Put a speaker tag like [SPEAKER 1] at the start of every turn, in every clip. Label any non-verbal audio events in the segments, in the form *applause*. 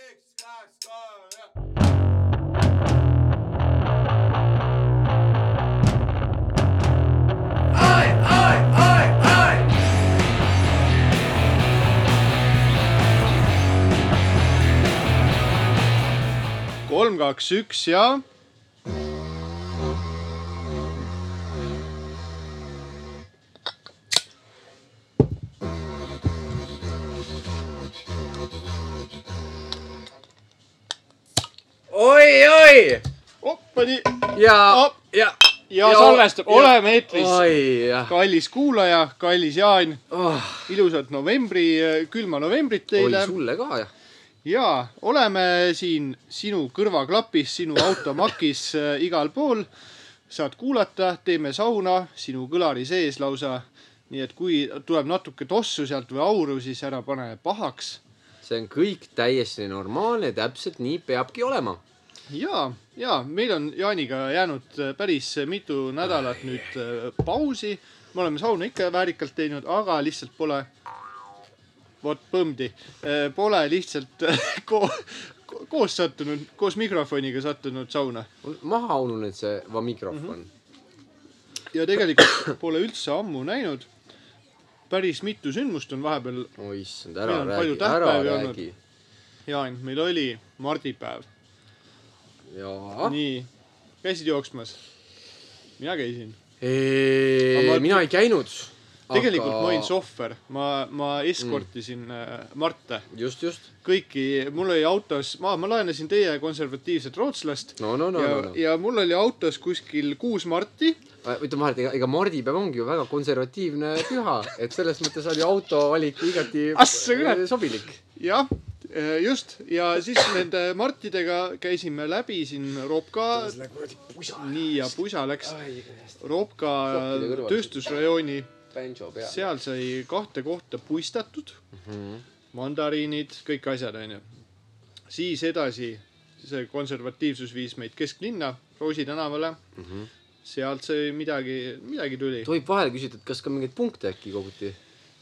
[SPEAKER 1] Let's go! Yeah.
[SPEAKER 2] Ai, ai, ai, ai!
[SPEAKER 3] kolm , kaks , üks ja .
[SPEAKER 2] oi-oi
[SPEAKER 3] oppani
[SPEAKER 2] ja
[SPEAKER 3] Op. ,
[SPEAKER 2] ja .
[SPEAKER 3] ja salvestab , oleme eetris .
[SPEAKER 2] oi jah ,
[SPEAKER 3] kallis kuulaja , kallis Jaan ,
[SPEAKER 2] oh,
[SPEAKER 3] ilusat novembri , külma novembrit
[SPEAKER 2] oi
[SPEAKER 3] teile
[SPEAKER 2] sulle ka jah .
[SPEAKER 3] ja oleme siin sinu kõrvaklapis , sinu automakis äh, igal pool . saad kuulata , teeme sauna sinu kõlari sees lausa . nii et kui tuleb natuke tossu sealt või auru , siis ära pane pahaks
[SPEAKER 2] see on kõik täiesti normaalne , täpselt nii peabki olema .
[SPEAKER 3] ja , ja meil on Jaaniga jäänud äh, päris mitu nädalat nüüd äh, pausi . me oleme sauna ikka väärikalt teinud , aga lihtsalt pole , vot põmdi , pole lihtsalt *laughs* ko- , koos sattunud , koos mikrofoniga sattunud sauna .
[SPEAKER 2] maha ununenud see va mikrofon mm .
[SPEAKER 3] Mhm.
[SPEAKER 2] -hmm.
[SPEAKER 3] ja tegelikult pole üldse ammu näinud . päris mitu sündmust on vahepeal ,
[SPEAKER 2] oi issand ,
[SPEAKER 3] Meil
[SPEAKER 2] ära
[SPEAKER 3] on palju
[SPEAKER 2] räägi , ära
[SPEAKER 3] tähtpäevi olnud.
[SPEAKER 2] räägi .
[SPEAKER 3] Jaan , meil oli mardipäev .
[SPEAKER 2] jaa .
[SPEAKER 3] nii , käisid jooksmas ? mina käisin . Aga-
[SPEAKER 2] mina ei käinud .
[SPEAKER 3] tegelikult aga... ma olin . sohver , ma , ma eskortisin mm. Marte ,
[SPEAKER 2] just , just .
[SPEAKER 3] kõiki , mul oli autos , ma , ma laenasin teie konservatiivset rootslast
[SPEAKER 2] no , no , no ,
[SPEAKER 3] ja
[SPEAKER 2] no , no .
[SPEAKER 3] ja mul oli autos kuskil kuus Marti .
[SPEAKER 2] Äh, ütleme vahelt , ega , ega mardipäev ongi ju väga konservatiivne püha , et selles mõttes oli auto valik igati äh,
[SPEAKER 3] Ah, sa kurat!
[SPEAKER 2] sobilik .
[SPEAKER 3] jah , just ja siis nende Martidega käisime läbi siin Ropka ,
[SPEAKER 2] kuradi pusa .
[SPEAKER 3] nii ja pusa läks
[SPEAKER 2] ai ,
[SPEAKER 3] Ropka
[SPEAKER 2] Ah, Sokkide kõrval.
[SPEAKER 3] tööstusrajooni ,
[SPEAKER 2] bänso peal .
[SPEAKER 3] seal sai kahte kohta puistatud
[SPEAKER 2] Mhm.
[SPEAKER 3] mandariinid , kõik asjad , onju . siis edasi see konservatiivsus viis meid kesklinna , Roosi tänavale mm .
[SPEAKER 2] Mhm.
[SPEAKER 3] -hmm. sealt see midagi , midagi tuli .
[SPEAKER 2] tohib vahele küsida , et kas ka mingeid punkte äkki koguti ?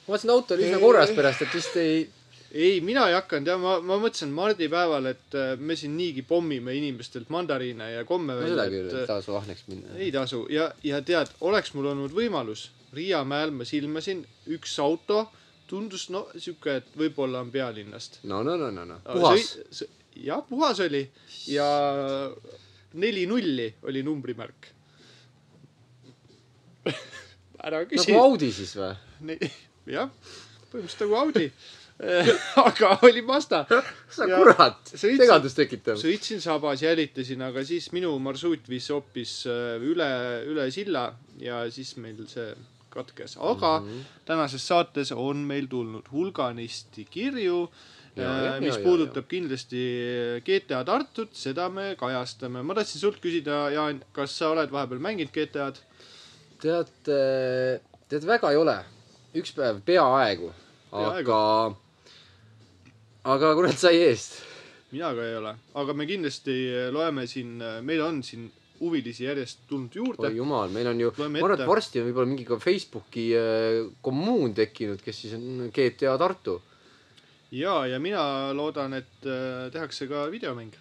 [SPEAKER 2] ma vaatasin , auto oli üsna korras pärast , et vist ei .
[SPEAKER 3] ei , mina ei hakanud ja ma , ma mõtlesin mardipäeval , et äh, me siin niigi pommime inimestelt mandariine ja komme
[SPEAKER 2] no
[SPEAKER 3] välja
[SPEAKER 2] seda , küll , et
[SPEAKER 3] et äh,
[SPEAKER 2] taas vahneks minna .
[SPEAKER 3] ei tasu ja , ja tead , oleks mul olnud võimalus , Riiamäel ma silmasin üks auto , tundus no sihuke , et võib-olla on pealinnast .
[SPEAKER 2] no , no , no , no , no , puhas ..
[SPEAKER 3] jah , puhas oli ja neli nulli oli numbrimärk . ära küsi
[SPEAKER 2] nagu . Audi siis või ?
[SPEAKER 3] Nei- jah , põhimõtteliselt nagu Audi . *laughs* aga oli Mazda .
[SPEAKER 2] sa
[SPEAKER 3] Ja
[SPEAKER 2] kurat ,
[SPEAKER 3] sõitsin-
[SPEAKER 2] segadust tekitav .
[SPEAKER 3] sõitsin sabas , jälitasin , aga siis minu marsruut viis hoopis äh, üle , üle silla ja siis meil see katkes , aga mm -hmm. tänases saates on meil tulnud hulganisti kirju äh,
[SPEAKER 2] Ja, ja, ,
[SPEAKER 3] mis
[SPEAKER 2] ja, ja,
[SPEAKER 3] puudutab kindlasti GTA Tartut , seda me kajastame . ma tahtsin sult küsida , Jaan , kas sa oled vahepeal mänginud GTA-d ?
[SPEAKER 2] tead , tead väga ei ole . üks päev peaaegu ,
[SPEAKER 3] Peaaegu.
[SPEAKER 2] aga , aga kurat sai eest .
[SPEAKER 3] mina ka ei ole , aga me kindlasti äh, loeme siin , meil on siin huvilisi järjest tulnud juurde
[SPEAKER 2] oi . jumal , meil on ju , ma
[SPEAKER 3] Loeme
[SPEAKER 2] arvan , et
[SPEAKER 3] ette.
[SPEAKER 2] varsti on võib-olla mingi ka Facebooki äh, kommuun tekkinud , kes siis on GTA Tartu .
[SPEAKER 3] ja , ja mina loodan , et äh, tehakse ka videomäng .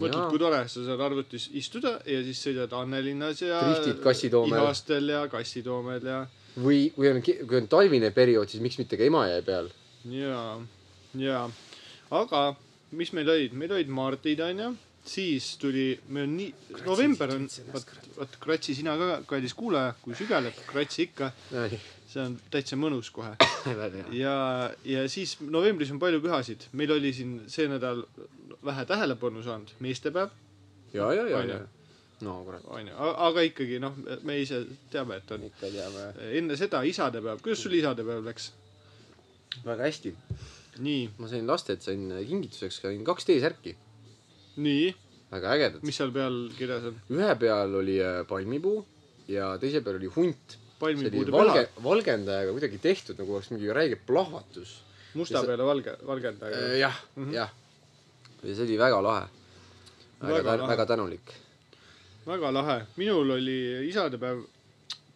[SPEAKER 3] mõtled , kui tore , sa saad arvutis istuda ja siis sõidad Annelinnas ja .
[SPEAKER 2] Driftid Kassitoomel.
[SPEAKER 3] Ihastel ja Kassitoomel ja ,
[SPEAKER 2] või kui on , kui on talvine periood , siis miks mitte ka Emajõe peal .
[SPEAKER 3] ja , ja . aga mis meil olid , meil olid Mardid onju , siis tuli , meil on nii , november on , vot , vot kratsi sina ka , kallis kuulaja , kui sügeleb , kratsi ikka , see on täitsa mõnus kohe . ja , ja siis novembris on palju pühasid , meil oli siin see nädal vähe tähelepanu saanud meestepäev ,
[SPEAKER 2] ja , ja , ja , ja
[SPEAKER 3] Onju. .
[SPEAKER 2] no kurat ,
[SPEAKER 3] onju , aga ikkagi noh , me ise teame , et on .
[SPEAKER 2] ikka teame
[SPEAKER 3] enne seda isadepäev , kuidas sul isadepäev läks ?
[SPEAKER 2] väga hästi .
[SPEAKER 3] nii ,
[SPEAKER 2] ma sain lastelt , sain kingituseks , sain kaks T-särki ,
[SPEAKER 3] nii ,
[SPEAKER 2] väga ägedad .
[SPEAKER 3] mis seal peal kirjas on ?
[SPEAKER 2] ühe peal oli äh, palmipuu ja teise peal oli hunt . see oli
[SPEAKER 3] palmipuude
[SPEAKER 2] valge
[SPEAKER 3] peal ,,
[SPEAKER 2] valgendajaga kuidagi tehtud , nagu oleks mingi räige plahvatus .
[SPEAKER 3] musta
[SPEAKER 2] see-
[SPEAKER 3] peale valge , valgendaja .
[SPEAKER 2] jah , jah . ja see oli väga lahe . väga
[SPEAKER 3] Väga
[SPEAKER 2] tänu ,
[SPEAKER 3] lahe.
[SPEAKER 2] väga tänulik .
[SPEAKER 3] väga lahe , minul oli isadepäev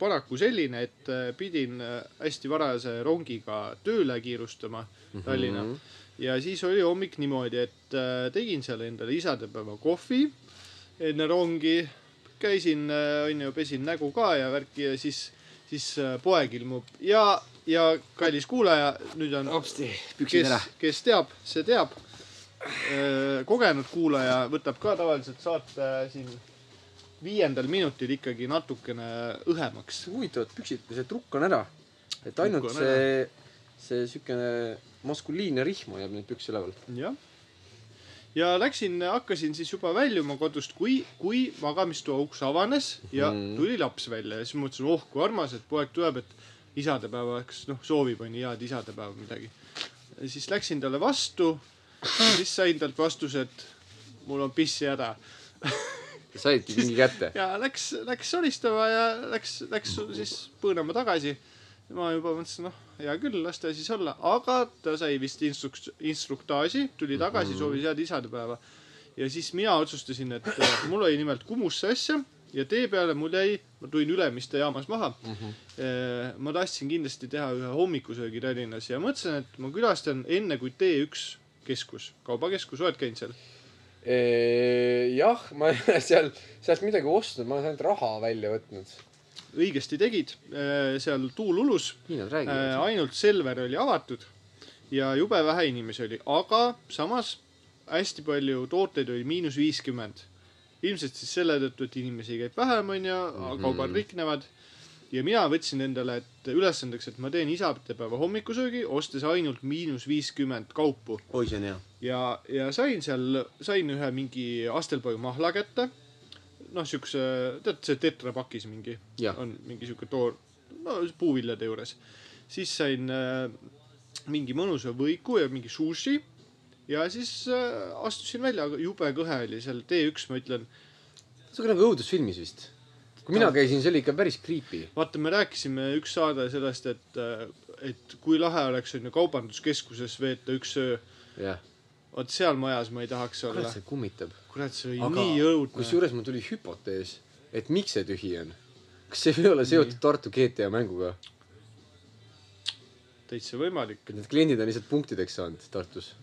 [SPEAKER 3] paraku selline , et
[SPEAKER 2] Mhm.
[SPEAKER 3] äh, pidin äh, hästi varajase rongiga tööle kiirustama Tallinna mm . -hmm. ja siis oli hommik niimoodi , et äh, tegin seal endale isadepäeva kohvi enne rongi , käisin , onju , pesin nägu ka ja värki ja siis , siis äh, poeg ilmub ja , ja kallis kuulaja , nüüd on
[SPEAKER 2] hopsti , püksid
[SPEAKER 3] kes
[SPEAKER 2] ära .,
[SPEAKER 3] kes teab , see teab . kogenud kuulaja võtab ka tavaliselt saate äh, siin viiendal minutil ikkagi natukene õhemaks .
[SPEAKER 2] huvitavad püksid , see trukk on ära . et ainult
[SPEAKER 3] Trukk on
[SPEAKER 2] see , see siukene maskuliinne rihm hoiab neid pükse üleval .
[SPEAKER 3] jah . ja läksin , hakkasin siis juba väljuma kodust , kui , kui magamistoa uks avanes ja
[SPEAKER 2] Mhm.
[SPEAKER 3] tuli laps välja ja siis mõtlesin , oh kui armas , et poeg tuleb , et isadepäevaks , noh , soovib onju head isadepäeva midagi . siis läksin talle vastu , siis sain talt vastuse , et mul on pissihäda
[SPEAKER 2] saidki mingi *laughs* kätte .
[SPEAKER 3] ja läks , läks solistama ja läks , läks siis põõnama tagasi . ma juba mõtlesin , noh , hea küll , las ta siis olla , aga ta sai vist instruks- , instruktaaži , tuli tagasi , soovis head isadepäeva . ja siis mina otsustasin , et äh, mul oli nimelt Kumusse asja ja tee peale mul jäi , ma tulin Ülemiste jaamas maha mm . -hmm. ma tahtsin kindlasti teha ühe hommikusöögi Tallinnas ja mõtlesin , et ma külastan enne kui T1 keskus , kaubakeskus , oled käinud seal ?
[SPEAKER 2] jah , ma ei ole seal , sealt midagi ostnud , ma olen ainult raha välja võtnud .
[SPEAKER 3] õigesti tegid , seal tuul ulus
[SPEAKER 2] nii nad
[SPEAKER 3] äh,
[SPEAKER 2] räägivad .
[SPEAKER 3] ainult Selver oli avatud ja jube vähe inimesi oli , aga samas hästi palju tooteid oli miinus viiskümmend . ilmselt siis selle tõttu , et inimesi käib vähem , onju , kaubad riknevad . ja mina võtsin endale et ülesandeks , et ma teen isapäeva hommikusöögi , ostes ainult miinus viiskümmend kaupu
[SPEAKER 1] oi , see on hea .
[SPEAKER 3] ja , ja sain seal , sain ühe mingi Astelboi mahla kätte . noh , siukse , tead see tetrapakis mingi
[SPEAKER 2] Jah.
[SPEAKER 3] on mingi siuke toor , no puuviljade juures . siis sain äh, mingi mõnusa võiku ja mingi sushi ja siis äh, astusin välja , aga jube kõhe oli seal T1 , ma ütlen .
[SPEAKER 2] see on nagu õudusfilmis vist . kui mina käisin , see oli ikka päris creepy .
[SPEAKER 3] vaata , me rääkisime üks saade sellest , et , et kui lahe oleks onju kaubanduskeskuses veeta üks öö .
[SPEAKER 2] jah ,
[SPEAKER 3] vot seal majas ma ei tahaks olla
[SPEAKER 2] kurat . see kummitab .
[SPEAKER 3] kurat , see oli
[SPEAKER 2] Aga
[SPEAKER 3] nii õudne .
[SPEAKER 2] kusjuures mul tuli hüpotees , et miks see tühi on . kas see ei ole seotud Tartu GTA mänguga ?
[SPEAKER 3] täitsa võimalik .
[SPEAKER 2] et need kliendid on lihtsalt punktideks saanud Tartus .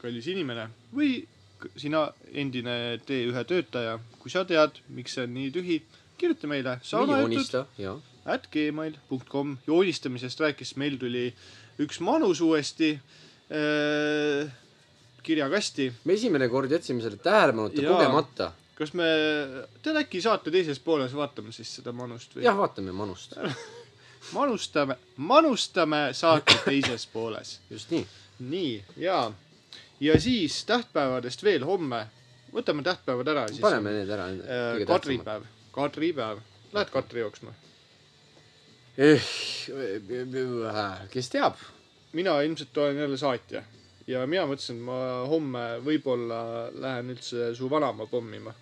[SPEAKER 3] kallis inimene või k- sina , endine T1 töötaja , kui sa tead , miks see on nii tühi , kirjuta meile saunajutud
[SPEAKER 2] jaa .
[SPEAKER 3] at gmail punkt kom . joonistamisest rääkis , meil tuli üks manus uuesti äh, kirjakasti .
[SPEAKER 2] me esimene kord jätsime selle tähelepanuta
[SPEAKER 3] Jaa.
[SPEAKER 2] kogemata .
[SPEAKER 3] kas me , te äkki saate teises pooles vaatame siis seda manust või ?
[SPEAKER 2] jah , vaatame Manust .
[SPEAKER 3] manustame , manustame saate teises pooles .
[SPEAKER 2] just nii .
[SPEAKER 3] nii , jaa . ja siis tähtpäevadest veel homme . võtame tähtpäevad ära siis .
[SPEAKER 2] paneme need ära .
[SPEAKER 3] Äh, Kadripäev , Kadripäev , lähed Katri jooksma ?
[SPEAKER 2] Eh, kes teab ?
[SPEAKER 3] mina ilmselt olen jälle saatja ja mina mõtlesin , et ma homme võib-olla lähen üldse su vanaema pommima .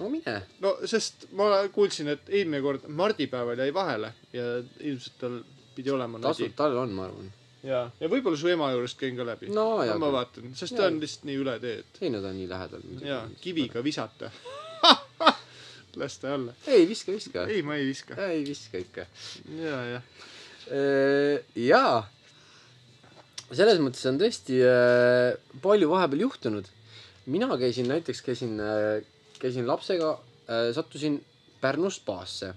[SPEAKER 2] no mine .
[SPEAKER 3] no sest ma kuulsin , et eelmine kord mardipäeval jäi vahele ja ilmselt tal pidi olema nadi
[SPEAKER 2] tasud . tal on , ma arvan .
[SPEAKER 3] ja , ja võib-olla su ema juurest käin ka läbi .
[SPEAKER 2] No hea
[SPEAKER 3] ma
[SPEAKER 2] küll.
[SPEAKER 3] vaatan , sest ta
[SPEAKER 2] Jaa.
[SPEAKER 3] on lihtsalt nii üle tee , et
[SPEAKER 2] ei , nad on nii lähedal .
[SPEAKER 3] ja kiviga visata . *laughs* las ta olla .
[SPEAKER 2] ei , viska , viska .
[SPEAKER 3] ei , ma ei viska .
[SPEAKER 2] ei viska ikka .
[SPEAKER 3] ja , jah .
[SPEAKER 2] jaa . selles mõttes on tõesti äh, palju vahepeal juhtunud . mina käisin näiteks , käisin , käisin lapsega , sattusin Pärnu spaasse .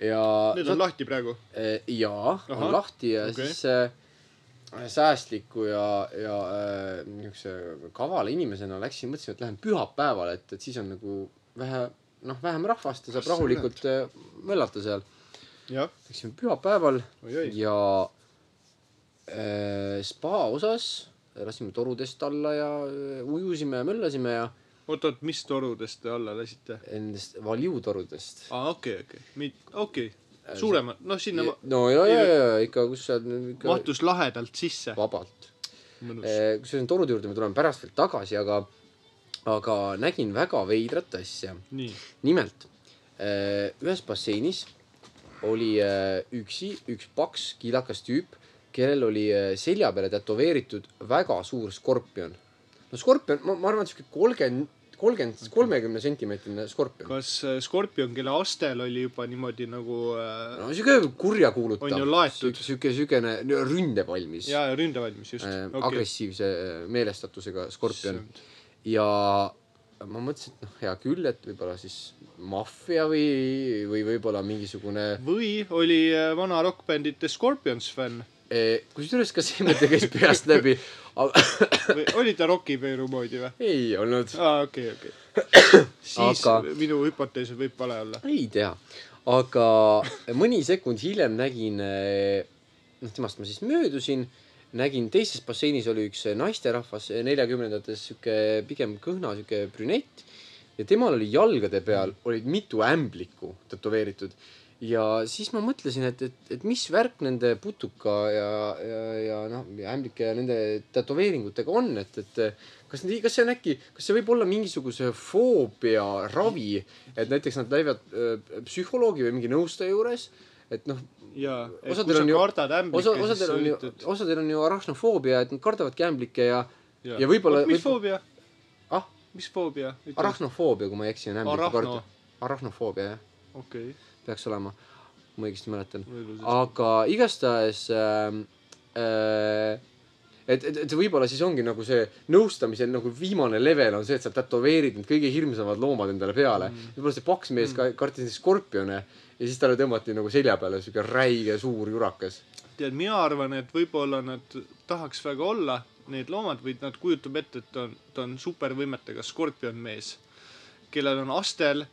[SPEAKER 2] ja .
[SPEAKER 3] Need on lahti praegu .
[SPEAKER 2] Eh, jaa ,
[SPEAKER 3] Ahah,
[SPEAKER 2] on lahti ja
[SPEAKER 3] okei.
[SPEAKER 2] okay. siis äh, säästliku ja , ja äh, niisuguse kavala inimesena läksin , mõtlesin , et lähen pühapäeval , et , et siis on nagu vähe , noh , vähem rahvast ja saab
[SPEAKER 3] Kas sa
[SPEAKER 2] rahulikult äh, möllata seal .
[SPEAKER 3] jah ,
[SPEAKER 2] Läksime pühapäeval
[SPEAKER 3] oi-oi .
[SPEAKER 2] ja äh, spa osas lasime torudest alla ja äh, ujusime ja möllasime ja
[SPEAKER 3] oot-oot , mis torudest te alla lasite ?
[SPEAKER 2] nendest valiutorudest .
[SPEAKER 3] aa , okei , okei , okei ,
[SPEAKER 2] Äh,
[SPEAKER 3] suuremad , noh , Ah, sinna ma-
[SPEAKER 2] no ja , ja , ja ikka , kus seal ikka
[SPEAKER 3] mahtus lahedalt sisse .
[SPEAKER 2] vabalt
[SPEAKER 3] mõnus .
[SPEAKER 2] Eh, kusjuures torude juurde me tuleme pärast veel tagasi , aga , aga nägin väga veidrat asja .
[SPEAKER 3] nii ,
[SPEAKER 2] nimelt eh, ühes basseinis oli eh, üksi üks paks kiilakas tüüp , kellel oli eh, selja peale tätoveeritud väga suur skorpion . no skorpion , ma , ma arvan , sihuke kolmkümmend kolmkümmend , kolmekümne sentimeetrine skorpion .
[SPEAKER 3] kas äh, Scorpion , kelle astel oli juba niimoodi nagu äh,
[SPEAKER 2] no sihuke kurjakuulutav .
[SPEAKER 3] On ju laetud.
[SPEAKER 2] sihuke , siukene ründepall , mis
[SPEAKER 3] ja ründevalmis just
[SPEAKER 2] äh,
[SPEAKER 3] Okei.
[SPEAKER 2] agressiivse äh, meelestatusega skorpion .
[SPEAKER 3] Issand.
[SPEAKER 2] ja ma mõtlesin , et noh , hea küll , et võib-olla siis maffia või , või võib-olla mingisugune
[SPEAKER 3] või oli äh, vana rokkbändi The Scorpions fänn
[SPEAKER 2] eh, , kusjuures ka see mõte käis peast läbi .
[SPEAKER 3] või oli ta rokipeeru moodi või ?
[SPEAKER 2] *coughs* ei olnud ,
[SPEAKER 3] aa , okei ,
[SPEAKER 2] *coughs*
[SPEAKER 3] okei . siis
[SPEAKER 2] Aga-
[SPEAKER 3] Aga... minu hüpotees võib vale olla .
[SPEAKER 2] ei tea , aga mõni sekund hiljem nägin , noh , temast ma siis möödusin , nägin teises basseinis oli üks naisterahvas , neljakümnendates sihuke pigem kõhna sihuke brünett ja temal oli jalgade peal olid mitu ämblikku tätoveeritud ja siis ma mõtlesin , et , et , et mis värk nende putuka ja , ja , ja noh , ämblike ja nende tätoveeringutega on , et , et kas nii , kas see on äkki , kas see võib olla mingisuguse foobia ravi , et näiteks nad läivad öö, psühholoogi või mingi nõustaja juures , et noh ,
[SPEAKER 3] jaa , et
[SPEAKER 2] Osadel
[SPEAKER 3] kui sa
[SPEAKER 2] on ju-
[SPEAKER 3] kardad
[SPEAKER 2] osa ,
[SPEAKER 3] ämblike , siis
[SPEAKER 2] osadel
[SPEAKER 3] sa
[SPEAKER 2] on ju
[SPEAKER 3] üritad ,.
[SPEAKER 2] osadel on ju arahnofoobia , et nad kardavadki ämblikke ja ja võib-olla-
[SPEAKER 3] mis
[SPEAKER 2] võib-
[SPEAKER 3] foobia ?
[SPEAKER 2] ah ,
[SPEAKER 3] mis foobia ?
[SPEAKER 2] arahnofoobia , kui ma ei eksi , on ämblike
[SPEAKER 3] Arahno.
[SPEAKER 2] kord . arahnofoobia jah ,
[SPEAKER 3] okei ,
[SPEAKER 2] peaks olema , ma õigesti mäletan .
[SPEAKER 3] võib-olla
[SPEAKER 2] aga igastahes ähm, äh, et , et , et see võib-olla siis ongi nagu see nõustamise nagu viimane level on see , et sa tätoveerid need kõige hirmsamad loomad endale peale mm.
[SPEAKER 3] Mm. .
[SPEAKER 2] võib-olla see paks mees mm. kartis neid skorpione ja siis talle tõmmati nagu selja peale siuke räige suur jurakas .
[SPEAKER 3] siis tead , mina arvan , et võib-olla nad tahaks väga olla need loomad või nad kujutab ette , et ta on , ta on supervõimetega skorpionmees , kellel on astel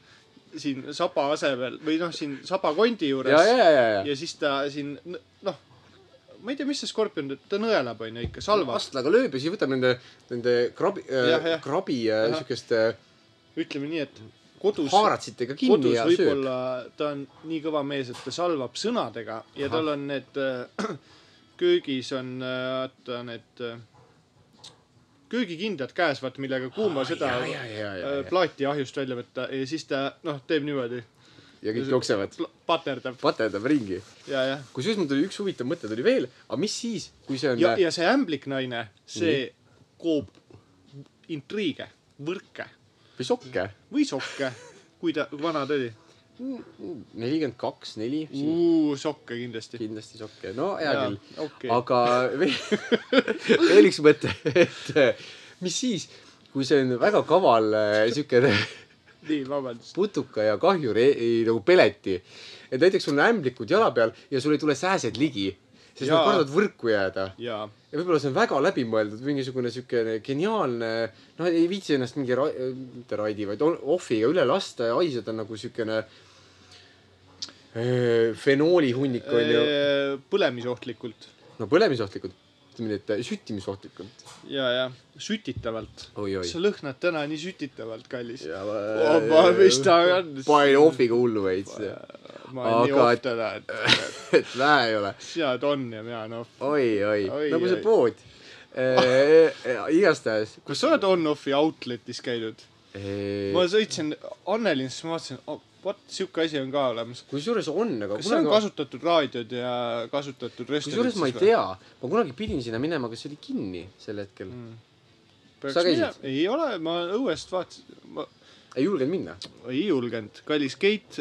[SPEAKER 3] siin saba asemel või noh , siin sabakondi
[SPEAKER 2] ja ,
[SPEAKER 3] juures
[SPEAKER 2] ja , ja , ja , ja .
[SPEAKER 3] ja siis ta siin n- noh , ma ei tea , mis see skorpion teeb , ta nõelab onju ikka , salvab ,
[SPEAKER 2] astlaga lööb ja siis võtab nende , nende krabi
[SPEAKER 3] Jah,
[SPEAKER 2] äh,
[SPEAKER 3] jah. ,
[SPEAKER 2] krabi äh,
[SPEAKER 3] Ahah.
[SPEAKER 2] siukest äh,
[SPEAKER 3] ütleme nii , et kodus
[SPEAKER 2] haaratsitega kinni
[SPEAKER 3] kodus
[SPEAKER 2] ja sööb .
[SPEAKER 3] võib-olla ta on nii kõva mees , et ta salvab sõnadega
[SPEAKER 2] Ahah.
[SPEAKER 3] ja
[SPEAKER 2] tal
[SPEAKER 3] tal on need äh, *clears throat* köögis on äh, vaata need köögikindad käes , vaata millega kuuma seda äh,
[SPEAKER 2] ja , ja , ja , ja , ja ,
[SPEAKER 3] plaati ahjust välja võtta ja siis ta noh , teeb niimoodi ,
[SPEAKER 2] ja kõik jooksevad ,
[SPEAKER 3] paterdab
[SPEAKER 2] paterdab ringi .
[SPEAKER 3] ja , ja ,
[SPEAKER 2] kusjuures mul tuli üks huvitav mõte tuli veel , aga mis siis , kui see on Mhm.
[SPEAKER 3] ja , ja see ämblik naine , see koob intriige , võrke
[SPEAKER 2] äh, või sokke ,
[SPEAKER 3] või sokke , kui ta vana ta oli ,
[SPEAKER 2] nelikümmend kaks , neli ,
[SPEAKER 3] sokke kindlasti .
[SPEAKER 2] kindlasti sokke , no hea
[SPEAKER 3] Mm. jaa
[SPEAKER 2] küll ,,
[SPEAKER 3] okei ,
[SPEAKER 2] aga *laughs* veel veel üks mõte , et eh, mis siis , kui see on väga kaval eh, siukene *laughs*
[SPEAKER 3] nii vabandust ,
[SPEAKER 2] putuka ja kahjuri eh, nagu peleti , et näiteks sul on ämblikud jala peal ja sul ei tule sääsed ligi , sest nad
[SPEAKER 3] Jaa.
[SPEAKER 2] kardavad võrku jääda
[SPEAKER 3] jaa
[SPEAKER 2] ja võib-olla see on väga läbimõeldud , mingisugune siukene geniaalne , noh , ei viitsi ennast mingi ra- , mitte raidi , vaid on- ohviga üle lasta ja haiseda nagu siukene öö, fenoolihunnik onju .
[SPEAKER 3] Äh, põlemisohtlikult
[SPEAKER 2] no põlemisohtlikud , ütleme nii , et äh, süttimisohtlikult .
[SPEAKER 3] ja , ja sütitavalt .
[SPEAKER 2] oi-oi .
[SPEAKER 3] sa lõhnad täna nii sütitavalt , kallis .
[SPEAKER 2] ja
[SPEAKER 3] Oh, ma- mis ta on? *laughs*
[SPEAKER 2] panin ohviga hullu veits ,
[SPEAKER 3] ma olen nii
[SPEAKER 2] Aga-
[SPEAKER 3] off täna , et
[SPEAKER 2] *laughs* et vähe ei ole .
[SPEAKER 3] sina oled on ja mina olen off .
[SPEAKER 2] oi-oi ,
[SPEAKER 3] Oi,
[SPEAKER 2] nagu see
[SPEAKER 3] oi. *laughs*
[SPEAKER 2] pood . igastahes . Äh,
[SPEAKER 3] kas sa oled on-off'i outlet'is käinud ? ma sõitsin Annelins , ma vaatasin oh, , vot siuke asi on ka olemas .
[SPEAKER 2] kusjuures on , aga
[SPEAKER 3] kas seal on kasutatud raadiod ja kasutatud restoranid
[SPEAKER 2] kusjuures ma ei ? tea , ma kunagi pidin sinna minema , aga see oli kinni sel hetkel mm. . Sa käisid? ?
[SPEAKER 3] ei ole , ma õuest vaatasin , ma
[SPEAKER 2] ei julgenud minna .
[SPEAKER 3] ei julgenud . kallis Keit ,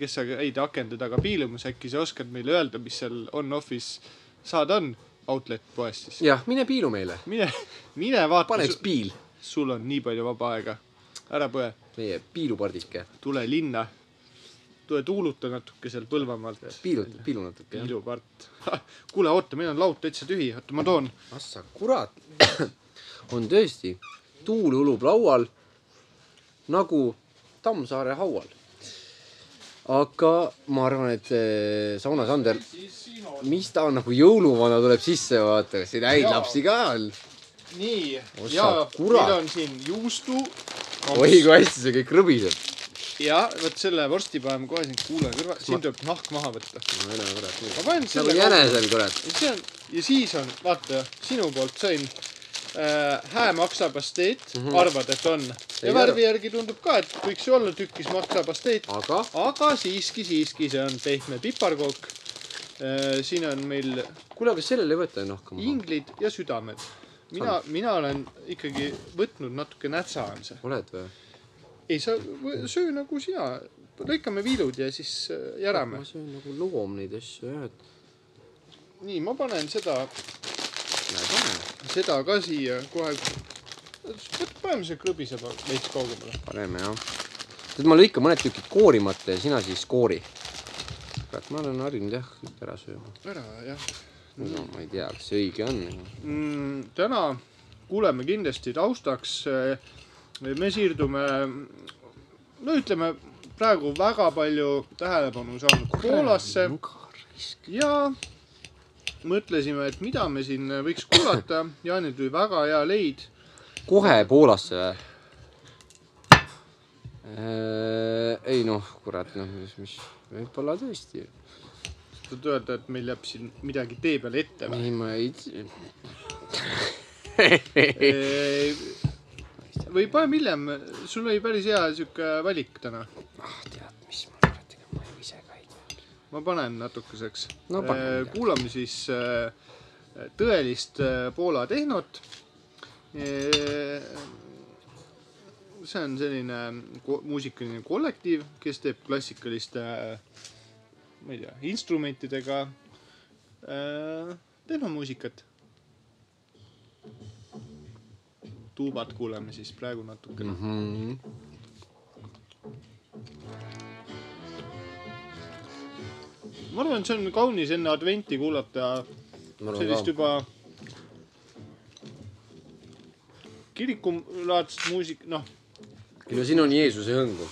[SPEAKER 3] kes sa käid akende taga piilumas , äkki sa oskad meile öelda , mis seal on-off'is saada on outlet poest siis ?
[SPEAKER 2] jah , mine piilu meile ,
[SPEAKER 3] mine , mine vaata
[SPEAKER 2] pane , üks piil ,
[SPEAKER 3] sul on nii palju vaba aega . ära põe ,
[SPEAKER 2] meie piilupardike ,
[SPEAKER 3] tule linna . tule tuuluta natuke seal Põlvamaalt .
[SPEAKER 2] piilu , piilu natuke .
[SPEAKER 3] piilupart . kuule , oota , meil on laud täitsa tühi , oota , ma toon .
[SPEAKER 2] ah sa kurat , *coughs* on tõesti , tuul ulub laual nagu Tammsaare haual . aga ma arvan , et eh, Sauna Sander , mis ta on nagu jõuluvana tuleb sisse , vaata , kas siin häid
[SPEAKER 3] Jaa.
[SPEAKER 2] lapsi ka on .
[SPEAKER 3] nii
[SPEAKER 2] Oh , sa
[SPEAKER 3] ja
[SPEAKER 2] kurat.
[SPEAKER 3] meil on siin juustu .
[SPEAKER 2] oi kui hästi see kõik rõbiseb .
[SPEAKER 3] ja vot selle vorsti paneme kohe siin kuulaja kõrvale , siin tuleb nahk maha võtta . Ma panen selle
[SPEAKER 2] nagu
[SPEAKER 3] ka-
[SPEAKER 2] jänesel kurat .
[SPEAKER 3] ja see on ja siis on , vaata , sinu poolt sõin äh, häämaksapasteet mm , -hmm. arvad , et on .
[SPEAKER 2] Mhm. Ei
[SPEAKER 3] ja värvi järgi tundub ka , et võiks ju olla tükis maksapasteet ,
[SPEAKER 2] aga
[SPEAKER 3] aga siiski , siiski see on pehme piparkook äh, . siin on meil
[SPEAKER 2] Mhm. kuule , aga sellele ei võeta ju nahka maha .
[SPEAKER 3] inglid ja südamed , mina , mina olen ikkagi võtnud natuke nätsa on see .
[SPEAKER 2] oled või ?
[SPEAKER 3] ei , sa võ- söö nagu sina , lõikame viilud ja siis äh, järame
[SPEAKER 2] ma . söön nagu loom neid asju jah , et
[SPEAKER 3] nii , ma panen seda ,
[SPEAKER 2] näe pane .
[SPEAKER 3] seda ka siia kohe . paneme see krõbiseb veits kaugemale .
[SPEAKER 2] paneme jah . nüüd ma lõikan mõned tükid koorimata ja sina siis koori . kurat , ma olen harjunud jah ära sööma .
[SPEAKER 3] ära jah
[SPEAKER 2] no ma ei tea , kas see õige on .
[SPEAKER 3] mm, . täna kuuleme kindlasti taustaks . me siirdume , no ütleme praegu väga palju tähelepanu saanud Poolasse ja mõtlesime , et mida me siin võiks kuulata . Jaanil tuli väga hea leid .
[SPEAKER 2] kohe Poolasse või ? ei noh , kurat , noh , mis , mis , võib-olla tõesti .
[SPEAKER 3] sa tahad öelda , et meil jääb siin midagi tee peal ette või ?
[SPEAKER 2] ei , ma ei tea .
[SPEAKER 3] või paneme hiljem , sul oli päris hea sihuke valik täna .
[SPEAKER 2] ah , tead mis , ma kurat , ega ma ju ise ka ei tea .
[SPEAKER 3] ma panen natukeseks
[SPEAKER 2] No pane
[SPEAKER 3] Eh,
[SPEAKER 2] midagi.
[SPEAKER 3] kuulame siis eh, tõelist eh, Poola tehnot . see on selline ko- muusikaline kollektiiv , kes teeb klassikaliste , ma ei tea , instrumentidega eh, tehnomuusikat . tuubad kuuleme siis praegu natukene .
[SPEAKER 2] Mhm.
[SPEAKER 3] ma arvan , et see on kaunis enne adventi kuulata sellist juba kirikulaadset muusik- , noh ,
[SPEAKER 2] ei no siin on Jeesuse hõngu .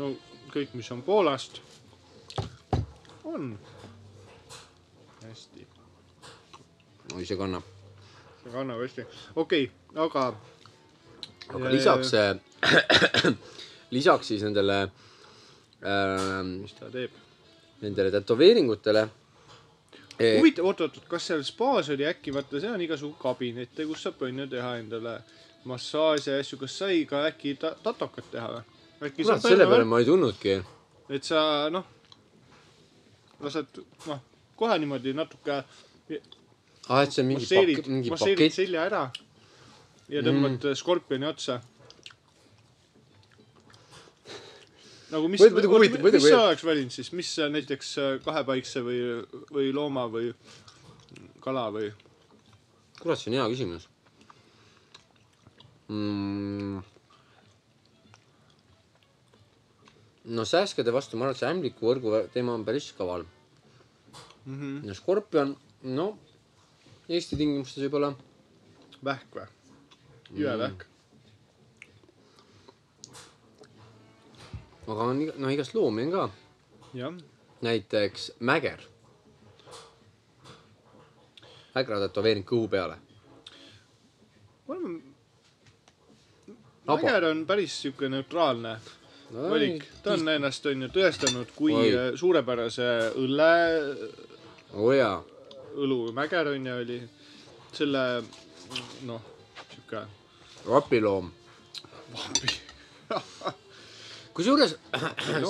[SPEAKER 3] no kõik , mis on Poolast , on hästi ,
[SPEAKER 2] oi , see kannab .
[SPEAKER 3] see kannab hästi , okei okay, , aga
[SPEAKER 2] aga
[SPEAKER 3] Ja-
[SPEAKER 2] lisaks , *clears throat* lisaks siis nendele ähm, ,
[SPEAKER 3] mis ta teeb ?
[SPEAKER 2] nendele tätoveeringutele . eh,
[SPEAKER 3] huvitav , oot-oot , kas seal spaas oli äkki , vaata , seal on igasugu kabinette , kus saab onju teha endale massaaži ja asju , kas sai ka äkki ta- , tatokat teha või ? äkki
[SPEAKER 2] kurat ,
[SPEAKER 3] saab
[SPEAKER 2] selle peale
[SPEAKER 3] välja ,
[SPEAKER 2] ma ei tulnudki .
[SPEAKER 3] et sa noh , lased noh , kohe niimoodi natuke
[SPEAKER 2] ah , et see on mingi
[SPEAKER 3] masseerid
[SPEAKER 2] pakett ,, mingi
[SPEAKER 3] masseerid
[SPEAKER 2] pakett .
[SPEAKER 3] selja ära ja tõmbad mm. skorpioni otsa . nagu mis ,
[SPEAKER 2] Muidu- muidu huvitav- muidu
[SPEAKER 3] mis
[SPEAKER 2] kui-
[SPEAKER 3] sa oleks valinud siis , mis sa näiteks äh, kahepaikse või , või looma või kala või ?
[SPEAKER 2] kurat , see on hea küsimus mm. . no sääskede vastu ma arvan , et see ämbliku võrgu teema on päris kaval .
[SPEAKER 3] Mhm.
[SPEAKER 2] ja skorpion , no Eesti tingimustes võib-olla
[SPEAKER 3] vähk või ? jõevähk .
[SPEAKER 2] aga on , no igast loomi on ka ,
[SPEAKER 3] jah ,
[SPEAKER 2] näiteks mäger . ägra tätoveering kõhu peale .
[SPEAKER 3] ma arvan ,
[SPEAKER 2] Labo.
[SPEAKER 3] mäger on päris sihuke neutraalne valik . ta on ennast onju tõestanud kui
[SPEAKER 2] Oi.
[SPEAKER 3] äh, suurepärase õlle
[SPEAKER 2] oo oh, jaa ,
[SPEAKER 3] õlumäger onju oli selle noh , sihuke
[SPEAKER 2] rapiloom .
[SPEAKER 3] vambi .
[SPEAKER 2] kusjuures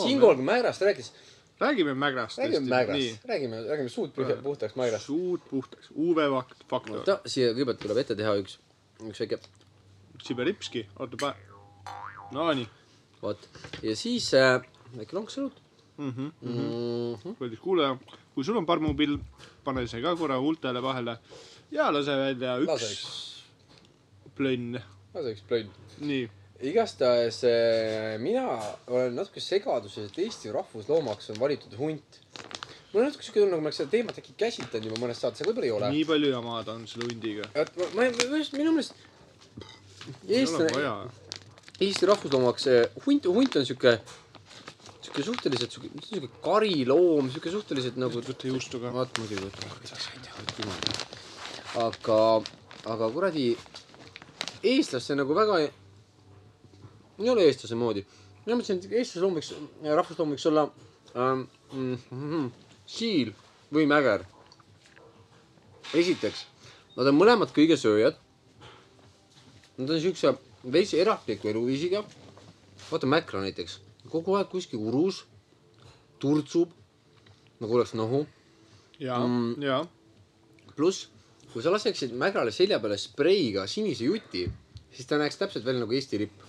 [SPEAKER 2] siinkohal , kui Mägrast rääkis ,
[SPEAKER 3] räägime mägrast .
[SPEAKER 2] räägime Mägrast ,. räägime , räägime suud puh- puhtaks Mägrast .
[SPEAKER 3] suud puhtaks , UV fakt- faktor ,
[SPEAKER 2] oota , siia kõigepealt tuleb ette teha üks , üks väike ,
[SPEAKER 3] Sibiripski , oota päev . Nonii
[SPEAKER 2] vot , ja siis äh, väike lonks õlut
[SPEAKER 3] mm -hmm. ,
[SPEAKER 2] mm . -hmm.
[SPEAKER 3] kallis kuulaja , kui sul on parmupill , pane see ka korra huultele vahele ja lase välja
[SPEAKER 2] lase
[SPEAKER 3] üks
[SPEAKER 2] üks ,
[SPEAKER 3] plönn .
[SPEAKER 2] lase üks plönn .
[SPEAKER 3] nii ,
[SPEAKER 2] igastahes äh, mina olen natuke segaduses , et Eesti rahvusloomaks on valitud hunt . mul on natuke siuke tunne , nagu ma oleks seda teemat äkki käsitlenud juba mõnes saates , aga võib-olla ei ole .
[SPEAKER 3] nii palju jama ta on selle hundiga .
[SPEAKER 2] et ma , ma , ma just , minu meelest
[SPEAKER 3] ei ole
[SPEAKER 2] eestlane ,
[SPEAKER 3] vaja .
[SPEAKER 2] Eesti rahvusloomaks äh, hunt , hunt on siuke , siuke suhteliselt siuke , mitte siuke kariloom , siuke suhteliselt nagu .
[SPEAKER 3] võta juustu ka.
[SPEAKER 2] vaat muidugi võtab . aga , aga kuradi eestlaste nagu väga ei , ei ole eestlase moodi . mina mõtlesin , et eestlase loom võiks , rahvusloom võiks olla ähm, mm, mm, siil või mäger . esiteks , nad on mõlemad kõigesööjad . Nad on siukse veits erapliku eluviisiga . vaata Mäkra näiteks , kogu aeg kuskil urus , turtsub nagu oleks nohu ,
[SPEAKER 3] ja
[SPEAKER 2] Mm.
[SPEAKER 3] mm. , ja
[SPEAKER 2] pluss kui sa laseksid Mägrale selja peale spreiga sinise juti , siis ta näeks täpselt välja nagu Eesti lipp .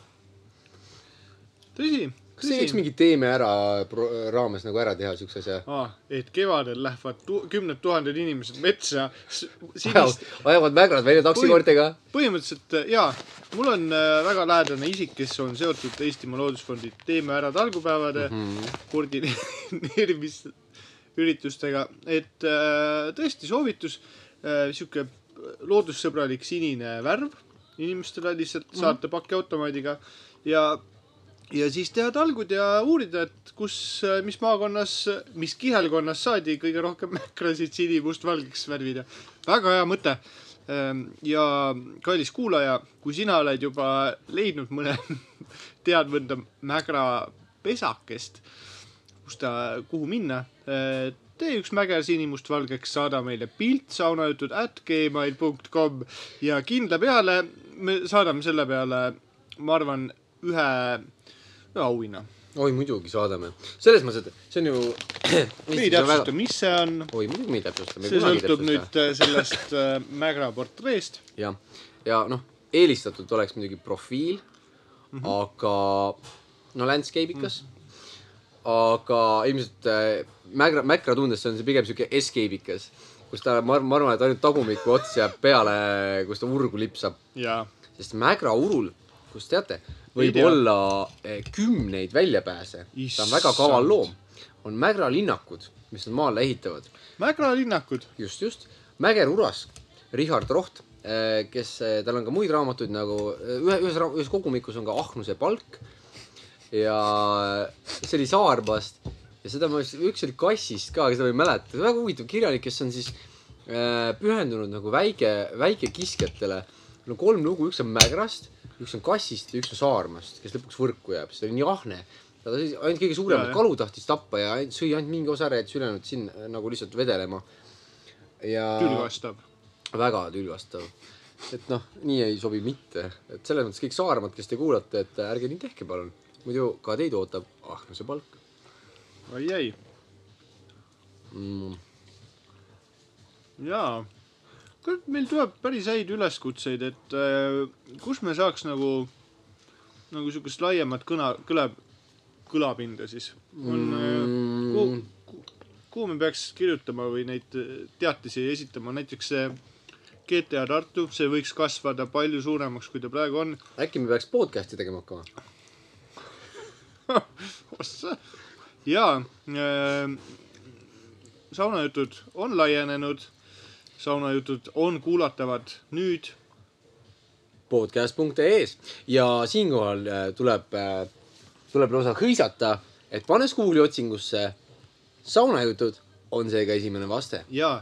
[SPEAKER 3] tõsi ,
[SPEAKER 2] kas see ei võiks
[SPEAKER 3] tõsi .
[SPEAKER 2] mingi Teeme ära pro- raames nagu ära teha siukse asja ?
[SPEAKER 3] Ah, et kevadel lähevad tu kümned tuhanded inimesed metsa s- sinist ,
[SPEAKER 2] ajavad Mägrad välja taksikoortega .
[SPEAKER 3] põhimõtteliselt äh, jaa , mul on äh, väga lähedane isik , kes on seotud Eestimaa Loodusfondi Teeme ära talgupäevade mm
[SPEAKER 2] Mhm.
[SPEAKER 3] -hmm. koordineerimisüritustega , et äh, tõesti soovitus äh, , sihuke loodussõbralik sinine värv inimestele lihtsalt
[SPEAKER 2] Mhm.
[SPEAKER 3] mm -hmm. saata pakiautomaadiga ja , ja siis teha talgud ja uurida , et kus , mis maakonnas , mis kihelkonnas saadi kõige rohkem mäkrasid sinimustvalgeks värvida . väga hea mõte Ähm, ja kallis kuulaja , kui sina oled juba leidnud mõne *laughs* tead mõnda mägra pesakest , kus ta , kuhu minna , tee üks mäger sinimustvalgeks , saada meile pilt saunajutud at gmail punkt kom ja kindla peale me saadame selle peale , ma arvan , ühe ühe auhinna .
[SPEAKER 2] oi muidugi saadame , selles mõttes , et see on ju . *clears throat*
[SPEAKER 3] me ei täpsusta ,. mis see on ,
[SPEAKER 2] oi muidugi me ei täpsusta .
[SPEAKER 3] see sõltub nüüd äh, sellest äh, mägra portreest .
[SPEAKER 2] jah , ja noh , eelistatud oleks muidugi profiil mm ,
[SPEAKER 3] Mhm.
[SPEAKER 2] -hmm. aga no landscape ikas mm . -hmm. aga ilmselt äh, mägra , mäkra tundesse on see pigem sihuke escape ikas , kus ta , ma arvan , ma arvan , et ainult tagumiku ots jääb peale , kus ta urgu lipsab ,
[SPEAKER 3] jaa ,
[SPEAKER 2] sest mägra urul , kus teate , võib
[SPEAKER 3] Ei tea.
[SPEAKER 2] olla eh, kümneid väljapääse , ta on väga kaval
[SPEAKER 3] Issand.
[SPEAKER 2] loom , on mägralinnakud , mis nad maale ehitavad
[SPEAKER 3] mägralinnakud ,
[SPEAKER 2] just , just . Mäger Uras , Richard Roht , kes , tal on ka muid raamatuid nagu ühe , ühes , ühes kogumikus on ka Ahnuse palk ja see oli Saarbast ja seda ma , üks oli Kassist ka , aga seda ma ei mäleta , väga huvitav kirjanik , kes on siis äh, pühendunud nagu väike , väikekiskjatele . no kolm lugu , üks on Mägrast , üks on Kassist ja üks on Saarmast , kes lõpuks võrku jääb , see oli nii ahne . ta siis ainult kõige
[SPEAKER 3] Jaa,
[SPEAKER 2] suuremat
[SPEAKER 3] jah.
[SPEAKER 2] kalu tahtis tappa ja ainult- sõi ainult mingi osa ära , jättis ülejäänud sinna nagu lihtsalt vedelema . ja
[SPEAKER 3] tüli vastab .
[SPEAKER 2] väga tülgastav . et noh , nii ei sobi mitte , et selles mõttes kõik Saaremaad , kes te kuulate , et ärge nii tehke , palun . muidu ka teid ootab ahnuse palk
[SPEAKER 3] ai , ai ,
[SPEAKER 2] mm. .
[SPEAKER 3] jaa . kurat , meil tuleb päris häid üleskutseid , et äh, kus me saaks nagu , nagu siukest laiemat kõna , kõla , kõlapinda siis . on
[SPEAKER 2] Mm.
[SPEAKER 3] mm. , kuhu ku, , kuhu me peaks kirjutama või neid äh, teatisi esitama , näiteks see GTA Tartu , see võiks kasvada palju suuremaks , kui ta praegu on .
[SPEAKER 2] äkki me peaks podcast'i tegema hakkama ?
[SPEAKER 3] jaa äh, , saunajutud on laienenud , saunajutud on kuulatavad nüüd
[SPEAKER 2] podcast.ee-s ja siinkohal äh, tuleb , tuleb lausa hõisata , et pannes Google'i otsingusse saunajutud , on see ka esimene vaste .
[SPEAKER 3] ja ,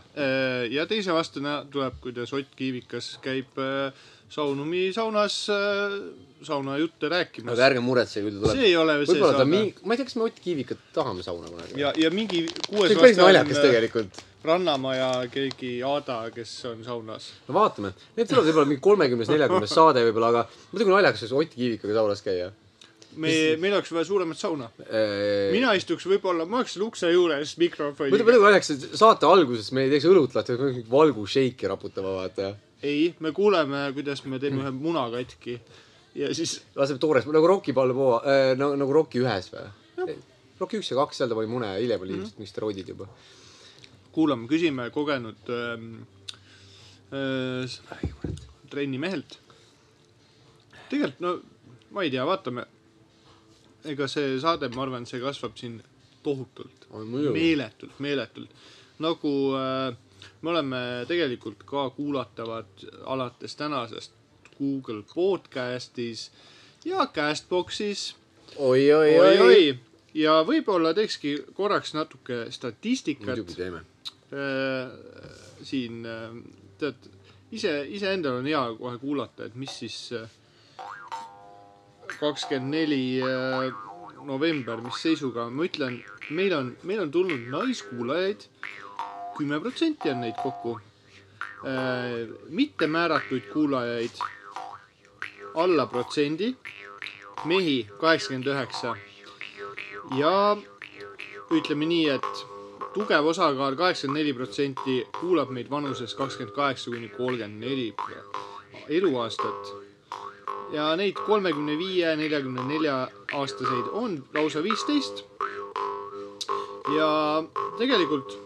[SPEAKER 3] ja teise vastena tuleb , kuidas Ott Kiivikas käib äh, Saunumi saunas äh, saunajutte rääkimas
[SPEAKER 2] aga . ärge muretsege , kui ta tuleb .
[SPEAKER 3] see ei ole see
[SPEAKER 2] võib-olla ta
[SPEAKER 3] saade .
[SPEAKER 2] mingi , ma ei tea , kas me Ott Kiivikat tahame sauna kunagi .
[SPEAKER 3] ja , ja mingi
[SPEAKER 2] see
[SPEAKER 3] kuues
[SPEAKER 2] on päris
[SPEAKER 3] äh,
[SPEAKER 2] naljakas tegelikult .
[SPEAKER 3] Rannamaja keegi Aada , kes on saunas .
[SPEAKER 2] no vaatame , need tulevad võib-olla mingi kolmekümnes , neljakümnes saade võib-olla , aga muidugi naljakas oleks Ott Kiivikaga saunas käia .
[SPEAKER 3] me , meil oleks vaja suuremat sauna .
[SPEAKER 2] mina .
[SPEAKER 3] mina istuks võib-olla , ma oleks ukse juures
[SPEAKER 2] muidu ,
[SPEAKER 3] mikrofoniga .
[SPEAKER 2] muidu naljakas , et saate alguses me ei teeks õlut lahti , peaks mingi valgu šeiki raputama , vaata .
[SPEAKER 3] ei , me kuuleme , kuidas me teeme ühe muna katki ja siis
[SPEAKER 2] laseb toores , nagu Rocki Balboa äh, , nagu , nagu Rocki ühes või ? Rocki üks ja kaks , seal ta pani mune ja hiljem oli ilmselt mingid steroidid juba .
[SPEAKER 3] kuulame , küsime kogenud ähm, äh, s- trennimehelt . tegelikult no ma ei tea , vaatame . ega see saade , ma arvan , see kasvab siin tohutult , meeletult , meeletult . nagu äh, me oleme tegelikult ka kuulatavad alates tänasest Google podcast'is ja Castbox'is
[SPEAKER 2] oi , oi , oi , oi .
[SPEAKER 3] oi-oi ja võib-olla teekski korraks natuke statistikat
[SPEAKER 2] muidugi teeme .
[SPEAKER 3] Äh, siin äh, tead , ise , iseendal on hea kohe kuulata , et mis siis äh, kakskümmend neli äh, november , mis seisuga , ma ütlen , meil on , meil on tulnud naiskuulajaid , kümme protsenti on neid kokku . mittemääratuid kuulajaid alla protsendi , mehi kaheksakümmend üheksa ja ütleme nii , et tugev osakaal , kaheksakümmend neli protsenti kuulab meid vanuses kakskümmend kaheksa kuni kolmkümmend neli eluaastat . ja neid kolmekümne viie , neljakümne nelja aastaseid on lausa viisteist . ja tegelikult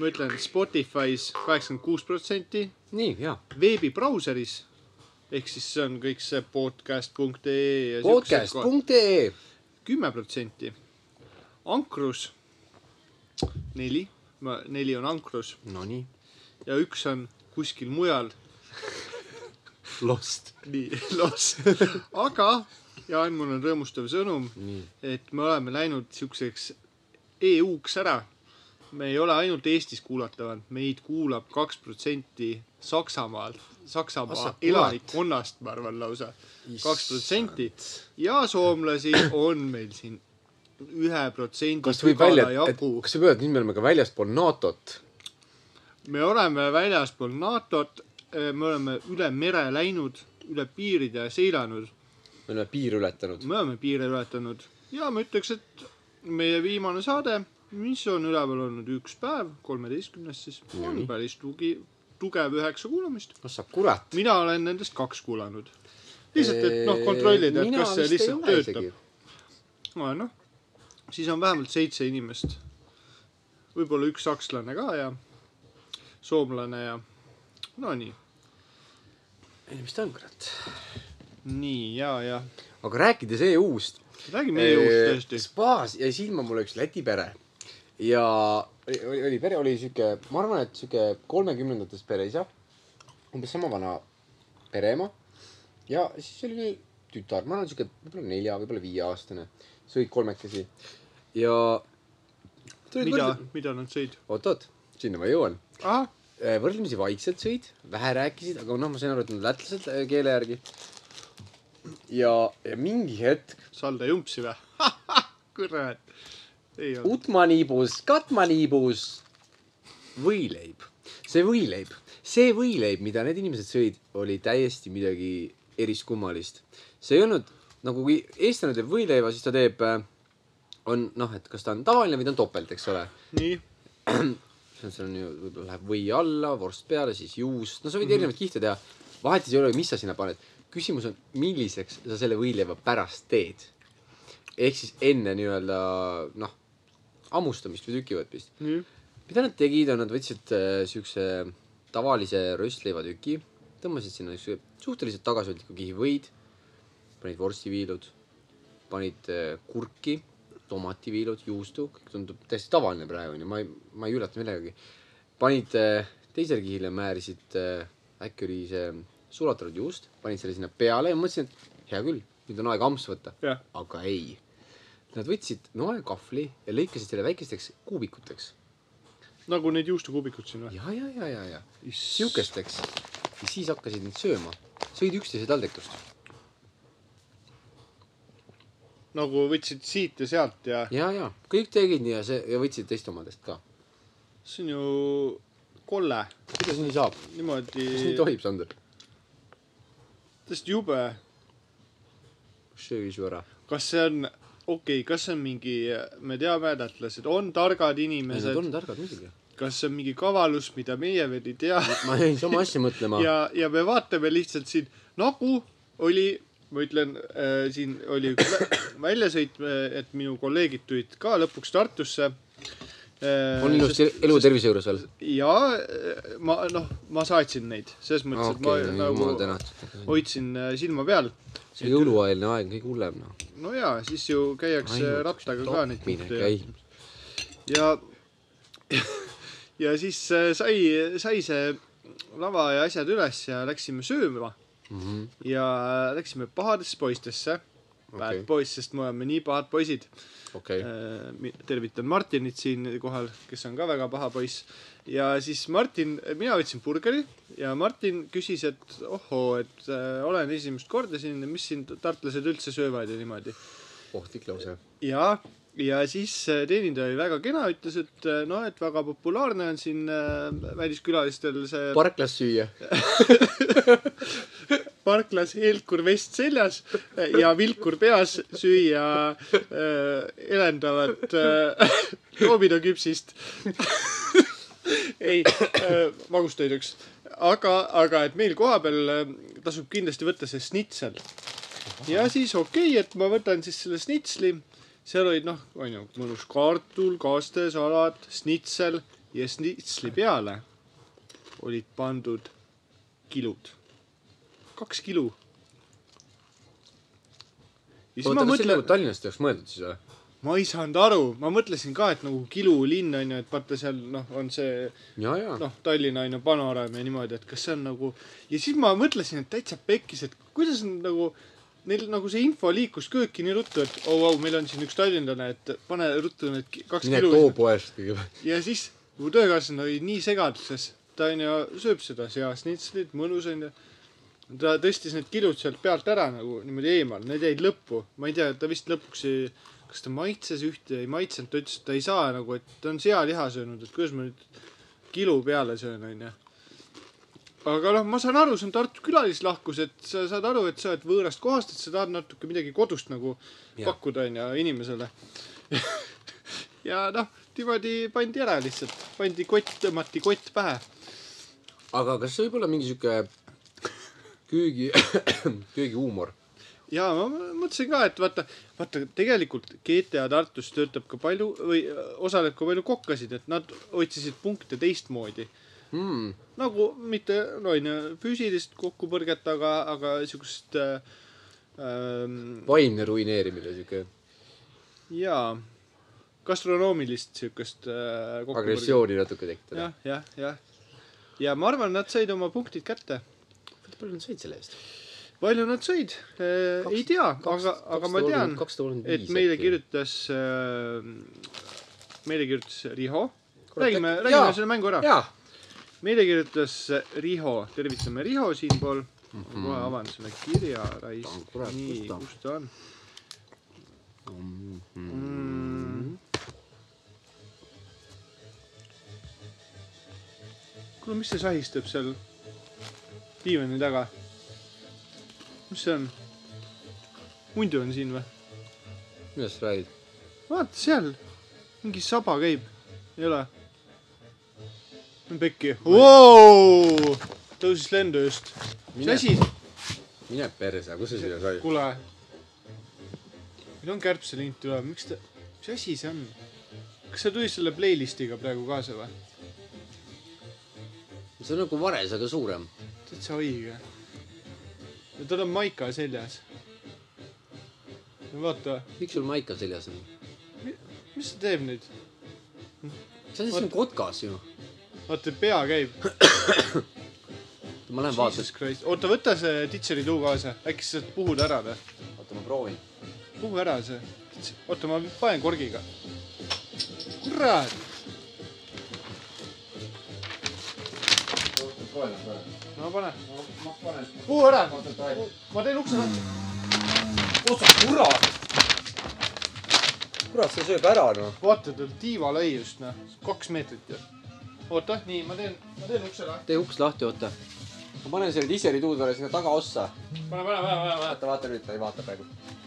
[SPEAKER 3] ma ütlen Spotify's kaheksakümmend kuus protsenti
[SPEAKER 2] nii , jaa .
[SPEAKER 3] veebibrauseris ehk siis see on kõik see podcast.ee ja
[SPEAKER 2] podcast.ee .
[SPEAKER 3] kümme protsenti . ankrus neli , neli on ankrus
[SPEAKER 2] Nonii .
[SPEAKER 3] ja üks on kuskil mujal ,
[SPEAKER 2] Lost .
[SPEAKER 3] nii *laughs* los . aga Jaan , mul on rõõmustav sõnum ,
[SPEAKER 2] nii .
[SPEAKER 3] et me oleme läinud siukseks EU-ks ära . me ei ole ainult Eestis kuulatavad , meid kuulab kaks protsenti Saksamaalt , Saksamaa
[SPEAKER 2] Saksa-
[SPEAKER 3] elanikkonnast , ma arvan lausa kaks protsenti ja soomlasi on meil siin ühe protsendi .
[SPEAKER 2] kas võib välja , et kas sa pead , nüüd me oleme ka väljaspool NATO-t .
[SPEAKER 3] me oleme väljaspool NATO-t , me oleme üle mere läinud , üle piiride seilanud ,
[SPEAKER 2] me oleme piir ületanud .
[SPEAKER 3] me oleme piire ületanud ja ma ütleks , et meie viimane saade , mis on üleval olnud üks päev , kolmeteistkümnes siis , on
[SPEAKER 2] Nii.
[SPEAKER 3] päris tugi , tugev üheksa kuulamist .
[SPEAKER 2] no sa kurat .
[SPEAKER 3] mina olen nendest kaks kuulanud . lihtsalt , et noh , kontrollida ,
[SPEAKER 2] Eh,
[SPEAKER 3] et kas see lihtsalt töötab .. no noh , siis on vähemalt seitse inimest . võib-olla üks sakslane ka ja soomlane ja Nonii .
[SPEAKER 2] ei , mis ta on , kurat .
[SPEAKER 3] nii ja , ja
[SPEAKER 2] aga rääkides EU-st .
[SPEAKER 3] räägi meie juust tõesti .
[SPEAKER 2] spaas jäi silma mulle üks Läti pere ja oli, oli- oli pere , oli sihuke , ma arvan , et sihuke kolmekümnendates pereisa , umbes sama vana pereema ja siis oli neil tütar , ma arvan , sihuke võib-olla nelja , võib-olla viieaastane , siis olid kolmekesi ja .
[SPEAKER 3] mida , mida nad sõid ?
[SPEAKER 2] oot-oot , sinna ma jõuan .
[SPEAKER 3] ahah ,
[SPEAKER 2] Äh, võrdlemisi vaikselt sõid , vähe rääkisid , aga noh , ma sain aru , et nad on lätlased äh, keele järgi . ja , ja mingi hetk
[SPEAKER 3] salda jumpsi või ? *laughs* kurat . ei olnud .
[SPEAKER 2] utmaniibus , katmaniibus , võileib . see võileib , see võileib , mida need inimesed sõid , oli täiesti midagi eriskummalist . see ei olnud nagu , kui eestlane teeb võileiva , siis ta teeb , on noh , et kas ta on tavaline või ta on topelt , eks ole .
[SPEAKER 3] nii ,
[SPEAKER 2] seal seal on ju , võib-olla läheb või alla , vorst peale , siis juust , no sa võid mm -hmm. erinevaid kihte teha . vahet ei ole , mis sa sinna paned . küsimus on , milliseks sa selle võileiva pärast teed . ehk siis enne nii-öelda noh , hammustamist või tükivõtmist .
[SPEAKER 3] nii ,
[SPEAKER 2] mida nad tegid , on nad võtsid äh, siukse tavalise röstleivatüki , tõmbasid sinna siukse suhteliselt tagasihoidliku kihi võid , panid vorstiviilud , panid äh, kurki , tomativiilud , juustu , kõik tundub täiesti tavaline praegu onju , ma ei , ma ei üllata millegagi . panid äh, teisele kihile , määrisid äh, , äkki oli see sulatatud juust , panid selle sinna peale ja mõtlesin , et hea küll , nüüd on aeg ampsu võtta ,
[SPEAKER 3] jah ,
[SPEAKER 2] aga ei . Nad võtsid noekahvli ja lõikasid selle väikesteks kuubikuteks
[SPEAKER 3] nagu need juustukuubikud siin või ?
[SPEAKER 2] ja , ja , ja , ja , ja
[SPEAKER 3] sihuke .
[SPEAKER 2] siukesteks . ja siis hakkasid neid sööma , sõid üksteise taldrikust .
[SPEAKER 3] nagu võtsid siit ja sealt ja
[SPEAKER 2] ja , ja kõik tegid nii ja see ja võtsid teiste omadest ka .
[SPEAKER 3] see on ju kolle .
[SPEAKER 2] kuidas nii saab ,
[SPEAKER 3] niimoodi .
[SPEAKER 2] kas nii tohib , Sander ?
[SPEAKER 3] täiesti jube
[SPEAKER 2] söö su ära .
[SPEAKER 3] kas see on , okei okay, , kas see on mingi , me teame , lätlased on targad
[SPEAKER 2] Nad
[SPEAKER 3] inimesed ,
[SPEAKER 2] on targad muidugi .
[SPEAKER 3] kas see on mingi kavalus , mida meie veel ei tea
[SPEAKER 2] ma jäin sama asja mõtlema .
[SPEAKER 3] ja , ja me vaatame lihtsalt siin , nagu oli , ma ütlen äh, , siin oli üks vä- *coughs* väljasõit , et minu kolleegid tulid ka lõpuks Tartusse äh,
[SPEAKER 2] on ilusti elu ja tervise juures veel .
[SPEAKER 3] ja äh, ma noh , ma saatsin neid , selles mõttes okay, ,
[SPEAKER 2] okei ,
[SPEAKER 3] et ma
[SPEAKER 2] jumal
[SPEAKER 3] nagu
[SPEAKER 2] tänatud .
[SPEAKER 3] hoidsin äh, silma peal .
[SPEAKER 2] see jõuluaegne aeg on kõige hullem noh .
[SPEAKER 3] no ja siis ju käiakse rattaga ka neid punkte
[SPEAKER 2] käib .
[SPEAKER 3] ja , *laughs* ja siis äh, sai , sai see lava ja asjad üles ja läksime sööma
[SPEAKER 2] Mhm.
[SPEAKER 3] ja läksime pahadesse poistesse okay. . Bad
[SPEAKER 2] Okei.
[SPEAKER 3] boys , sest me oleme nii pahad poisid .
[SPEAKER 2] okei ,
[SPEAKER 3] tervitan Martinit siinkohal , kes on ka väga paha poiss . ja siis Martin , mina võtsin burgeri ja Martin küsis , et ohoo , et äh, olen esimest korda siin , mis siin tartlased üldse söövad ja niimoodi .
[SPEAKER 2] ohtlik lause .
[SPEAKER 3] ja , ja siis äh, teenindaja oli väga kena , ütles , et äh, noh , et väga populaarne on siin äh, väliskülalistel see
[SPEAKER 2] parklas süüa .
[SPEAKER 3] parklas eelkur vest seljas äh, ja vilkur peas süüa äh, elendavat äh, *laughs* loomidoküpsist ei äh, , magustoiduks . aga , aga et meil kohapeal äh, tasub kindlasti võtta see snitsel . ja siis okei okay, , et ma võtan siis selle snitsli . seal olid noh , onju , mõnus kartul , kaste , salat , snitsel ja snitsli peale olid pandud kilud . kaks kilu . ja siis
[SPEAKER 2] oota ,
[SPEAKER 3] ma
[SPEAKER 2] kas see
[SPEAKER 3] mõtlen
[SPEAKER 2] nagu , Tallinnast ei oleks mõeldud siis või ?
[SPEAKER 3] ma ei saanud aru , ma mõtlesin ka , et nagu Kilu linn on ju , et vaata seal noh , on see
[SPEAKER 2] ja , ja no. .
[SPEAKER 3] noh , Tallinna on ju panoraam ja niimoodi , et kas see on nagu ja siis ma mõtlesin , et täitsa pekkis , et kuidas on nagu neil nagu see info liikus kööki nii ruttu , et au oh, , au , meil on siin üks tallinlane , et pane ruttu need ki- kaks
[SPEAKER 2] mine
[SPEAKER 3] kilu
[SPEAKER 2] too poest kõigepealt .
[SPEAKER 3] ja siis mu töökaaslane oli nii segaduses , ta onju sööb seda seasnitslit , mõnus onju . ta tõstis need kilud sealt pealt ära nagu niimoodi eemal , need jäid lõppu , ma ei tea , ta vist lõpuks ei , kas ta maitses ühte , ei maitsenud , ta ütles , et ta ei saa nagu , et ta on sealiha söönud , et kuidas ma nüüd kilu peale söön onju . aga noh , ma saan aru , see on Tartu külalislahkus , et sa saad aru , et sa oled võõrast kohast , et sa tahad natuke midagi kodust nagu
[SPEAKER 2] Jah.
[SPEAKER 3] pakkuda onju inimesele ja noh , niimoodi pandi ära lihtsalt , pandi kott , tõmmati kott pähe .
[SPEAKER 2] aga kas see võib olla mingi sihuke köögi , *coughs* köögihuumor ?
[SPEAKER 3] ja ma ma mõtlesin ka , et vaata , vaata tegelikult GTA Tartus töötab ka palju või äh, osaleb ka palju kokkasid , et nad otsisid punkte teistmoodi .
[SPEAKER 2] Hmm.
[SPEAKER 3] nagu mitte no onju füüsilist kokkupõrget , aga , aga siukest äh, ähm,
[SPEAKER 2] vaimne ruineerimine , sihuke
[SPEAKER 3] jaa , gastronoomilist siukest äh, kokkupõrget .
[SPEAKER 2] agressiooni natuke tekitada .
[SPEAKER 3] jah , jah , jah . ja ma arvan , nad said oma punktid kätte
[SPEAKER 2] palju nad said selle eest ?
[SPEAKER 3] palju nad sõid ? ei tea , aga , aga ma tean ,
[SPEAKER 2] kakssada kolmkümmend
[SPEAKER 3] et meile . kirjutas , meile kirjutas Riho .
[SPEAKER 2] Kurat,
[SPEAKER 3] räägime ,
[SPEAKER 2] äkki- jaa.
[SPEAKER 3] räägime selle mängu ära .
[SPEAKER 2] jaa ,
[SPEAKER 3] meile kirjutas äh, Riho , tervitame Riho siinpool . kohe avan selle kirja ,
[SPEAKER 2] Võtan,
[SPEAKER 3] raisk ,
[SPEAKER 2] Mhm. kurat,
[SPEAKER 3] nii ,
[SPEAKER 2] võtan.
[SPEAKER 3] kus ta on
[SPEAKER 2] Mhm.
[SPEAKER 3] mm. ? kuule , mis see sahistab seal diivani taga ? mis see on ? hundu on siin või ?
[SPEAKER 2] millest sa räägid ?
[SPEAKER 3] vaata seal , mingi saba käib , ei ole ? pekki , tõusis lendu just . mis
[SPEAKER 2] Mine.
[SPEAKER 3] asi ?
[SPEAKER 2] mine perse , kus sa siia said ?
[SPEAKER 3] kuule , meil on kärbselint üle , miks ta , mis asi see on ? kas sa tulid selle playlist'iga praegu kaasa või ?
[SPEAKER 2] see on nagu vares , aga suurem .
[SPEAKER 3] täitsa õige . ja tal on maika seljas . no vaata ,
[SPEAKER 2] miks sul maika seljas on ?
[SPEAKER 3] mis ta teeb nüüd ?
[SPEAKER 2] see on siin kotkas ju .
[SPEAKER 3] vaata , pea käib .
[SPEAKER 2] ma lähen vaatan
[SPEAKER 3] Jesus . Christ , oota , võta see ditšeri tuu kaasa , äkki sa saad puhuda ära või ?
[SPEAKER 2] oota , ma proovin .
[SPEAKER 3] puhu ära see . oota , ma panen korgiga . kurat , no pane , puhu ära . ma teen ukse lahti .
[SPEAKER 2] oota , kurat . kurat , see sööb ära noh .
[SPEAKER 3] vaata , tal tiiva lõi just noh , kaks meetrit ju . oota , nii , ma teen , ma teen ukse lahti .
[SPEAKER 2] tee uks lahti , oota . ma panen selle diseri tuudele sinna tagaossa .
[SPEAKER 3] pane , pane , pane , pane , pane .
[SPEAKER 2] vaata , vaata nüüd , ta ei vaata praegu .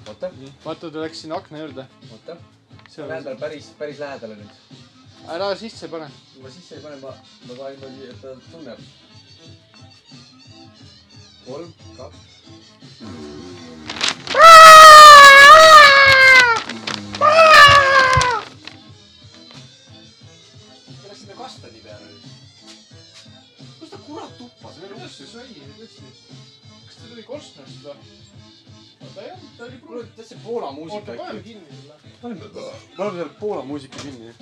[SPEAKER 2] oota ,
[SPEAKER 3] vaata , ta läks sinna akna juurde .
[SPEAKER 2] oota . ma lähen
[SPEAKER 3] seal ,
[SPEAKER 2] talle päris , päris lähedale nüüd .
[SPEAKER 3] ära sisse pane .
[SPEAKER 2] kui ma sisse ei pane , ma , ma tahan niimoodi , et ta tunneb . kolm , kaks . ta läks sinna kastani peale nüüd . kus ta kurat tuppas , meil on uks .
[SPEAKER 3] see sai , kas ta tuli korstnast või ? oota , ei olnud , ta oli
[SPEAKER 2] mul on täitsa Poola muusika
[SPEAKER 3] oota , paneme
[SPEAKER 2] äkki .
[SPEAKER 3] kinni selle .
[SPEAKER 2] paneme , paneme selle Poola muusika kinni .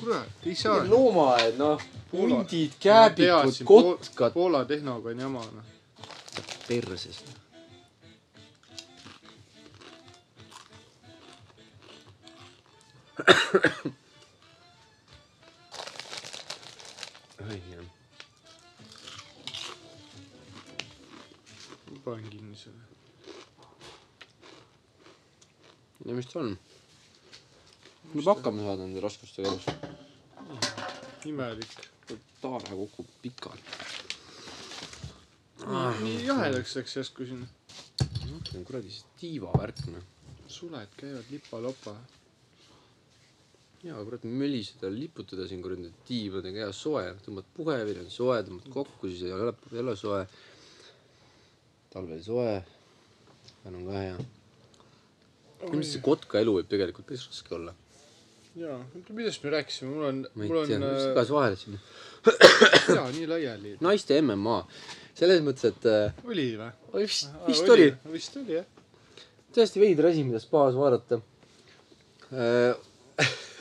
[SPEAKER 3] kurat , ei saa .
[SPEAKER 2] loomaaed , noh .
[SPEAKER 3] Poola.
[SPEAKER 2] hundid ,
[SPEAKER 3] Ma
[SPEAKER 2] kääbikud
[SPEAKER 3] teadsin, , Pool-
[SPEAKER 2] kotkad .
[SPEAKER 3] Poola tehnoga on jama noh .
[SPEAKER 2] perses .
[SPEAKER 3] ma panen kinni selle .
[SPEAKER 2] no mis ta on ? me hakkame saada nende raskustega elus .
[SPEAKER 3] imelik .
[SPEAKER 2] nagu taara kukub pikali .
[SPEAKER 3] nii jahedaks läks järsku siin .
[SPEAKER 2] Ah, see on kuradi see tiivavärk noh .
[SPEAKER 3] suled käivad lipa-lopa .
[SPEAKER 2] jaa , kurat , möliseda , liputada siin kuradi nende tiivadega ja soe , tõmbad puhevile , on soe , tõmbad
[SPEAKER 3] Mm.
[SPEAKER 2] kokku , siis ei ole , ei ole soe . talvel soe , on ka hea . ilmselt see kotka elu võib tegelikult päris raske olla .
[SPEAKER 3] jaa , millest me rääkisime , mul on , äh,
[SPEAKER 2] ma ei
[SPEAKER 3] mul
[SPEAKER 2] tea ,
[SPEAKER 3] on
[SPEAKER 2] mis igas vahel siin .
[SPEAKER 3] äh, pea nii laiali .
[SPEAKER 2] naiste MMA , selles mõttes , et äh,
[SPEAKER 3] oli või ?
[SPEAKER 2] oi, vist , vist oli ,
[SPEAKER 3] vist oli jah .
[SPEAKER 2] tõesti veider asi , mida spaas vaadata äh, .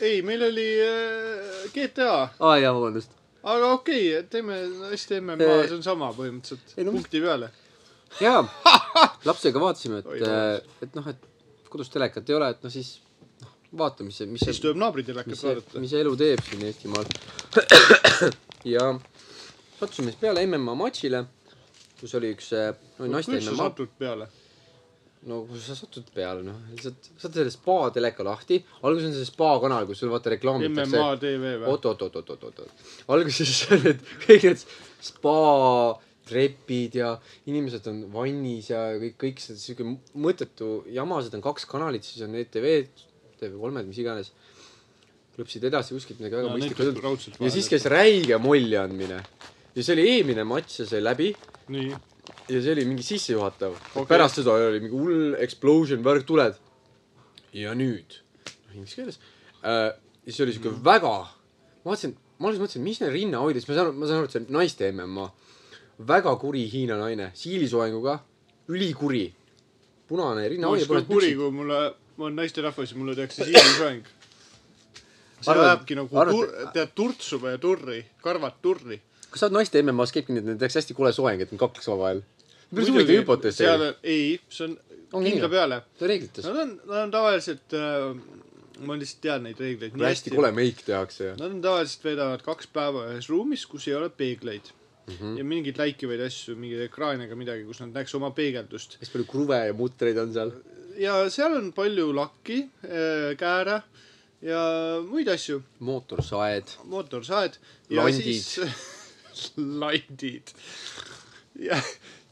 [SPEAKER 3] ei , meil oli äh, GTA ,
[SPEAKER 2] aa jaa , vabandust .
[SPEAKER 3] aga okei okay, , teeme hästi MMA , see on sama põhimõtteliselt
[SPEAKER 2] Äh. Ei,
[SPEAKER 3] no,
[SPEAKER 2] no mis-
[SPEAKER 3] punkti peale . *laughs*
[SPEAKER 2] jaa , lapsega vaatasime ,
[SPEAKER 3] Oi,
[SPEAKER 2] et , et noh , et kodus telekat ei ole , et noh , siis noh , vaatame , mis see , mis
[SPEAKER 3] siis
[SPEAKER 2] see ,
[SPEAKER 3] tuleb naabritelekast
[SPEAKER 2] mis see ,
[SPEAKER 3] vaadata .
[SPEAKER 2] mis see elu teeb siin Eestimaal . *coughs* ja sattusime siis peale MMA matšile , kus oli üks , oli naiste
[SPEAKER 3] kuidas Noh, sa
[SPEAKER 2] MMA ,
[SPEAKER 3] satud peale ?
[SPEAKER 2] no kus sa satud peale , noh , lihtsalt saad selle spa teleka lahti , alguses on see spa kanal , kus sul vaata reklaamitakse
[SPEAKER 3] MMA . tv või ?
[SPEAKER 2] oot-oot-oot-oot-oot-oot , alguses *laughs* need kõik need spa trepid ja inimesed on vannis ja kõik , kõik see siuke mõttetu jama , seda on kaks kanalit , siis on E ETV-d , TV3-d , mis iganes . klõpsid edasi kuskilt midagi väga mõistlikku .
[SPEAKER 3] raudselt
[SPEAKER 2] ja siis . käis räige molli andmine . ja see oli eelmine matš ja sai läbi
[SPEAKER 3] nii ,
[SPEAKER 2] ja see oli mingi sissejuhatav okay.
[SPEAKER 3] Okei. .
[SPEAKER 2] pärast seda oli mingi hull explosion , värk , tuled . ja nüüd , noh inglise keeles äh, . ja see oli siuke mm. väga , ma vaatasin , ma alles mõtlesin , mis neil rinna hoidis , ma saan , ma saan aru , et see on naiste MM-a . väga kuri Hiina naine , siilisoenguga , ülikuri . punane
[SPEAKER 3] ma
[SPEAKER 2] rinnahoidja ,
[SPEAKER 3] olen
[SPEAKER 2] punased
[SPEAKER 3] kuri ,
[SPEAKER 2] püksid .
[SPEAKER 3] kui mulle , ma olen naisterahvas ja mulle tehakse siilisoeng . see
[SPEAKER 2] Arvad-
[SPEAKER 3] lähebki nagu
[SPEAKER 2] arvad-
[SPEAKER 3] tur- , tead turtsu või turri , karvad turri .
[SPEAKER 2] kas sa oled naiste MM-as käibki nii , et neil tehakse hästi kole soeng , et nad kakleks omavahel ? päris huvitav hüpotees see
[SPEAKER 3] seal
[SPEAKER 2] oli .
[SPEAKER 3] Noh, on , ei , see on
[SPEAKER 2] On nii
[SPEAKER 3] kindla
[SPEAKER 2] või?
[SPEAKER 3] peale .
[SPEAKER 2] ta reeglites .
[SPEAKER 3] Nad on , nad on tavaliselt äh, , ma lihtsalt tean neid reegleid nii
[SPEAKER 2] hästi
[SPEAKER 3] hästi . Noh.
[SPEAKER 2] kole meik tehakse ja .
[SPEAKER 3] Nad on tavaliselt veedavad kaks päeva ühes ruumis , kus ei ole peegleid mm .
[SPEAKER 2] Mhm.
[SPEAKER 3] -hmm. ja mingeid läikivaid asju , mingeid ekraane ega midagi , kus nad näeks oma peegeldust .
[SPEAKER 2] hästi palju kruve ja mutreid on seal .
[SPEAKER 3] ja seal on palju lakki , kääre ja muid asju ,
[SPEAKER 2] mootorsaed
[SPEAKER 3] mootorsaed . ja
[SPEAKER 2] Landid.
[SPEAKER 3] siis *laughs* landid . ja ,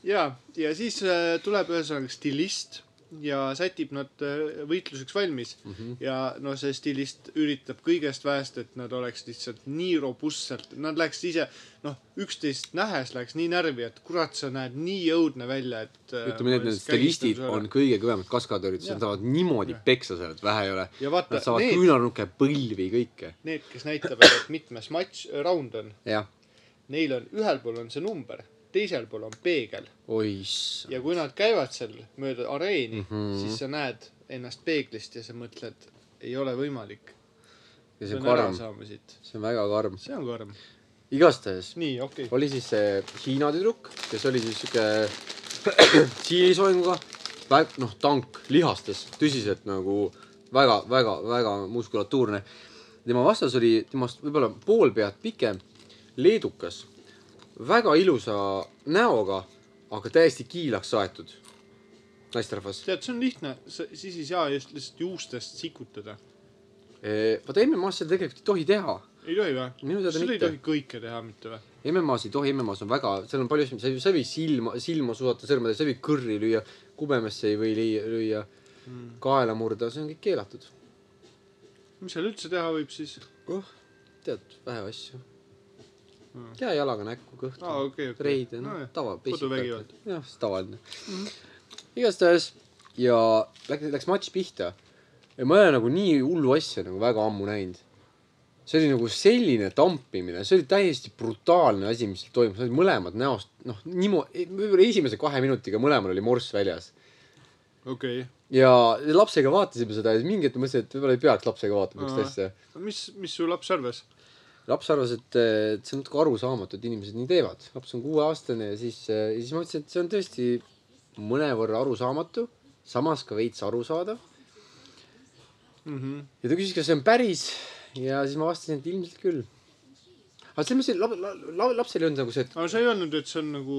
[SPEAKER 3] ja , ja siis äh, tuleb ühesõnaga stilist ja sätib nad äh, võitluseks valmis mm .
[SPEAKER 2] Mhm.
[SPEAKER 3] -hmm. ja no see stilist üritab kõigest väest , et nad oleks lihtsalt nii robustselt , nad läheks ise , noh , üksteist nähes läheks nii närvi , et kurat , sa näed nii õudne välja , et . äh,
[SPEAKER 2] ütleme nii , et need stilistid on kõige kõvemad kaskadöörid , siis nad saavad niimoodi peksa seal , et vähe ei ole .
[SPEAKER 3] ja vaata
[SPEAKER 2] Nad , saavad
[SPEAKER 3] need
[SPEAKER 2] küünarnuke , põlvi , kõike .
[SPEAKER 3] need , kes näitavad , et mitmes matš , round on ,
[SPEAKER 2] jah ,
[SPEAKER 3] neil on ühel pool on see number , teisel pool on peegel
[SPEAKER 2] oi issand .
[SPEAKER 3] ja kui nad käivad seal mööda areeni mm ,
[SPEAKER 2] Mhm.
[SPEAKER 3] -hmm. siis sa näed ennast peeglist ja sa mõtled , ei ole võimalik .
[SPEAKER 2] ja see on
[SPEAKER 3] pean ära
[SPEAKER 2] karm ,
[SPEAKER 3] saama siit .
[SPEAKER 2] see on väga karm .
[SPEAKER 3] see on karm .
[SPEAKER 2] igastahes
[SPEAKER 3] nii , okei okay. .
[SPEAKER 2] oli siis see Hiina tüdruk , kes oli siis sihuke *coughs* siilisoenguga , noh , tank lihastes , tõsiselt nagu väga , väga , väga muskulatuurne . tema vastas oli temast võib-olla pool pead pikem leedukas , väga ilusa näoga , aga täiesti kiilaks saetud naisterahvas .
[SPEAKER 3] tead , see on lihtne , siis ei saa just lihtsalt juustest sikutada .
[SPEAKER 2] E, vaata MM-as seda tegelikult ei tohi teha .
[SPEAKER 3] ei tohi või ?
[SPEAKER 2] minu teada
[SPEAKER 3] sul ei
[SPEAKER 2] mitte
[SPEAKER 3] tohi . kõike teha mitte või ?
[SPEAKER 2] MM-as ei tohi , MM-as on väga , seal on palju asju , sa ei , sa ei või silma , silma suusata sõrmedega , sa ei või kõrri lüüa , kubemesse ei või lüüa, lüüa , kaela murda , see on kõik keelatud
[SPEAKER 3] mis seal üldse teha võib siis ?
[SPEAKER 2] oh, . tead , vähe asju
[SPEAKER 3] Mm.
[SPEAKER 2] mm. . käe jalaga näkku , kõhtu
[SPEAKER 3] aa ,
[SPEAKER 2] oh, ,
[SPEAKER 3] okei , okei .
[SPEAKER 2] reide , noh no, , tava .
[SPEAKER 3] koduvägivald. . Mhm.
[SPEAKER 2] jah , see tavaline mm. . igastahes ja läks , läks matš pihta . ja ma ei ole nagu nii hullu asja nagu väga ammu näinud . see oli nagu selline tampimine , see oli täiesti brutaalne asi , mis seal toimus , nad olid mõlemad näost , noh , niimoodi , võib-olla esimese kahe minutiga mõlemal oli morss väljas .
[SPEAKER 3] okei .
[SPEAKER 2] ja lapsega vaatasime seda ja siis mingi hetk mõtlesin , et võib-olla ei peaks lapsega vaatama
[SPEAKER 3] Aa.
[SPEAKER 2] niisugust asja .
[SPEAKER 3] mis , mis su laps arvas ?
[SPEAKER 2] laps arvas , et , et see on natuke arusaamatu , et inimesed nii teevad . laps on kuueaastane ja siis , ja siis ma ütlesin , et see on tõesti mõnevõrra arusaamatu , samas ka veits arusaadav .
[SPEAKER 3] Mhm.
[SPEAKER 2] ja ta küsis , kas see on päris ja siis ma vastasin , et ilmselt küll . aga selles mõttes , et lapsel ei olnud nagu see ,
[SPEAKER 3] *laughs*
[SPEAKER 2] et *laughs*
[SPEAKER 3] aga sa ei öelnud , et see on nagu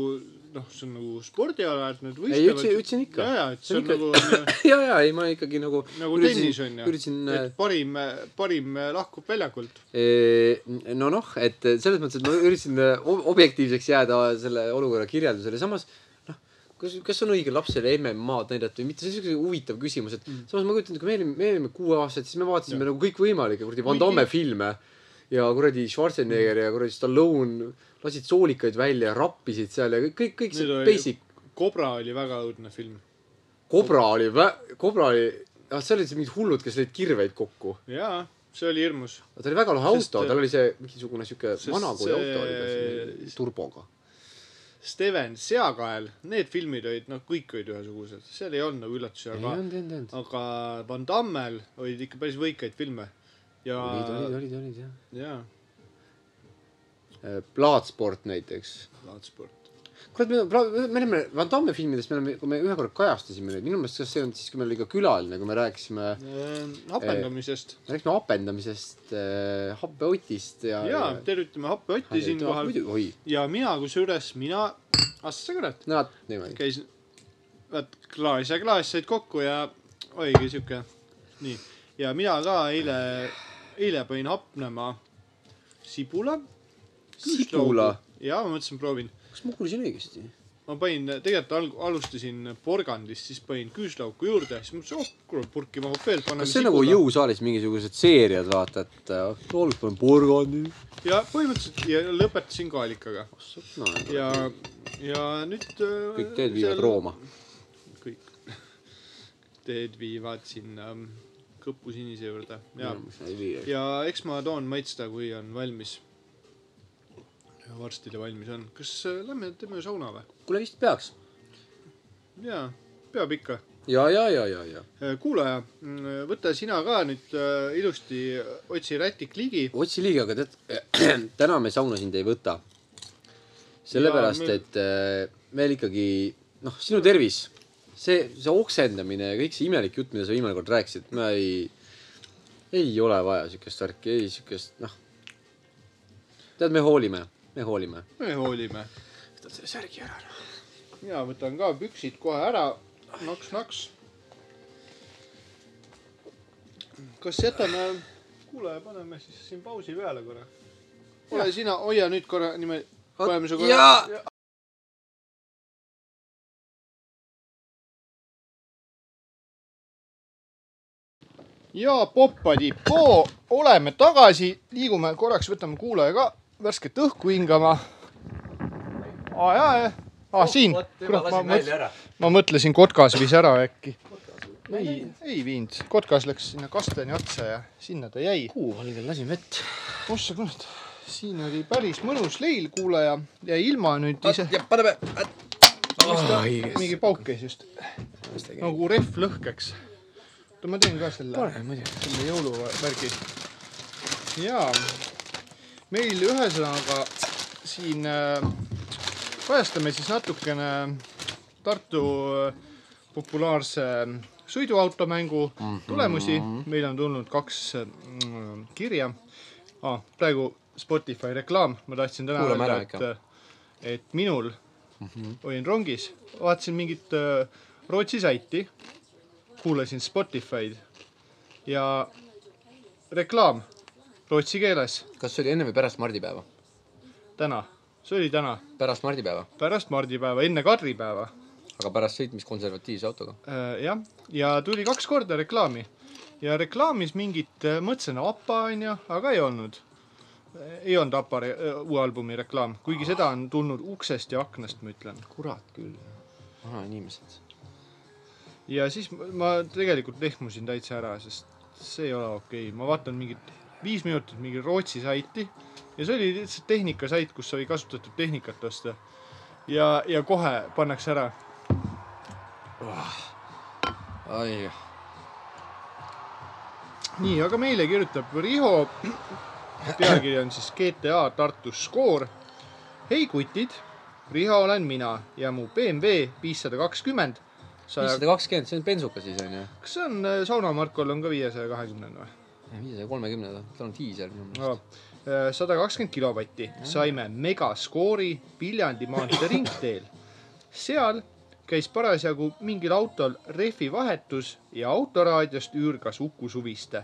[SPEAKER 3] noh , see on nagu spordiala , et nad
[SPEAKER 2] ei ,
[SPEAKER 3] võistlevad .
[SPEAKER 2] ütlesin , ütlesin ikka
[SPEAKER 3] ja ,. ja , et see on
[SPEAKER 2] See on
[SPEAKER 3] nagu ,
[SPEAKER 2] ja , ja ei , ma ikkagi nagu .
[SPEAKER 3] nagu tennis on ju .
[SPEAKER 2] üritasin , äh,
[SPEAKER 3] et parim , parim äh, lahkub väljakult .
[SPEAKER 2] no noh , et selles mõttes , et ma üritasin äh, ob- objektiivseks jääda selle olukorra kirjeldusele , samas kas , kas on õige lapsele MM-ad näidata või mitte , see on siuke huvitav küsimus , et mm. samas ma kujutan ette , kui me olime , me olime kuueaastased , siis me vaatasime ja. nagu kõikvõimalikke kuradi Van Damme filme ja kuradi Schwarzenegger ja kuradi Stallone lasid soolikaid välja , rappisid seal ja kõik , kõik , kõik
[SPEAKER 3] Need
[SPEAKER 2] see
[SPEAKER 3] oli-
[SPEAKER 2] basic .
[SPEAKER 3] Cobra oli väga õudne film .
[SPEAKER 2] Kobra oli vä- , Kobra oli , ah seal olid siis mingid hullud , kes lõid kirveid kokku .
[SPEAKER 3] jaa , see oli hirmus .
[SPEAKER 2] aga ta oli väga lahe
[SPEAKER 3] Sest- äh,
[SPEAKER 2] auto , tal oli see mingisugune siuke
[SPEAKER 3] sest
[SPEAKER 2] vanakooli
[SPEAKER 3] see-
[SPEAKER 2] auto oli tal , turboga .
[SPEAKER 3] Steven , Seakael , need filmid olid , noh , kõik olid ühesugused , seal ei olnud nagu üllatusi ,
[SPEAKER 2] ei
[SPEAKER 3] aga ,
[SPEAKER 2] olnud , ei olnud , ei olnud .
[SPEAKER 3] aga Van Dammel olid ikka päris võikaid filme . ja ,
[SPEAKER 2] olid , olid , olid , olid jah .
[SPEAKER 3] jaa ,
[SPEAKER 2] Plaatsport näiteks .
[SPEAKER 3] Bloodsport .
[SPEAKER 2] kurat , me , me oleme Van Damme filmidest , me oleme , kui me ühe korra kajastasime neid , minu meelest kas see on siis , kui meil oli ka külaline , kui me rääkisime ,
[SPEAKER 3] Ehm, hapendamisest .
[SPEAKER 2] rääkisime hapendamisest äh, , happeotist ja .
[SPEAKER 3] jaa , tervitame Happe Otti siinkohal .
[SPEAKER 2] muidugi , oi ,
[SPEAKER 3] ja mina , kusjuures mina , ah sa kurat ,
[SPEAKER 2] no vot, niimoodi .
[SPEAKER 3] käisin , vaat klaas ja klaas said kokku ja oligi siuke , nii . ja mina ka eile , eile panin hapnema sibula .
[SPEAKER 2] sibula ,
[SPEAKER 3] ja ma mõtlesin , proovin .
[SPEAKER 2] kas ma kuulsin õigesti ?
[SPEAKER 3] ma panin , tegelikult alg- , alustasin porgandist , siis panin küüslauku juurde , siis mõtlesin , oh kurat , purki mahub veel .
[SPEAKER 2] kas see on nagu ? jõusaalis mingisugused seeriad , vaata , et äh, toolis panen porgandi .
[SPEAKER 3] ja põhimõtteliselt ja lõpetasin kaalikaga
[SPEAKER 2] kõik
[SPEAKER 3] ja , ja nüüd .
[SPEAKER 2] teed viivad . Rooma .
[SPEAKER 3] kõik teed viivad sinna mm, Kõpu sinise juurde ja , ja eks ma toon maitsta , kui on valmis . varsti ta valmis on , kas äh, lähme teeme sauna või ?
[SPEAKER 2] kuule , vist peaks .
[SPEAKER 3] jaa , peab ikka .
[SPEAKER 2] ja , ja , ja , ja , ja .
[SPEAKER 3] kuulaja , võta sina ka nüüd äh, ilusti otsi rätik ligi .
[SPEAKER 2] otsi liiga , aga tead , *clears throat* täna me sauna sind ei võta . sellepärast ,
[SPEAKER 3] Jaa, me-
[SPEAKER 2] et äh, meil ikkagi noh , sinu tervis , see , see oksendamine ja kõik see imelik jutt , mida sa viimane kord rääkisid , ma ei , ei ole vaja siukest värki , ei siukest noh . tead , me hoolime , me hoolime .
[SPEAKER 3] me hoolime .
[SPEAKER 2] võtad selle särgi ära noh .
[SPEAKER 3] mina võtan ka püksid kohe ära , naks-naks . kas jätame , kuule , paneme siis siin pausi peale korra . ole sina , hoia nüüd korra niimoodi , paneme su
[SPEAKER 2] jaa!
[SPEAKER 3] korra . ja poppadipoo , oleme tagasi , liigume korraks , võtame kuulaja ka värsket õhku hingama . aa jaa , jaa , aa
[SPEAKER 2] Oh,
[SPEAKER 3] siin , kurat , ma mõtlesin ,
[SPEAKER 2] ära .
[SPEAKER 3] ma mõtlesin , kotkas viis ära äkki .
[SPEAKER 2] ei ,
[SPEAKER 3] ei viinud , kotkas läks sinna kastani otsa ja sinna ta jäi .
[SPEAKER 2] kuuvalgel lasin vett .
[SPEAKER 3] ossa kurat , siin oli päris mõnus leil , kuulaja jäi ilma nüüd ise .
[SPEAKER 2] paneme .
[SPEAKER 3] mingi pauk käis just , nagu rehv lõhkeks . oota , ma teen ka selle ,
[SPEAKER 2] pane muidugi .
[SPEAKER 3] selle jõuluvärgi . jaa , meil ühesõnaga siin äh, kajastame siis natukene Tartu äh, populaarse sõiduautomängu
[SPEAKER 2] Mhm.
[SPEAKER 3] tulemusi . meil on tulnud kaks mm, kirja ah, . praegu Spotify reklaam , ma tahtsin täna
[SPEAKER 2] Kuulame ära Mhm.
[SPEAKER 3] öelda , et , et minul olin rongis , vaatasin mingit äh, Rootsi saiti , kuulasin Spotify'd ja reklaam rootsi keeles
[SPEAKER 2] kas see oli enne või pärast mardipäeva ?
[SPEAKER 3] täna , see oli täna
[SPEAKER 2] pärast mardipäeva ,
[SPEAKER 3] pärast mardipäeva , enne kadripäeva .
[SPEAKER 2] aga pärast sõitmist konservatiivse autoga .
[SPEAKER 3] jah , ja tuli kaks korda reklaami ja reklaamis mingit , ma mõtlesin APA onju , aga ei olnud . ei olnud APA re- äh, uue albumi reklaam , kuigi seda on tulnud uksest ja aknast , ma ütlen .
[SPEAKER 2] kurat küll , vanainimesed .
[SPEAKER 3] ja siis m- ma tegelikult lehmusin täitsa ära , sest see ei ole okei , ma vaatan mingit viis minutit mingi Rootsi saiti ja see oli lihtsalt tehnikasait , kus sai kasutatud tehnikat osta . ja , ja kohe pannakse ära
[SPEAKER 2] ai ,
[SPEAKER 3] nii , aga meile kirjutab Riho . pealkiri on siis GTA Tartu skoor . hei kutid , Riho olen mina ja mu BMW viissada kakskümmend . saja ,
[SPEAKER 2] viissada kakskümmend , see on bensukas siis onju .
[SPEAKER 3] kas see on äh, Sauna Markol on ka viiesaja kahekümnene või ?
[SPEAKER 2] viiesaja kolmekümnenda , tal on diisel minu meelest .
[SPEAKER 3] Äh, sada kakskümmend kilovatti saime megaskoori Viljandi maantee ringteel . seal käis parasjagu mingil autol rehvivahetus ja autoraadiost üürgas Uku Suviste .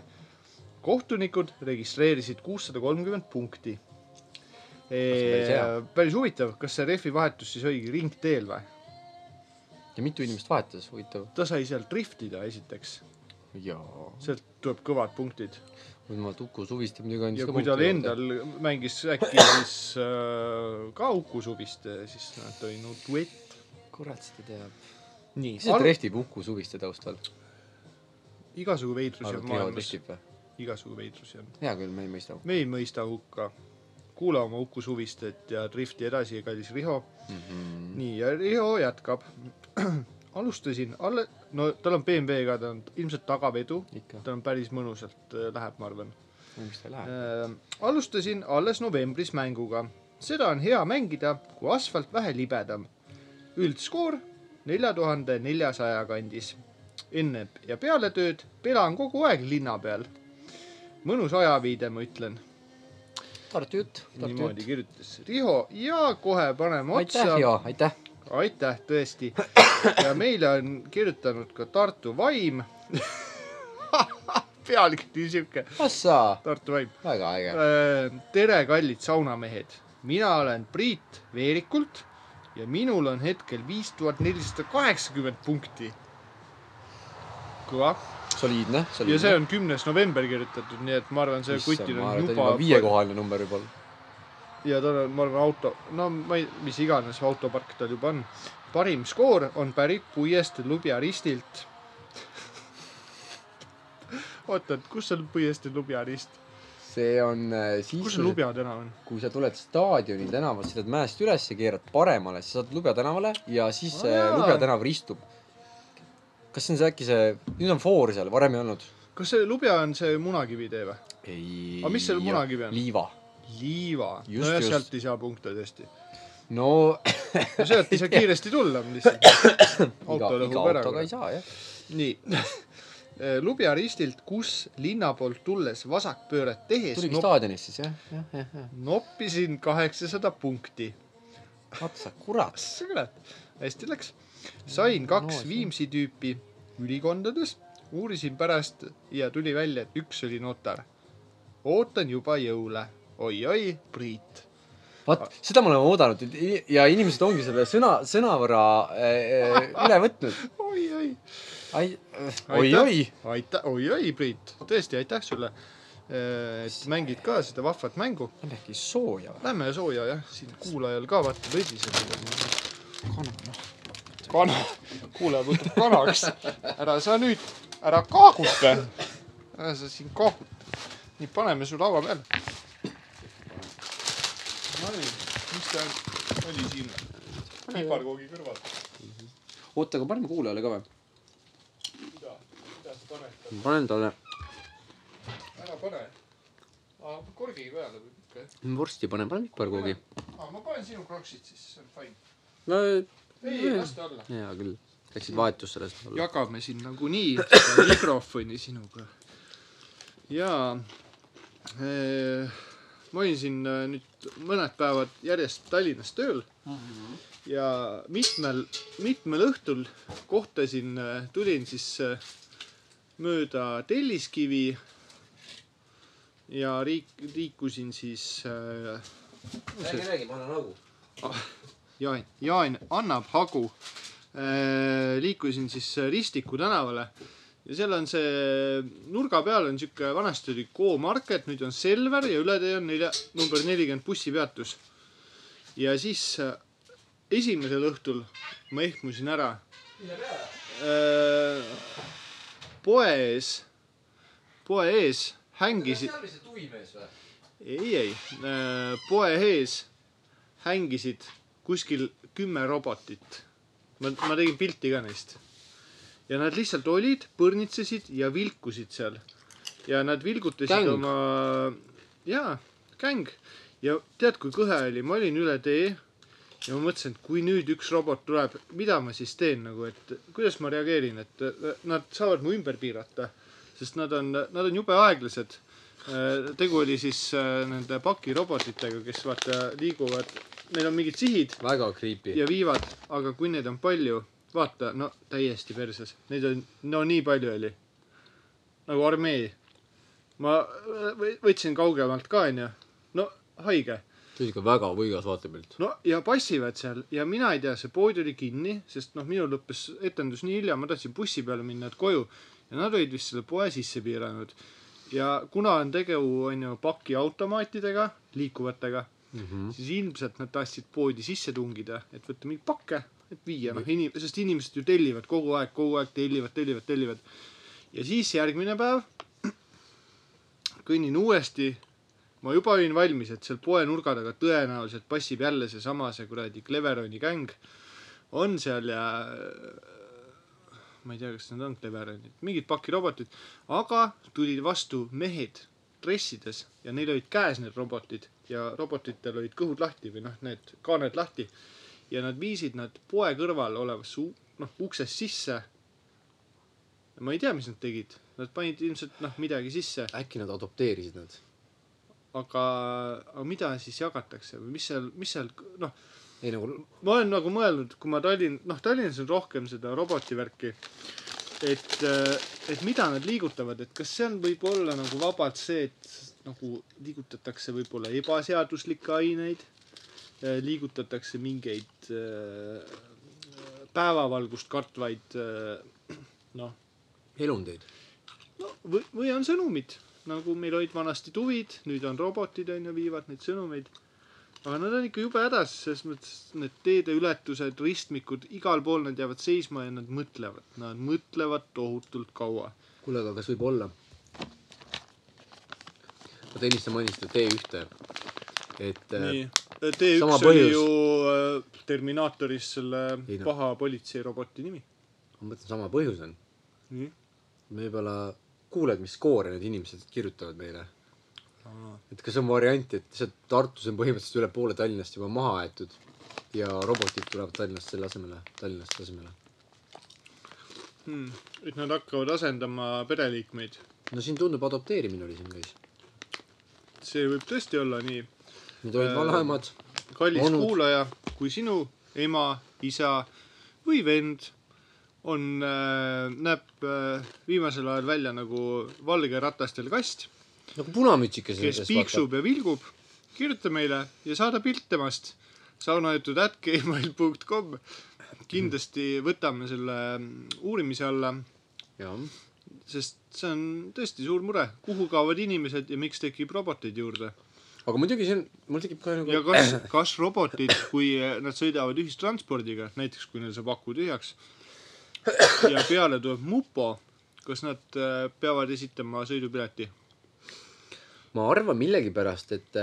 [SPEAKER 3] kohtunikud registreerisid kuussada kolmkümmend punkti .
[SPEAKER 2] päris hea.
[SPEAKER 3] päris huvitav , kas see rehvivahetus siis oligi ringteel või ?
[SPEAKER 2] ja mitu inimest vahetas , huvitav .
[SPEAKER 3] ta sai seal driftida esiteks ,
[SPEAKER 2] jaa .
[SPEAKER 3] sealt tuleb kõvad punktid
[SPEAKER 2] jumal , Uku Suviste muidugi andis
[SPEAKER 3] ja
[SPEAKER 2] ka
[SPEAKER 3] kui tal . endal mängis äkki siis äh, ka Uku Suviste , siis nad olid no duett .
[SPEAKER 2] kurat seda teab .
[SPEAKER 3] nii
[SPEAKER 2] mis see , trehvib Uku Suviste taustal ?
[SPEAKER 3] igasugu veidrusi on
[SPEAKER 2] arvad , Leo
[SPEAKER 3] maailmas ,
[SPEAKER 2] trehvib või ?
[SPEAKER 3] igasugu veidrusi on .
[SPEAKER 2] hea küll , me ei mõista Uku
[SPEAKER 3] me ei mõista hukka . kuula oma Uku Suvistet ja drifti edasi , kallis Riho .
[SPEAKER 2] mm . -hmm.
[SPEAKER 3] nii , ja Riho jätkab . *clears throat* alustasin alle , no tal on BMW ka , ta on ilmselt tagavedu ,
[SPEAKER 2] ikka ,
[SPEAKER 3] tal on päris mõnusalt äh, läheb , ma arvan .
[SPEAKER 2] miks ta ei lähe ?
[SPEAKER 3] Äh, alustasin alles novembris mänguga . seda on hea mängida , kui asfalt vähe libedam . üldskoor nelja tuhande neljasaja kandis . enne ja peale tööd pelan kogu aeg linna peal . mõnus ajaviide , ma ütlen .
[SPEAKER 2] Tartu jutt , Tartu
[SPEAKER 3] niimoodi
[SPEAKER 2] jutt .
[SPEAKER 3] kirjutas Riho ja kohe paneme
[SPEAKER 2] aitäh ,
[SPEAKER 3] otsa .
[SPEAKER 2] Riho , aitäh .
[SPEAKER 3] aitäh , tõesti . ja meile on kirjutanud ka Tartu Vaim . pealkiri sihuke ,
[SPEAKER 2] Assa ,
[SPEAKER 3] Tartu Vaim .
[SPEAKER 2] väga äge .
[SPEAKER 3] Äh, tere , kallid saunamehed , mina olen Priit Veerikult ja minul on hetkel viis tuhat nelisada kaheksakümmend punkti . kõva
[SPEAKER 2] soliidne ,
[SPEAKER 3] ja see
[SPEAKER 2] soliidne .
[SPEAKER 3] on kümnes november kirjutatud , nii et ma arvan , see kutil
[SPEAKER 2] ma
[SPEAKER 3] on
[SPEAKER 2] arvan , et
[SPEAKER 3] juba
[SPEAKER 2] juba viiekohaline number võib-olla .
[SPEAKER 3] ja tal on , ma arvan , auto , no ma ei , mis iganes autopark tal juba on . parim skoor on pärit Puiest Lubjaristilt . oota , et kus on Puiest Lubjarist ,
[SPEAKER 2] see on äh, siis ,
[SPEAKER 3] kus see Lubja tänav on ?
[SPEAKER 2] kui sa tuled staadioni tänavast , sõidad mäest üles ja keerad paremale , siis saad Lubja tänavale ja siis
[SPEAKER 3] Aa,
[SPEAKER 2] äh,
[SPEAKER 3] jaa.
[SPEAKER 2] Lubja tänav ristub . kas see on see äkki see , nüüd on foor seal , varem ei olnud ?
[SPEAKER 3] kas see Lubja on see Munakivi tee või ?
[SPEAKER 2] ei .
[SPEAKER 3] Aga mis seal munakivi on?
[SPEAKER 2] liiva .
[SPEAKER 3] liiva ,
[SPEAKER 2] Just,
[SPEAKER 3] nojah ,
[SPEAKER 2] just.
[SPEAKER 3] sealt ei saa punkte tõesti .
[SPEAKER 2] no
[SPEAKER 3] no sealt ei saa kiiresti tulla
[SPEAKER 2] *coughs*
[SPEAKER 3] lihtsalt .
[SPEAKER 2] iga ,
[SPEAKER 3] auto nagu
[SPEAKER 2] iga
[SPEAKER 3] lõhub
[SPEAKER 2] autoga
[SPEAKER 3] ära korra
[SPEAKER 2] ei . saa jah .
[SPEAKER 3] nii . Lubja ristilt , kus linna poolt tulles vasakpööret tehes
[SPEAKER 2] tuligi
[SPEAKER 3] nop,
[SPEAKER 2] staadionist siis jah , jah , jah , jah .
[SPEAKER 3] noppisin kaheksasada punkti .
[SPEAKER 2] vaata sa kurat .
[SPEAKER 3] sa kurat , hästi läks . sain kaks
[SPEAKER 2] Mm, No, see-
[SPEAKER 3] Viimsi tüüpi ülikondades , uurisin pärast ja tuli välja , et üks oli notar . ootan juba jõule oi, . oi-oi , Priit . *laughs*
[SPEAKER 2] vaat seda me oleme oodanud et i- ja inimesed ongi selle sõna , sõnavõra äh, äh, üle võtnud .
[SPEAKER 3] oi-oi .
[SPEAKER 2] ai , oi-oi .
[SPEAKER 3] aitäh , oi-oi , Priit , tõesti aitäh sulle , et mängid ka seda vahvat mängu .
[SPEAKER 2] on äkki sooja või ?
[SPEAKER 3] Lähme sooja jah , siin kuulajal ka vaata tõsiselt . kana , kuulaja võtab kanaks , ära sa nüüd , ära kaaguta . ära sa siin kaaguta . nii , paneme su laua peale . Nonii , mis ta oli siin ? piparkoogi kõrval .
[SPEAKER 2] oota , aga paneme kuulajale ka või ?
[SPEAKER 3] mida , mida sa paned ?
[SPEAKER 2] ma panen talle
[SPEAKER 3] ära pane . korgi peale võib ikka jah .
[SPEAKER 2] vorsti panen , panen piparkoogi .
[SPEAKER 3] aa , ma panen sinu kroksid siis , see on fine .
[SPEAKER 2] no
[SPEAKER 3] ei , las ta olla .
[SPEAKER 2] hea küll , läksid vahetus sellest alla .
[SPEAKER 3] jagame siin nagunii *laughs* seda mikrofoni sinuga . jaa . ma olin siin eh, nüüd mõned päevad järjest Tallinnas tööl Mhm. ja mitmel , mitmel õhtul kohtasin , tulin siis eh, mööda Telliskivi ja riik , liikusin siis äh,
[SPEAKER 2] räägi , räägi , ma annan augu .
[SPEAKER 3] Jaan , Jaan annab hagu . liikusin siis Ristiku tänavale ja seal on see nurga peal on siuke , vanasti oli K-Market , nüüd on Selver ja üle tee on nelja , number nelikümmend bussipeatus . ja siis äh, esimesel õhtul ma ehmusin ära . poe ees , poe ees hängisid .
[SPEAKER 2] oli see tuimees või ?
[SPEAKER 3] ei , ei , poe ees hängisid kuskil kümme robotit . ma , ma tegin pilti ka neist . ja nad lihtsalt olid , põrnitsesid ja vilkusid seal . ja nad vilgutasid
[SPEAKER 2] Gäng.
[SPEAKER 3] oma , jaa , gäng . ja tead , kui kõhe oli , ma olin üle tee ja ma mõtlesin , et kui nüüd üks robot tuleb , mida ma siis teen nagu , et kuidas ma reageerin , et äh, nad saavad mu ümber piirata , sest nad on , nad on jube aeglased . tegu oli siis äh, nende pakirobotitega , kes vaata liiguvad , neil on mingid sihid
[SPEAKER 2] väga creepy .
[SPEAKER 3] ja viivad , aga kui neid on palju , vaata , no täiesti perses , neid on , no nii palju oli . nagu armee . ma äh, võ- võtsin kaugemalt ka onju , no haige .
[SPEAKER 2] see on ikka väga võigas vaatepilt .
[SPEAKER 3] no ja passivad seal ja mina ei tea , see pood oli kinni , sest noh , minul lõppes etendus nii hilja , ma tahtsin bussi peale minna , et koju ja nad olid vist selle poe sisse piiranud . ja kuna on tegu onju pakiautomaatidega , liikuvatega ,
[SPEAKER 2] Mm -hmm.
[SPEAKER 3] siis ilmselt nad tahtsid poodi sisse tungida , et võtta mingi pakke , et viia noh , inim- , sest inimesed ju tellivad kogu aeg , kogu aeg tellivad , tellivad , tellivad . ja siis järgmine päev *clears throat* kõnnin uuesti . ma juba olin valmis , et seal poe nurga taga tõenäoliselt passib jälle seesama , see kuradi Cleveroni gäng on seal ja ma ei tea , kas nad on Cleveronid , mingid pakirobotid , aga tulid vastu mehed dressides ja neil olid käes need robotid ja robotitel olid kõhud lahti või noh , need kaaned lahti ja nad viisid nad poe kõrval olevasse u- noh , uksest sisse . ma ei tea , mis nad tegid , nad panid ilmselt noh , midagi sisse ,
[SPEAKER 2] äkki nad adopteerisid nad ?
[SPEAKER 3] aga , aga mida siis jagatakse või mis seal , mis seal noh ,
[SPEAKER 2] ei nagu
[SPEAKER 3] ma olen nagu mõelnud , kui ma Tallinn , noh , Tallinnas on rohkem seda robotivärki , et , et mida nad liigutavad , et kas see on võib-olla nagu vabalt see , et nagu liigutatakse võib-olla ebaseaduslikke aineid , liigutatakse mingeid äh, päevavalgust kartvaid äh, noh ,
[SPEAKER 2] elundeid .
[SPEAKER 3] no või , või on sõnumid , nagu meil olid vanasti tuvid , nüüd on robotid on ju , viivad neid sõnumeid . aga nad on ikka jube hädas , selles mõttes need teedeületused , ristmikud , igal pool nad jäävad seisma ja nad mõtlevad , nad mõtlevad tohutult kaua .
[SPEAKER 2] kuule , aga kas võib olla ? vaata , Elis , sa mainisid seda T1-e . et äh,
[SPEAKER 3] nii , T1
[SPEAKER 2] Sama
[SPEAKER 3] oli
[SPEAKER 2] põhjus.
[SPEAKER 3] ju äh, Terminaatoris selle
[SPEAKER 2] Ei noh.
[SPEAKER 3] paha politseiroboti nimi .
[SPEAKER 2] ma mõtlen , sama põhjus on .
[SPEAKER 3] nii .
[SPEAKER 2] võib-olla kuuled , mis skoore need inimesed kirjutavad meile . et kas on variant , et lihtsalt Tartus on põhimõtteliselt üle poole Tallinnast juba maha aetud ja robotid tulevad Tallinnast selle asemele , Tallinnast asemele .
[SPEAKER 3] Hmm. et nad hakkavad asendama pereliikmeid .
[SPEAKER 2] no siin tundub adopteerimine oli siin käis .
[SPEAKER 3] see võib tõesti olla nii
[SPEAKER 2] Need olid
[SPEAKER 3] Äh,
[SPEAKER 2] vanaemad .
[SPEAKER 3] kallis
[SPEAKER 2] Onud.
[SPEAKER 3] Onud. kuulaja , kui sinu ema , isa või vend on äh, , näeb äh, viimasel ajal välja nagu valge ratastel kast ,
[SPEAKER 2] nagu punamütsikas .
[SPEAKER 3] kes piiksub ja vilgub , kirjuta meile ja saada pilt temast saunajutud.gmail.com kindlasti võtame selle mm, uurimise alla ,
[SPEAKER 2] jah ,
[SPEAKER 3] sest see on tõesti suur mure , kuhu kaovad inimesed ja miks tekib roboteid juurde .
[SPEAKER 2] aga muidugi see on , mul tekib kohe
[SPEAKER 3] ja
[SPEAKER 2] nagu .
[SPEAKER 3] kas , kas robotid , kui äh, nad sõidavad ühistranspordiga , näiteks kui neil saab aku tühjaks ja peale tuleb mupo , kas nad äh, peavad esitama sõidupileti ?
[SPEAKER 2] ma arvan millegipärast , et ,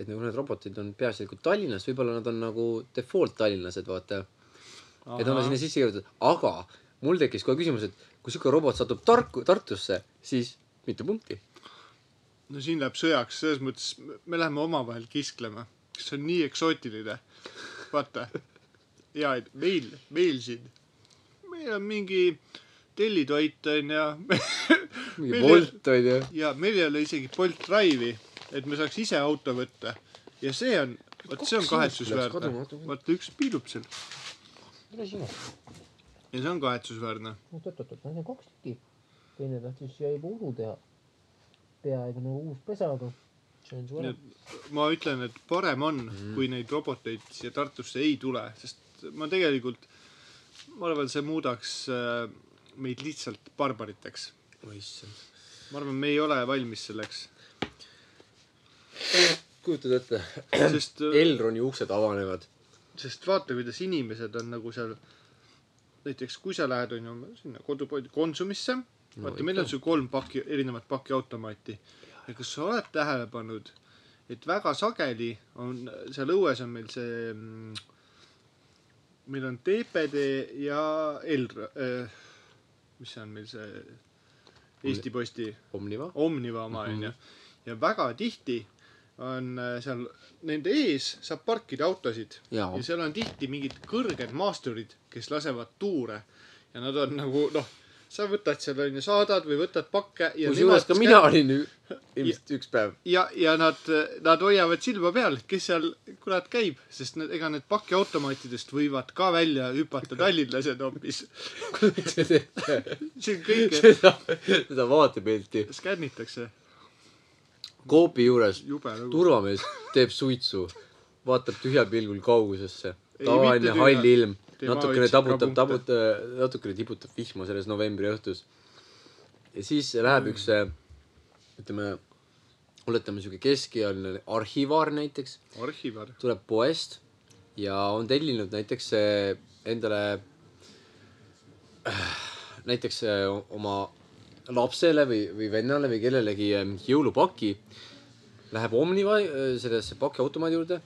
[SPEAKER 2] et nagu need robotid on peaasjalikult Tallinnas , võib-olla nad on nagu default tallinlased , vaata . et nad on sinna sisse kirjutatud , aga mul tekkis kohe küsimus , et kui sihuke robot satub Tarku , Tartusse , siis mitu punkti ?
[SPEAKER 3] no siin läheb sõjaks , selles mõttes me läheme omavahel kisklema , see on nii eksootiline . vaata , ja et meil , meil siin , meil on mingi tellitoit onju ,
[SPEAKER 2] mingi
[SPEAKER 3] Meil-
[SPEAKER 2] Bolt on ju .
[SPEAKER 3] ja meil ei ole isegi Bolt Drive'i , et me saaks ise auto võtta ja see on , vot see on
[SPEAKER 2] Kaks
[SPEAKER 3] kahetsusväärne
[SPEAKER 2] inimest läks kaduma. ,
[SPEAKER 3] vaata üks piilub seal ja see on kahetsusväärne .
[SPEAKER 1] oot-oot-oot , ma sain kaks tükki . teine tahtis siia juba ulu teha . peaaegu nagu uus pesa , aga see on suur
[SPEAKER 3] Nii . ma ütlen , et parem on mm. , kui neid roboteid siia Tartusse ei tule , sest ma tegelikult , ma arvan , see muudaks äh, meid lihtsalt barbariteks .
[SPEAKER 2] oi issand .
[SPEAKER 3] ma arvan , me ei ole valmis
[SPEAKER 2] *clears throat*
[SPEAKER 3] selleks ,
[SPEAKER 2] kujutad ette ?
[SPEAKER 3] sest äh,
[SPEAKER 2] Elroni uksed avanevad .
[SPEAKER 3] sest vaata , kuidas inimesed on nagu seal , näiteks kui sa lähed , on ju , sinna kodupoodi Konsumisse no, , vaata , meil on
[SPEAKER 2] ikka.
[SPEAKER 3] seal kolm pakki , erinevat pakiautomaati ja kas sa oled tähele pannud , et väga sageli on seal õues on meil see , meil on TPD ja Elr- äh, , mis see on meil see Eesti Posti
[SPEAKER 2] Omniva .
[SPEAKER 3] Omniva oma onju . ja väga tihti on äh, seal nende ees saab parkida autosid
[SPEAKER 2] jaa .
[SPEAKER 3] ja seal on tihti mingid kõrged maasturid , kes lasevad tuure ja nad on nagu noh , sa võtad seal onju , saadad või võtad pakke ja
[SPEAKER 2] kusjuures ka mina olin ü- ilmselt üks päev .
[SPEAKER 3] ja , ja nad , nad hoiavad silma peal , kes seal kurat käib , sest need, ega need pakiautomaatidest võivad ka välja hüpata tallinlased hoopis .
[SPEAKER 2] kujutad ette ?
[SPEAKER 3] see on kõike
[SPEAKER 2] seda , seda vaatepilti .
[SPEAKER 3] skännitakse ,
[SPEAKER 2] Coopi juures
[SPEAKER 3] jube nagu lugu .
[SPEAKER 2] turvamees teeb suitsu vaatab tühja pilgul kaugusesse .
[SPEAKER 3] Ei, mitte
[SPEAKER 2] tavaline
[SPEAKER 3] tühja.
[SPEAKER 2] hall ilm ,
[SPEAKER 3] Tema
[SPEAKER 2] natukene
[SPEAKER 3] otsib
[SPEAKER 2] tabutab ,
[SPEAKER 3] ka punkte.
[SPEAKER 2] tabutab , natukene tiputab vihma selles novembri õhtus . ja siis läheb üks , ütleme , oletame sihuke keskealine arhivaar näiteks ,
[SPEAKER 3] arhivar .
[SPEAKER 2] tuleb poest ja on tellinud näiteks eh, endale , näiteks eh, oma lapsele või , või vennale või kellelegi eh, mingi jõulupaki . Läheb Omniva eh, sellesse pakiautomaadi juurde ,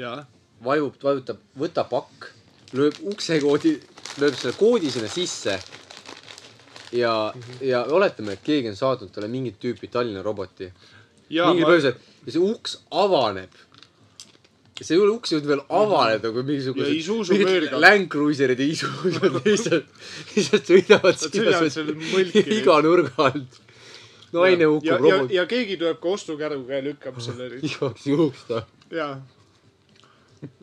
[SPEAKER 3] jaa ,
[SPEAKER 2] vajub , vajutab , võta pakk , lööb uksekoodi , lööb selle koodi sinna sisse . ja , ja oletame , et keegi on saatnud talle mingit tüüpi Tallinna roboti
[SPEAKER 3] jaa ,
[SPEAKER 2] mingil
[SPEAKER 3] ma
[SPEAKER 2] põhjusel ja see uks avaneb . see ei ole uks ei olnud veel avanenud , aga
[SPEAKER 3] Ja Isuzu
[SPEAKER 2] mingisugused
[SPEAKER 3] mööriga.
[SPEAKER 2] Land Cruiserid ja
[SPEAKER 3] *laughs*
[SPEAKER 2] Isusud lihtsalt , lihtsalt sõidavad sinna
[SPEAKER 3] sõidavad seal mõlki
[SPEAKER 2] ja *laughs* iga nurga alt . naine
[SPEAKER 3] ja ,
[SPEAKER 2] hukkub
[SPEAKER 3] ja ,
[SPEAKER 2] robot
[SPEAKER 3] ja keegi tuleb ka ostukärguga ja lükkab selle nüüd .
[SPEAKER 2] igaks juhuks ta .
[SPEAKER 3] jaa .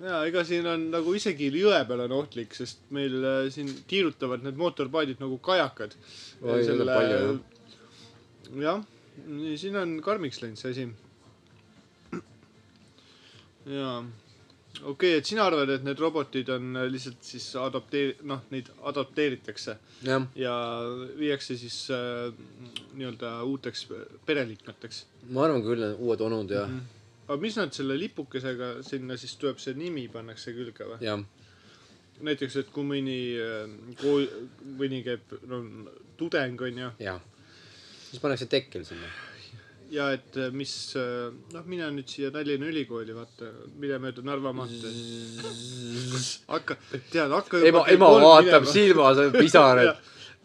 [SPEAKER 3] jaa , ega siin on nagu isegi jõe peal on ohtlik , sest meil äh, siin tiirutavad need mootorpaadid nagu kajakad .
[SPEAKER 2] Oi, neid on palju,
[SPEAKER 3] jah , siin on karmiks läinud see asi . jaa , okei okay, , et sina arvad , et need robotid on äh, lihtsalt siis adapteer- , noh , neid adapteeritakse
[SPEAKER 2] jah ,
[SPEAKER 3] ja viiakse siis äh, nii-öelda uuteks äh, pereliikmeteks
[SPEAKER 2] ma arvan küll , uued onud ja ,
[SPEAKER 3] aga mis nad selle lipukesega sinna siis tuleb , see nimi pannakse külge või ?
[SPEAKER 2] ja
[SPEAKER 3] näiteks , et kui mõni äh, kool , mõni käib , no tudeng on ju ,
[SPEAKER 2] ja siis pannakse tekkel sinna .
[SPEAKER 3] ja et äh, mis , noh , mine nüüd siia Tallinna Ülikooli , vaata , mine mööda Narva maanteed . hakka , tead , hakka
[SPEAKER 2] ema , ema vaatab . silmas , pisarad ,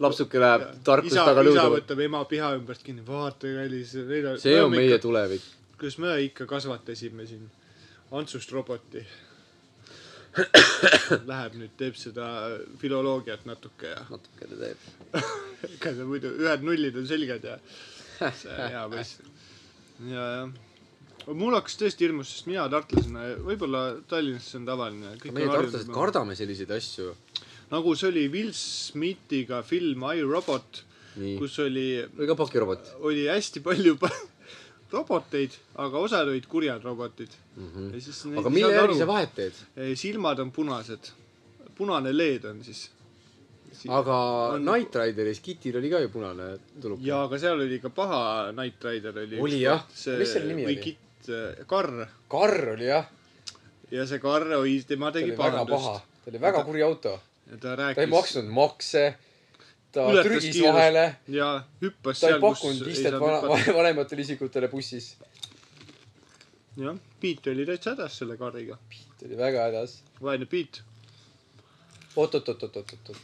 [SPEAKER 2] lapsuke läheb tarkust
[SPEAKER 3] isa ,
[SPEAKER 2] taga
[SPEAKER 3] isa
[SPEAKER 2] lõudama .
[SPEAKER 3] võtab ema piha ümbert kinni , vaata , kallis .
[SPEAKER 2] see on meie tulevik .
[SPEAKER 3] kas me ikka kasvatasime siin Antsust
[SPEAKER 2] *coughs*
[SPEAKER 3] roboti ? Läheb nüüd teeb seda filoloogiat natuke ja
[SPEAKER 2] natukene teeb .
[SPEAKER 3] ega ta muidu ühed nullid on selged ja see on hea poiss . ja , jah . mul hakkas tõesti hirmus , sest mina tartlasena , võib-olla Tallinnas see on tavaline .
[SPEAKER 2] meie tartlased . kardame selliseid asju .
[SPEAKER 3] nagu see oli Will Smithiga film I robot ,
[SPEAKER 2] nii .
[SPEAKER 3] kus oli ,
[SPEAKER 2] või ka pakirobot
[SPEAKER 3] oli hästi palju pa- roboteid , aga osad olid kurjad robotid .
[SPEAKER 2] mm . -hmm.
[SPEAKER 3] ja siis
[SPEAKER 2] aga mille järgi sa vahet teed ?
[SPEAKER 3] Ei, silmad on punased , punane LED on siis .
[SPEAKER 2] aga
[SPEAKER 3] On-
[SPEAKER 2] Knight Rideris Kitil oli ka ju punane tuluk .
[SPEAKER 3] ja , aga seal oli ka paha Knight Rider oli .
[SPEAKER 2] Oli jah. Mis selle nimi
[SPEAKER 3] või
[SPEAKER 2] oli?
[SPEAKER 3] Kit , Karr
[SPEAKER 2] Karl oli jah ,
[SPEAKER 3] ja see Karr oli , tema
[SPEAKER 2] ta
[SPEAKER 3] tegi
[SPEAKER 2] oli väga paha
[SPEAKER 3] parandust .,
[SPEAKER 2] ta oli väga kuri auto ,
[SPEAKER 3] ja ta
[SPEAKER 2] ta ei
[SPEAKER 3] rääkis
[SPEAKER 2] maksnud makse , ta
[SPEAKER 3] Ületas
[SPEAKER 2] trügis
[SPEAKER 3] kiirust.
[SPEAKER 2] vahele ,
[SPEAKER 3] ja hüppas
[SPEAKER 2] ta ei
[SPEAKER 3] seal , kus
[SPEAKER 2] pakkunud
[SPEAKER 3] ei
[SPEAKER 2] istet
[SPEAKER 3] saanud
[SPEAKER 2] vana-
[SPEAKER 3] hüpata .
[SPEAKER 2] *laughs* vanematele isikutele bussis .
[SPEAKER 3] jah , Piit oli täitsa hädas selle Karriga ,
[SPEAKER 2] ta oli väga hädas .
[SPEAKER 3] vaene Piit .
[SPEAKER 2] oot-oot-oot-oot-oot-oot .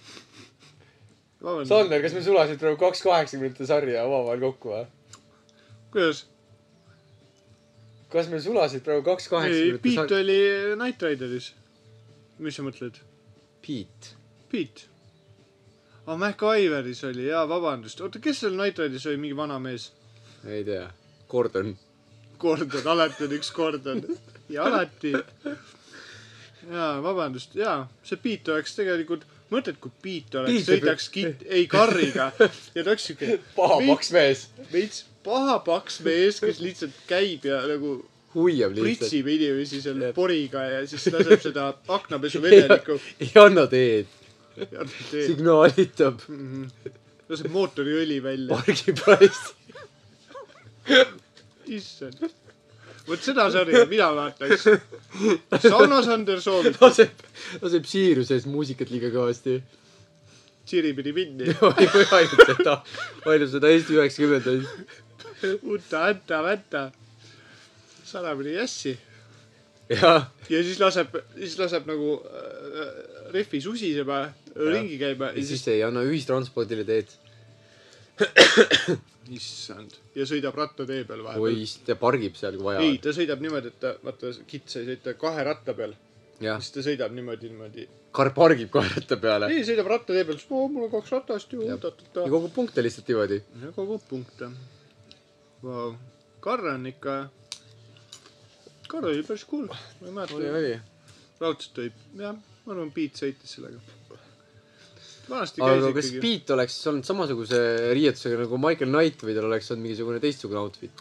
[SPEAKER 2] Sander , kas me sulasid praegu kaks kaheksakümnendate sarja omavahel kokku või ?
[SPEAKER 3] kuidas ?
[SPEAKER 2] kas me sulasid praegu kaks
[SPEAKER 3] ei ,
[SPEAKER 2] kaheksakümnendate
[SPEAKER 3] Piit
[SPEAKER 2] sarja ?
[SPEAKER 3] oli äh, Knight Rideris . mis sa mõtled ?
[SPEAKER 2] Piit .
[SPEAKER 3] Piit . aa , Mac Iveris Ah, oli , jaa , vabandust . oota , kes seal Knight Rideris oli , mingi vana mees ?
[SPEAKER 2] ei tea . Gordon .
[SPEAKER 3] Gordon , alati on üks Gordon . ja alati . jaa , vabandust , jaa , see Piit oleks tegelikult , mõtled , kui Piit oleks ,
[SPEAKER 2] Piit-
[SPEAKER 3] sõidaks kit- , ei , karriga ja ta oleks siuke
[SPEAKER 2] paha
[SPEAKER 3] veits-
[SPEAKER 2] paks mees .
[SPEAKER 3] veits paha paks mees , kes lihtsalt käib ja nagu
[SPEAKER 2] huiab lihtsalt .
[SPEAKER 3] pritsib inimesi seal
[SPEAKER 2] Jah.
[SPEAKER 3] poriga ja siis laseb seda aknapesuvedelikku
[SPEAKER 2] ei anna teed ,
[SPEAKER 3] ja teeb ,
[SPEAKER 2] signaalitab ,
[SPEAKER 3] laseb mootoriõli välja .
[SPEAKER 2] pargib hästi .
[SPEAKER 3] issand . vot seda sarja mina vaataks . saunas Andersoon ,
[SPEAKER 2] laseb , laseb siiruses muusikat liiga kõvasti .
[SPEAKER 3] Siripidi minni ,
[SPEAKER 2] ainult seda , ainult seda Eesti üheksakümnendaid .
[SPEAKER 3] uta-anta-vänta . sarapidi jässi .
[SPEAKER 2] jah ,
[SPEAKER 3] ja siis laseb , siis laseb nagu äh, rehvi susisema , ringi käima ja
[SPEAKER 2] ja siis
[SPEAKER 3] siis ,
[SPEAKER 2] ei anna ühistranspordile teed .
[SPEAKER 3] issand , ja sõidab rattatee peal
[SPEAKER 2] oi
[SPEAKER 3] vahepeal . ,
[SPEAKER 2] ja pargib seal , kui
[SPEAKER 3] ei ,
[SPEAKER 2] vaja .
[SPEAKER 3] ta sõidab niimoodi , et ta , vaata , kits ei sõita kahe ratta peal ,
[SPEAKER 2] jah ,
[SPEAKER 3] siis ta sõidab niimoodi , niimoodi .
[SPEAKER 2] kar- pargib kaerate peale
[SPEAKER 3] ei , sõidab rattatee peal , siis oo , mul on kaks ratast ju ,
[SPEAKER 2] Jah.
[SPEAKER 3] oot-oot-oot
[SPEAKER 2] ja . kogub punkte lihtsalt niimoodi .
[SPEAKER 3] ja kogub punkte . Vau , Karl on ikka , Karl oli päris cool , ma ei
[SPEAKER 2] oli ,
[SPEAKER 3] mäleta ,
[SPEAKER 2] oli .
[SPEAKER 3] raudselt oli , jah , ma arvan , Piet sõitis sellega . vanasti käis
[SPEAKER 2] aga kas
[SPEAKER 3] ikkagi ,
[SPEAKER 2] Piit oleks siis olnud samasuguse riietusega nagu Michael Knight või tal oleks olnud mingisugune teistsugune outfit ?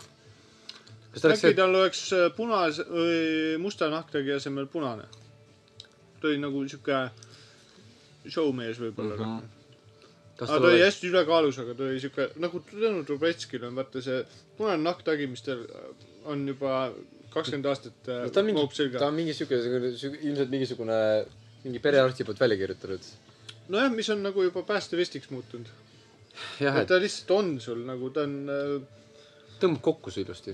[SPEAKER 2] kas ta oleks
[SPEAKER 3] äkki , tal oleks punase , musta nahktagi asemel punane . ta oli nagu sihuke showmees võib-olla mm . -hmm.
[SPEAKER 2] Mhm. kas
[SPEAKER 3] aga
[SPEAKER 2] tal
[SPEAKER 3] ta oli
[SPEAKER 2] oleks ,
[SPEAKER 3] hästi ülekaalus , aga ta oli sihuke nagu Tõnu Trubetskil on vaata see punane nahktagi , mis tal on juba kakskümmend aastat äh,
[SPEAKER 2] ta on mingi
[SPEAKER 3] loob , selga
[SPEAKER 2] ta . on mingisugune , ilmselt mingisugune , mingi perearsti poolt välja kirjutanud .
[SPEAKER 3] nojah , mis on nagu juba päästevestiks muutunud .
[SPEAKER 2] jah , et
[SPEAKER 3] ta lihtsalt on sul nagu ta on äh,
[SPEAKER 2] tõmbab kokku see ilusti .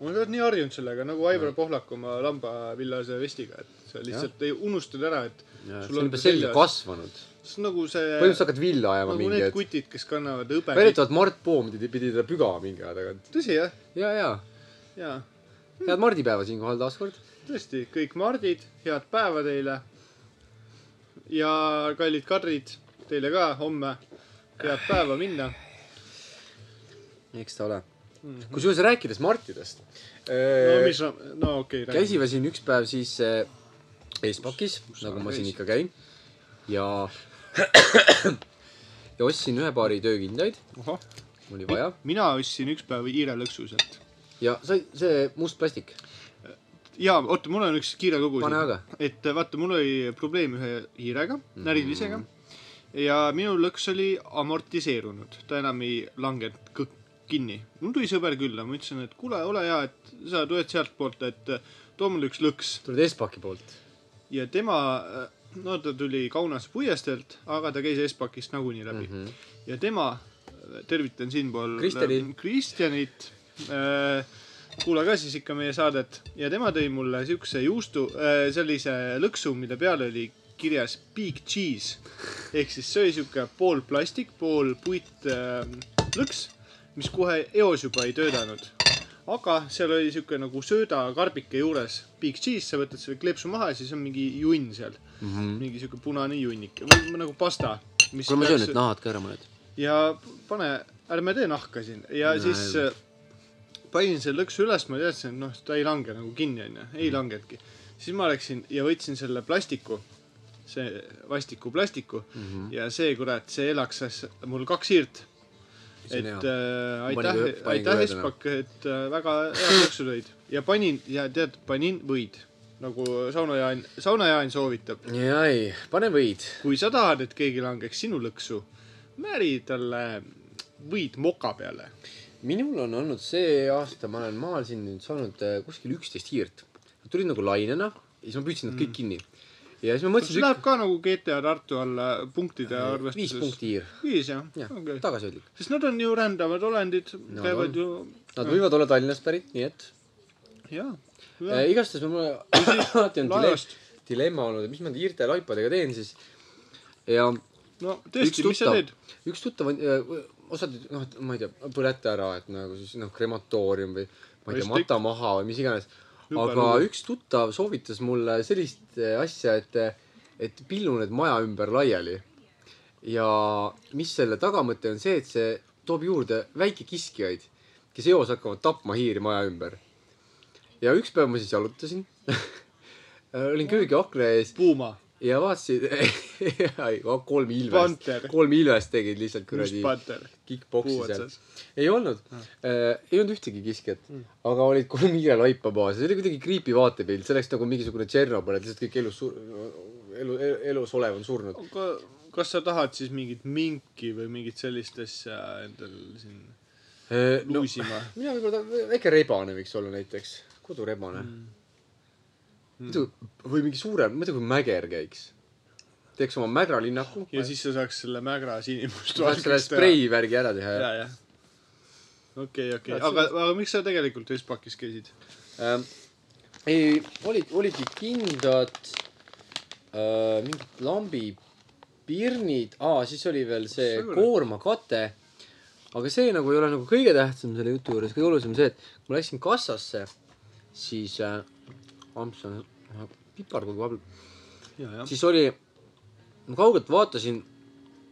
[SPEAKER 3] ma olen nii harjunud sellega nagu Aivar Pohlak oma lambavillase vestiga , et sa lihtsalt ei unustad ära , et Sul
[SPEAKER 2] sul on
[SPEAKER 3] on
[SPEAKER 2] juba
[SPEAKER 3] ta
[SPEAKER 2] selg
[SPEAKER 3] seljas.
[SPEAKER 2] kasvanud .
[SPEAKER 3] see on nagu see
[SPEAKER 2] põhimõtteliselt hakkad vilja ajama
[SPEAKER 3] nagu
[SPEAKER 2] mingi
[SPEAKER 3] need
[SPEAKER 2] hetk .
[SPEAKER 3] kutid , kes kannavad hõbedat .
[SPEAKER 2] väidetavalt Mart Poom pidi , pidi teda pügama mingi aja tagant .
[SPEAKER 3] tõsi jah ,
[SPEAKER 2] ja , ja ,
[SPEAKER 3] jaa ,
[SPEAKER 2] head mardipäeva siinkohal taaskord .
[SPEAKER 3] tõesti , kõik Mardid , head päeva teile . ja kallid Kadrid , teile ka homme head päeva minna .
[SPEAKER 2] eks ta ole
[SPEAKER 3] Mhm. .
[SPEAKER 2] kusjuures rääkides Martidest .
[SPEAKER 3] no mis , no okei okay, ,
[SPEAKER 2] käisime siin üks päev siis äh, Espakis , nagu ma siin ikka käin ja *coughs* ja ostsin ühe paari töökindaid ,
[SPEAKER 3] räägi .
[SPEAKER 2] mul oli vaja
[SPEAKER 3] mina ostsin üks päev Iire lõksu sealt .
[SPEAKER 2] ja sai see must plastik ,
[SPEAKER 3] jaa , oota , mul on üks kiire lugu
[SPEAKER 2] pane . aga . Mhm.
[SPEAKER 3] et äh, vaata , mul oli probleem ühe hiirega , närvilisega ja minu lõks oli amortiseerunud , ta enam ei langenud kõk- kinni . mul tuli sõber külla , ma ütlesin , et kuule , ole hea , et sa tuled sealtpoolt , et äh, too mulle üks lõks
[SPEAKER 2] tulid Espaki poolt .
[SPEAKER 3] ja tema , no ta tuli Kaunase puiesteelt , aga ta käis Espakist nagunii läbi mm .
[SPEAKER 2] Mhm.
[SPEAKER 3] -hmm. ja tema , tervitan siinpool äh,
[SPEAKER 2] Kristjanit.
[SPEAKER 3] Kristjanit , kuula ka siis ikka meie saadet ja tema tõi mulle siukse juustu , sellise lõksu , mille peal oli kirjas big cheese ehk siis see oli siuke pool plastik , pool puit äh, lõks , mis kohe eos juba ei töötanud aga seal oli siuke nagu söödakarbike juures big cheese , sa võtad selle kleepsu maha ja siis on mingi junn seal mm . -hmm. mingi siuke punane junnik või või nagu pasta .
[SPEAKER 2] Mhm. kuule , ma söön noh, nüüd nahad ka ära mõned .
[SPEAKER 3] ja pane , ärme tee nahka siin ja
[SPEAKER 2] No,
[SPEAKER 3] no, siis
[SPEAKER 2] ei.
[SPEAKER 3] äh, panin selle lõksu üles , ma teadsin , et noh , ta ei lange nagu kinni onju , ei
[SPEAKER 2] Mm.
[SPEAKER 3] langenudki . siis ma läksin ja võtsin selle plastiku , see vastiku plastiku mm
[SPEAKER 2] Mhm.
[SPEAKER 3] -hmm. ja see kurat , see elaksas mul kaks siirt
[SPEAKER 2] See on
[SPEAKER 3] et
[SPEAKER 2] hea.
[SPEAKER 3] äh,
[SPEAKER 2] Ma panin
[SPEAKER 3] aitäh
[SPEAKER 2] ka- , panin ka ühe
[SPEAKER 3] aitäh ,
[SPEAKER 2] täna.
[SPEAKER 3] Espak , et äh, väga head lõksu tõid ja panin ja tead , panin võid nagu Sauno Jaan , Sauno Jaan soovitab .
[SPEAKER 2] ja ei , pane võid .
[SPEAKER 3] kui sa tahad , et keegi langeks sinu lõksu , määri talle võid moka peale .
[SPEAKER 2] minul on olnud see aasta , ma olen maal siin nüüd saanud äh, kuskil üksteist hiirt . Nad tulid nagu lainena ja siis ma püüdsin nad kõik kinni . ja siis ma
[SPEAKER 3] Mm. kas see
[SPEAKER 2] mõtlesin ,
[SPEAKER 3] läheb ka nagu GTA Tartu alla punktide
[SPEAKER 2] et Äh, viis
[SPEAKER 3] arvestuses ?
[SPEAKER 2] punkti hiir .
[SPEAKER 3] viis jah ja. ,
[SPEAKER 2] jah
[SPEAKER 3] okei
[SPEAKER 2] okay. ,
[SPEAKER 3] okay. .
[SPEAKER 2] tagasihoidlik .
[SPEAKER 3] sest nad on ju rändavad olendid ,
[SPEAKER 2] Nad on.
[SPEAKER 3] käivad ju ,
[SPEAKER 2] Nad võivad olla Tallinnast pärit , nii et
[SPEAKER 3] jaa .
[SPEAKER 2] äh, igastahes mul
[SPEAKER 3] *coughs*
[SPEAKER 2] alati on dile-
[SPEAKER 3] laevast ,
[SPEAKER 2] dilemma olnud , et mis ma nende hiirte ja laipadega teen siis . ja
[SPEAKER 3] no
[SPEAKER 2] üks
[SPEAKER 3] tõesti , mis sa
[SPEAKER 2] tuttav
[SPEAKER 3] teed ?,
[SPEAKER 2] üks tuttav on , osad , noh , et ma ei tea , põleta ära , et nagu siis noh , krematoorium või ma ei tea ,
[SPEAKER 3] Mõistlik.
[SPEAKER 2] mata maha või mis iganes . aga
[SPEAKER 3] Hüppelugu.
[SPEAKER 2] üks tuttav soovitas mulle sellist äh, asja , et , et pillu need maja ümber laiali . ja mis selle tagamõte on see , et see toob juurde väikekiskjaid , kes eos hakkavad tapma hiiri maja ümber . ja üks päev ma siis jalutasin , *laughs* olin köögiakna ees
[SPEAKER 3] Puuma ,
[SPEAKER 2] ja *laughs* vaatasin kolm ilvest ,
[SPEAKER 3] Panter ,
[SPEAKER 2] kolm ilvest tegid lihtsalt
[SPEAKER 3] Must
[SPEAKER 2] kuradi
[SPEAKER 3] Panter ,
[SPEAKER 2] kick-poksi
[SPEAKER 3] puu
[SPEAKER 2] seal
[SPEAKER 3] otsas ..
[SPEAKER 2] ei olnud
[SPEAKER 3] Ah.
[SPEAKER 2] äh, , ei olnud ühtegi kiskjat
[SPEAKER 3] Mm.
[SPEAKER 2] mm. , aga olid kolm hiirelaipa maas ja see oli kuidagi creepy vaatepilt , see läks nagu mingisugune Tšernobõl , et lihtsalt kõik elus sur- , elu, elu , elus olev on surnud .
[SPEAKER 3] aga kas sa tahad siis mingit minki või mingit sellist asja endal siin
[SPEAKER 2] Äh, no
[SPEAKER 3] luusima
[SPEAKER 2] *laughs* mina võib-olla , väike rebane võiks olla näiteks , kodurebane mm. .
[SPEAKER 3] mm. ? Mm.
[SPEAKER 2] muidu , või mingi suurem , muidu kui mäger käiks . teeks oma mägralinnaku .
[SPEAKER 3] ja siis sa saaks selle mägra
[SPEAKER 2] saaks selle
[SPEAKER 3] sinimustvalgeks teha .
[SPEAKER 2] spreivärgi ära teha ja
[SPEAKER 3] ja , jah . okei , okei ,
[SPEAKER 2] Tahad
[SPEAKER 3] aga , aga miks sa tegelikult Vespakis käisid ?
[SPEAKER 2] ähm, . ei , olid , olidki kindad äh, , mingid lambipirnid ah, , siis oli veel see
[SPEAKER 3] Sõõr.
[SPEAKER 2] koormakate . aga see nagu ei ole nagu kõige tähtsam selle jutu juures , kõige olulisem on see , et kui ma läksin kassasse , siis äh, , amps on äh, piparkond vahepeal ,
[SPEAKER 3] ja , jah .
[SPEAKER 2] siis oli , ma kaugelt vaatasin ,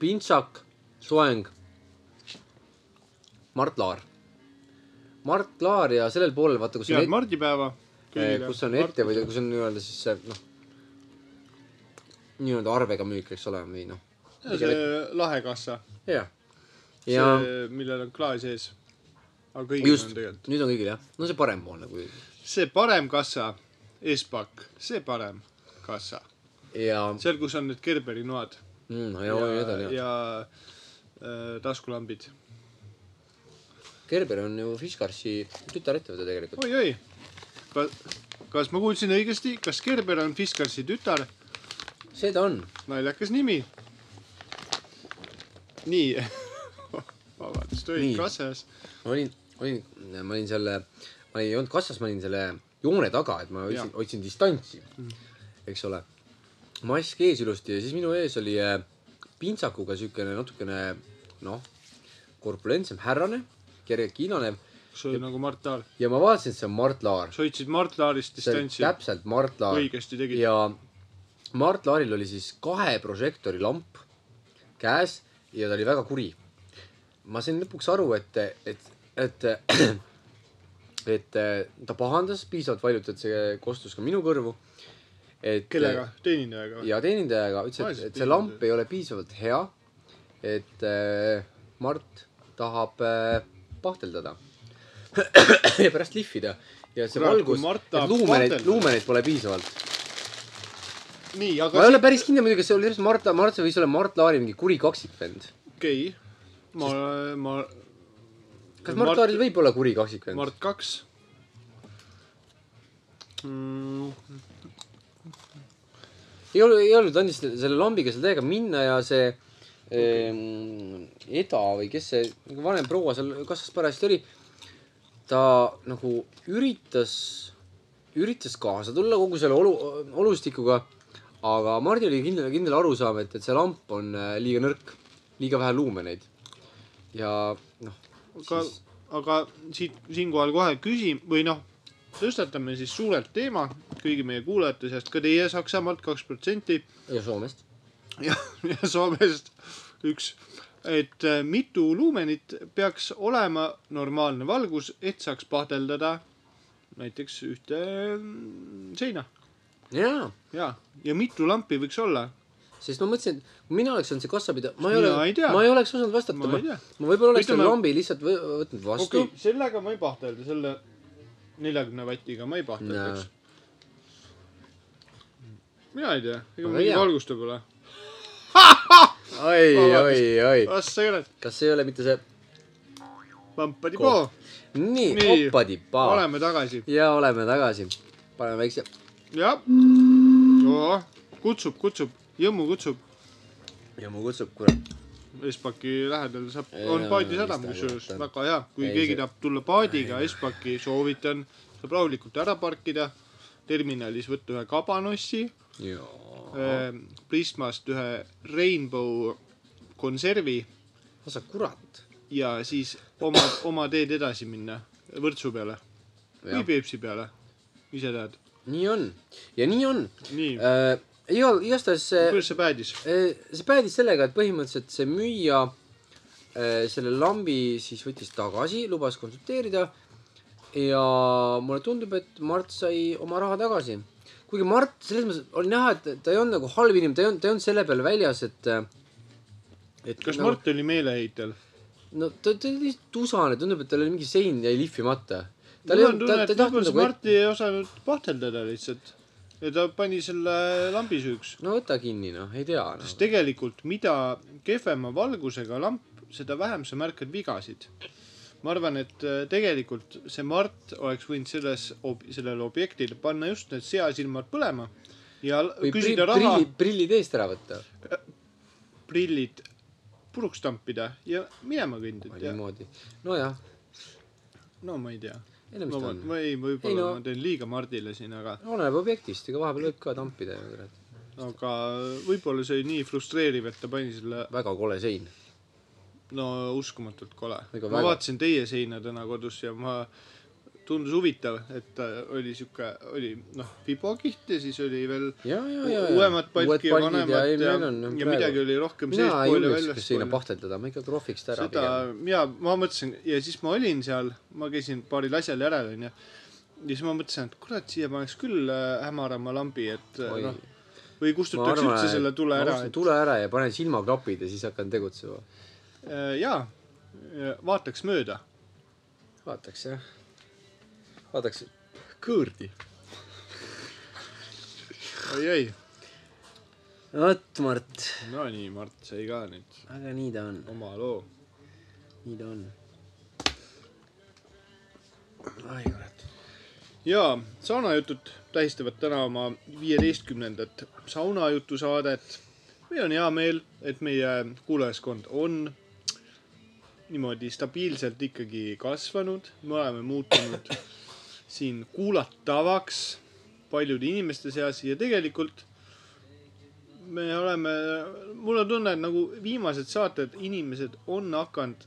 [SPEAKER 2] pintsak , soeng , Mart Laar . Mart Laar ja sellel poolel , vaata kus on
[SPEAKER 3] head mardipäeva .
[SPEAKER 2] Eh, kus on ettevõtja , kus on nii-öelda siis see noh , nii-öelda arvega müük , eks ole , või noh .
[SPEAKER 3] see lahe kassa ,
[SPEAKER 2] jah , ja
[SPEAKER 3] see , millel on klaas ees . aga kõigil
[SPEAKER 2] just
[SPEAKER 3] on , tegelikult .
[SPEAKER 2] nüüd on kõigil jah , no see nagu. parempoolne kui
[SPEAKER 3] see parem kassa , eespakk , see parem kassa ,
[SPEAKER 2] ja
[SPEAKER 3] seal , kus on need Gerberi noad
[SPEAKER 2] mm, no ja nii edasi jah .
[SPEAKER 3] ja äh, taskulambid oi, .
[SPEAKER 2] Gerber on ju Fiskarsi tütarettevõte tegelikult .
[SPEAKER 3] oi-oi , kas ma kuulsin õigesti , kas Gerber on Fiskarsi tütar ?
[SPEAKER 2] see ta on .
[SPEAKER 3] naljakas nimi .
[SPEAKER 2] *laughs*
[SPEAKER 3] nii , vabandust ,
[SPEAKER 2] Nii.
[SPEAKER 3] olid kassas .
[SPEAKER 2] ma olin , olin , ma olin selle , ma ei olnud kassas , ma olin selle joone taga , et ma hoidsin , hoidsin distantsi , eks ole . mask ees ilusti ja siis minu ees oli äh, pintsakuga siukene natukene noh , korpulentsem härrane , kergelt kiinanev
[SPEAKER 3] kas oli nagu Mart Laar ?
[SPEAKER 2] ja ma vaatasin , et see on Mart Laar .
[SPEAKER 3] sa hoidsid Mart Laarist
[SPEAKER 2] see oli
[SPEAKER 3] distantsi ,
[SPEAKER 2] täpselt Mart Laar .
[SPEAKER 3] õigesti tegid .
[SPEAKER 2] ja Mart Laaril oli siis kahe prožektori lamp käes ja ta oli väga kuri . ma sain lõpuks aru , et , et , et , *clears throat* et äh, ta pahandas piisavalt valjult , et see kostus ka minu kõrvu . et äh,
[SPEAKER 3] kellega ?? teenindajaga või ?
[SPEAKER 2] ja teenindajaga ütles ,
[SPEAKER 3] Vaesed
[SPEAKER 2] et , et see lamp ei ole piisavalt hea . et äh, Mart tahab äh, pahteldada *clears throat* ja pärast lihvida ja see
[SPEAKER 3] Kurat, kui
[SPEAKER 2] valgus ,
[SPEAKER 3] Mart
[SPEAKER 2] et
[SPEAKER 3] tahab
[SPEAKER 2] luumeneid ,
[SPEAKER 3] pahteldada.
[SPEAKER 2] luumeneid pole piisavalt .
[SPEAKER 3] nii ,
[SPEAKER 2] ma ei
[SPEAKER 3] aga
[SPEAKER 2] ole päris kindel muidugi , kas see oli täpselt Mart , Mart , see võis olla Mart Laari mingi kuri kaksikvend .
[SPEAKER 3] okei , ma , ma
[SPEAKER 2] kas Mart,
[SPEAKER 3] Mart-
[SPEAKER 2] Mart Laaril võib olla kuri kaksikvend ?
[SPEAKER 3] Mart kaks mm, .
[SPEAKER 2] ei olnud , ei olnud , ta andis selle lambiga seal täiega minna ja see ehm, Eda või kes see nagu vanem proua seal kassas parajasti oli , ta nagu üritas , üritas kaasa tulla kogu selle olu , olustikuga , aga Mardil oli kindel , kindel arusaam , et , et see lamp on äh, liiga nõrk , liiga vähe luumeneid . ja noh ,
[SPEAKER 3] aga , aga siit , siinkohal kohe küsin või noh , tõstatame siis suurelt teema kõigi meie kuulajate seast , ka teie Saksamaalt kaks protsenti
[SPEAKER 2] ja Soomest .
[SPEAKER 3] ja, *laughs* ja Soomest üks , et äh, mitu luumenit peaks olema normaalne valgus , et saaks pahteldada näiteks ühte mm, seina
[SPEAKER 2] jaa
[SPEAKER 3] ja , ja mitu lampi võiks olla ,
[SPEAKER 2] sest ma mõtlesin , et kui mina oleks olnud see kassapidaja , ma ei
[SPEAKER 3] Mina
[SPEAKER 2] ole ,
[SPEAKER 3] ei tea.
[SPEAKER 2] ma ei oleks osanud vastata ,
[SPEAKER 3] Ma ei
[SPEAKER 2] ma,
[SPEAKER 3] tea.
[SPEAKER 2] ma võib-olla oleks selle
[SPEAKER 3] Ütleme-
[SPEAKER 2] lambi lihtsalt võ- võtnud vastu
[SPEAKER 3] okei okay, , sellega ma ei pahtelda , selle neljakümne vatiga ma ei pahteldaks . mina ei tea , ega
[SPEAKER 2] Aga
[SPEAKER 3] mul mingi
[SPEAKER 2] hea.
[SPEAKER 3] valgustu pole .
[SPEAKER 2] oi , oi , oi ,
[SPEAKER 3] ah sa ei ole ,
[SPEAKER 2] kas see ei ole mitte see ,
[SPEAKER 3] pampadi-poo ,
[SPEAKER 2] nii, nii. ,
[SPEAKER 3] Nii.
[SPEAKER 2] opadi-paa
[SPEAKER 3] oleme tagasi .
[SPEAKER 2] ja oleme tagasi , paneme väikse ,
[SPEAKER 3] jah , kutsub , kutsub , jõmmu kutsub ,
[SPEAKER 2] jõmmu kutsub , kurat ,
[SPEAKER 3] Espaki lähedal saab ,
[SPEAKER 2] Ei,
[SPEAKER 3] on
[SPEAKER 2] no,
[SPEAKER 3] paadisadam
[SPEAKER 2] vist
[SPEAKER 3] kusjuures ,
[SPEAKER 2] nagu-
[SPEAKER 3] väga hea , kui
[SPEAKER 2] Ei, see-
[SPEAKER 3] keegi tahab tulla paadiga Espaki , soovitan , saab rahulikult ära parkida , terminalis võtta ühe kabanossi ehm,
[SPEAKER 2] jaa ,
[SPEAKER 3] Prismast ühe Rainbow konservi
[SPEAKER 2] osa kurat ,
[SPEAKER 3] ja siis oma , oma teed edasi minna Võrtsu peale või Peipsi peale . ise tead .
[SPEAKER 2] nii on ja nii on
[SPEAKER 3] nii ,
[SPEAKER 2] äh, , igal , igastahes see
[SPEAKER 3] kuidas see päädis ?
[SPEAKER 2] Äh, see päädis sellega , et põhimõtteliselt see müüja äh, selle lambi siis võttis tagasi , lubas konsulteerida ja mulle tundub , et Mart sai oma raha tagasi . kuigi Mart selles mõttes oli näha , et ta ei olnud nagu halb inimene , ta ei olnud , ta ei olnud selle peale väljas , et äh, et
[SPEAKER 3] kas
[SPEAKER 2] nagu,
[SPEAKER 3] Mart oli meeleheitel ?
[SPEAKER 2] no ta , ta oli lihtsalt tusane , tundub , et tal oli mingi sein jäi lihvimata . tal
[SPEAKER 3] mul
[SPEAKER 2] ei
[SPEAKER 3] on
[SPEAKER 2] olnud ,
[SPEAKER 3] tunne ,
[SPEAKER 2] ta , ta
[SPEAKER 3] et
[SPEAKER 2] ei tahtnud
[SPEAKER 3] võib-olla see
[SPEAKER 2] nagu et... ,
[SPEAKER 3] Marti ei osanud pahteldada lihtsalt ja ta pani selle lambi süüks .
[SPEAKER 2] no võta kinni noh , ei tea noh
[SPEAKER 3] sest . tegelikult , mida kehvema valgusega lamp , seda vähem sa märkad vigasid . ma arvan , et äh, tegelikult see Mart oleks võinud selles , sellele objektil panna just need seasilmad põlema ja l-
[SPEAKER 2] või prillid ,
[SPEAKER 3] küsida raha ,
[SPEAKER 2] prillid , prillid eest ära võtta
[SPEAKER 3] prillid puruks tampida ja minema
[SPEAKER 2] või
[SPEAKER 3] kõndida .
[SPEAKER 2] niimoodi . nojah ,
[SPEAKER 3] no ma ei tea ,
[SPEAKER 2] ei no mis
[SPEAKER 3] no
[SPEAKER 2] ta
[SPEAKER 3] ma ,
[SPEAKER 2] on .
[SPEAKER 3] ma ei ,
[SPEAKER 2] Ei,
[SPEAKER 3] võib-olla
[SPEAKER 2] no-
[SPEAKER 3] ma teen liiga Mardile siin , aga ,
[SPEAKER 2] oleneb objektist , ega vahepeal võib ka tampida ju kurat .
[SPEAKER 3] aga võib-olla see oli nii frustreeriv , et ta pani selle
[SPEAKER 2] väga kole sein .
[SPEAKER 3] no uskumatult kole .
[SPEAKER 2] Ega
[SPEAKER 3] ma
[SPEAKER 2] väga.
[SPEAKER 3] vaatasin teie seina täna kodus ja ma , tundus huvitav , et äh, oli sihuke , oli noh , vibokiht ja siis oli veel
[SPEAKER 2] ja , ja , ja , ja .
[SPEAKER 3] uuemad palki ja vanemad ja , ja, ja midagi . oli rohkem
[SPEAKER 2] mina ei
[SPEAKER 3] seespool ja
[SPEAKER 2] julgeks sihukest seina
[SPEAKER 3] väljaspool .
[SPEAKER 2] pahteldada , ma ikka krohviks ta ära
[SPEAKER 3] seda ja ma mõtlesin ja siis ma olin seal , ma käisin paaril asjal järel onju . ja siis ma mõtlesin , et kurat , siia paneks küll äh, hämarama lambi , et äh,
[SPEAKER 2] Oi.
[SPEAKER 3] noh või kustutaks
[SPEAKER 2] arvan,
[SPEAKER 3] üldse
[SPEAKER 2] et-
[SPEAKER 3] selle tule
[SPEAKER 2] ma
[SPEAKER 3] ära .
[SPEAKER 2] ostan tule ära ja panen
[SPEAKER 3] äh,
[SPEAKER 2] silmaklapid ja siis hakkan tegutsema .
[SPEAKER 3] jaa , vaataks mööda
[SPEAKER 2] vaataks jah , vaataks kõõrdi .
[SPEAKER 3] oi-oi ,
[SPEAKER 2] vot Mart ,
[SPEAKER 3] no nii , Mart , sai ka nüüd
[SPEAKER 2] aga nii ta on ,
[SPEAKER 3] oma loo .
[SPEAKER 2] nii ta on . ai kurat .
[SPEAKER 3] ja saunajutud tähistavad täna oma viieteistkümnendat saunajutu saadet . meil on hea meel , et meie kuulajaskond on niimoodi stabiilselt ikkagi kasvanud , me oleme muutunud siin kuulatavaks paljude inimeste seas ja tegelikult me oleme , mul on tunne , et nagu viimased saated , inimesed on hakanud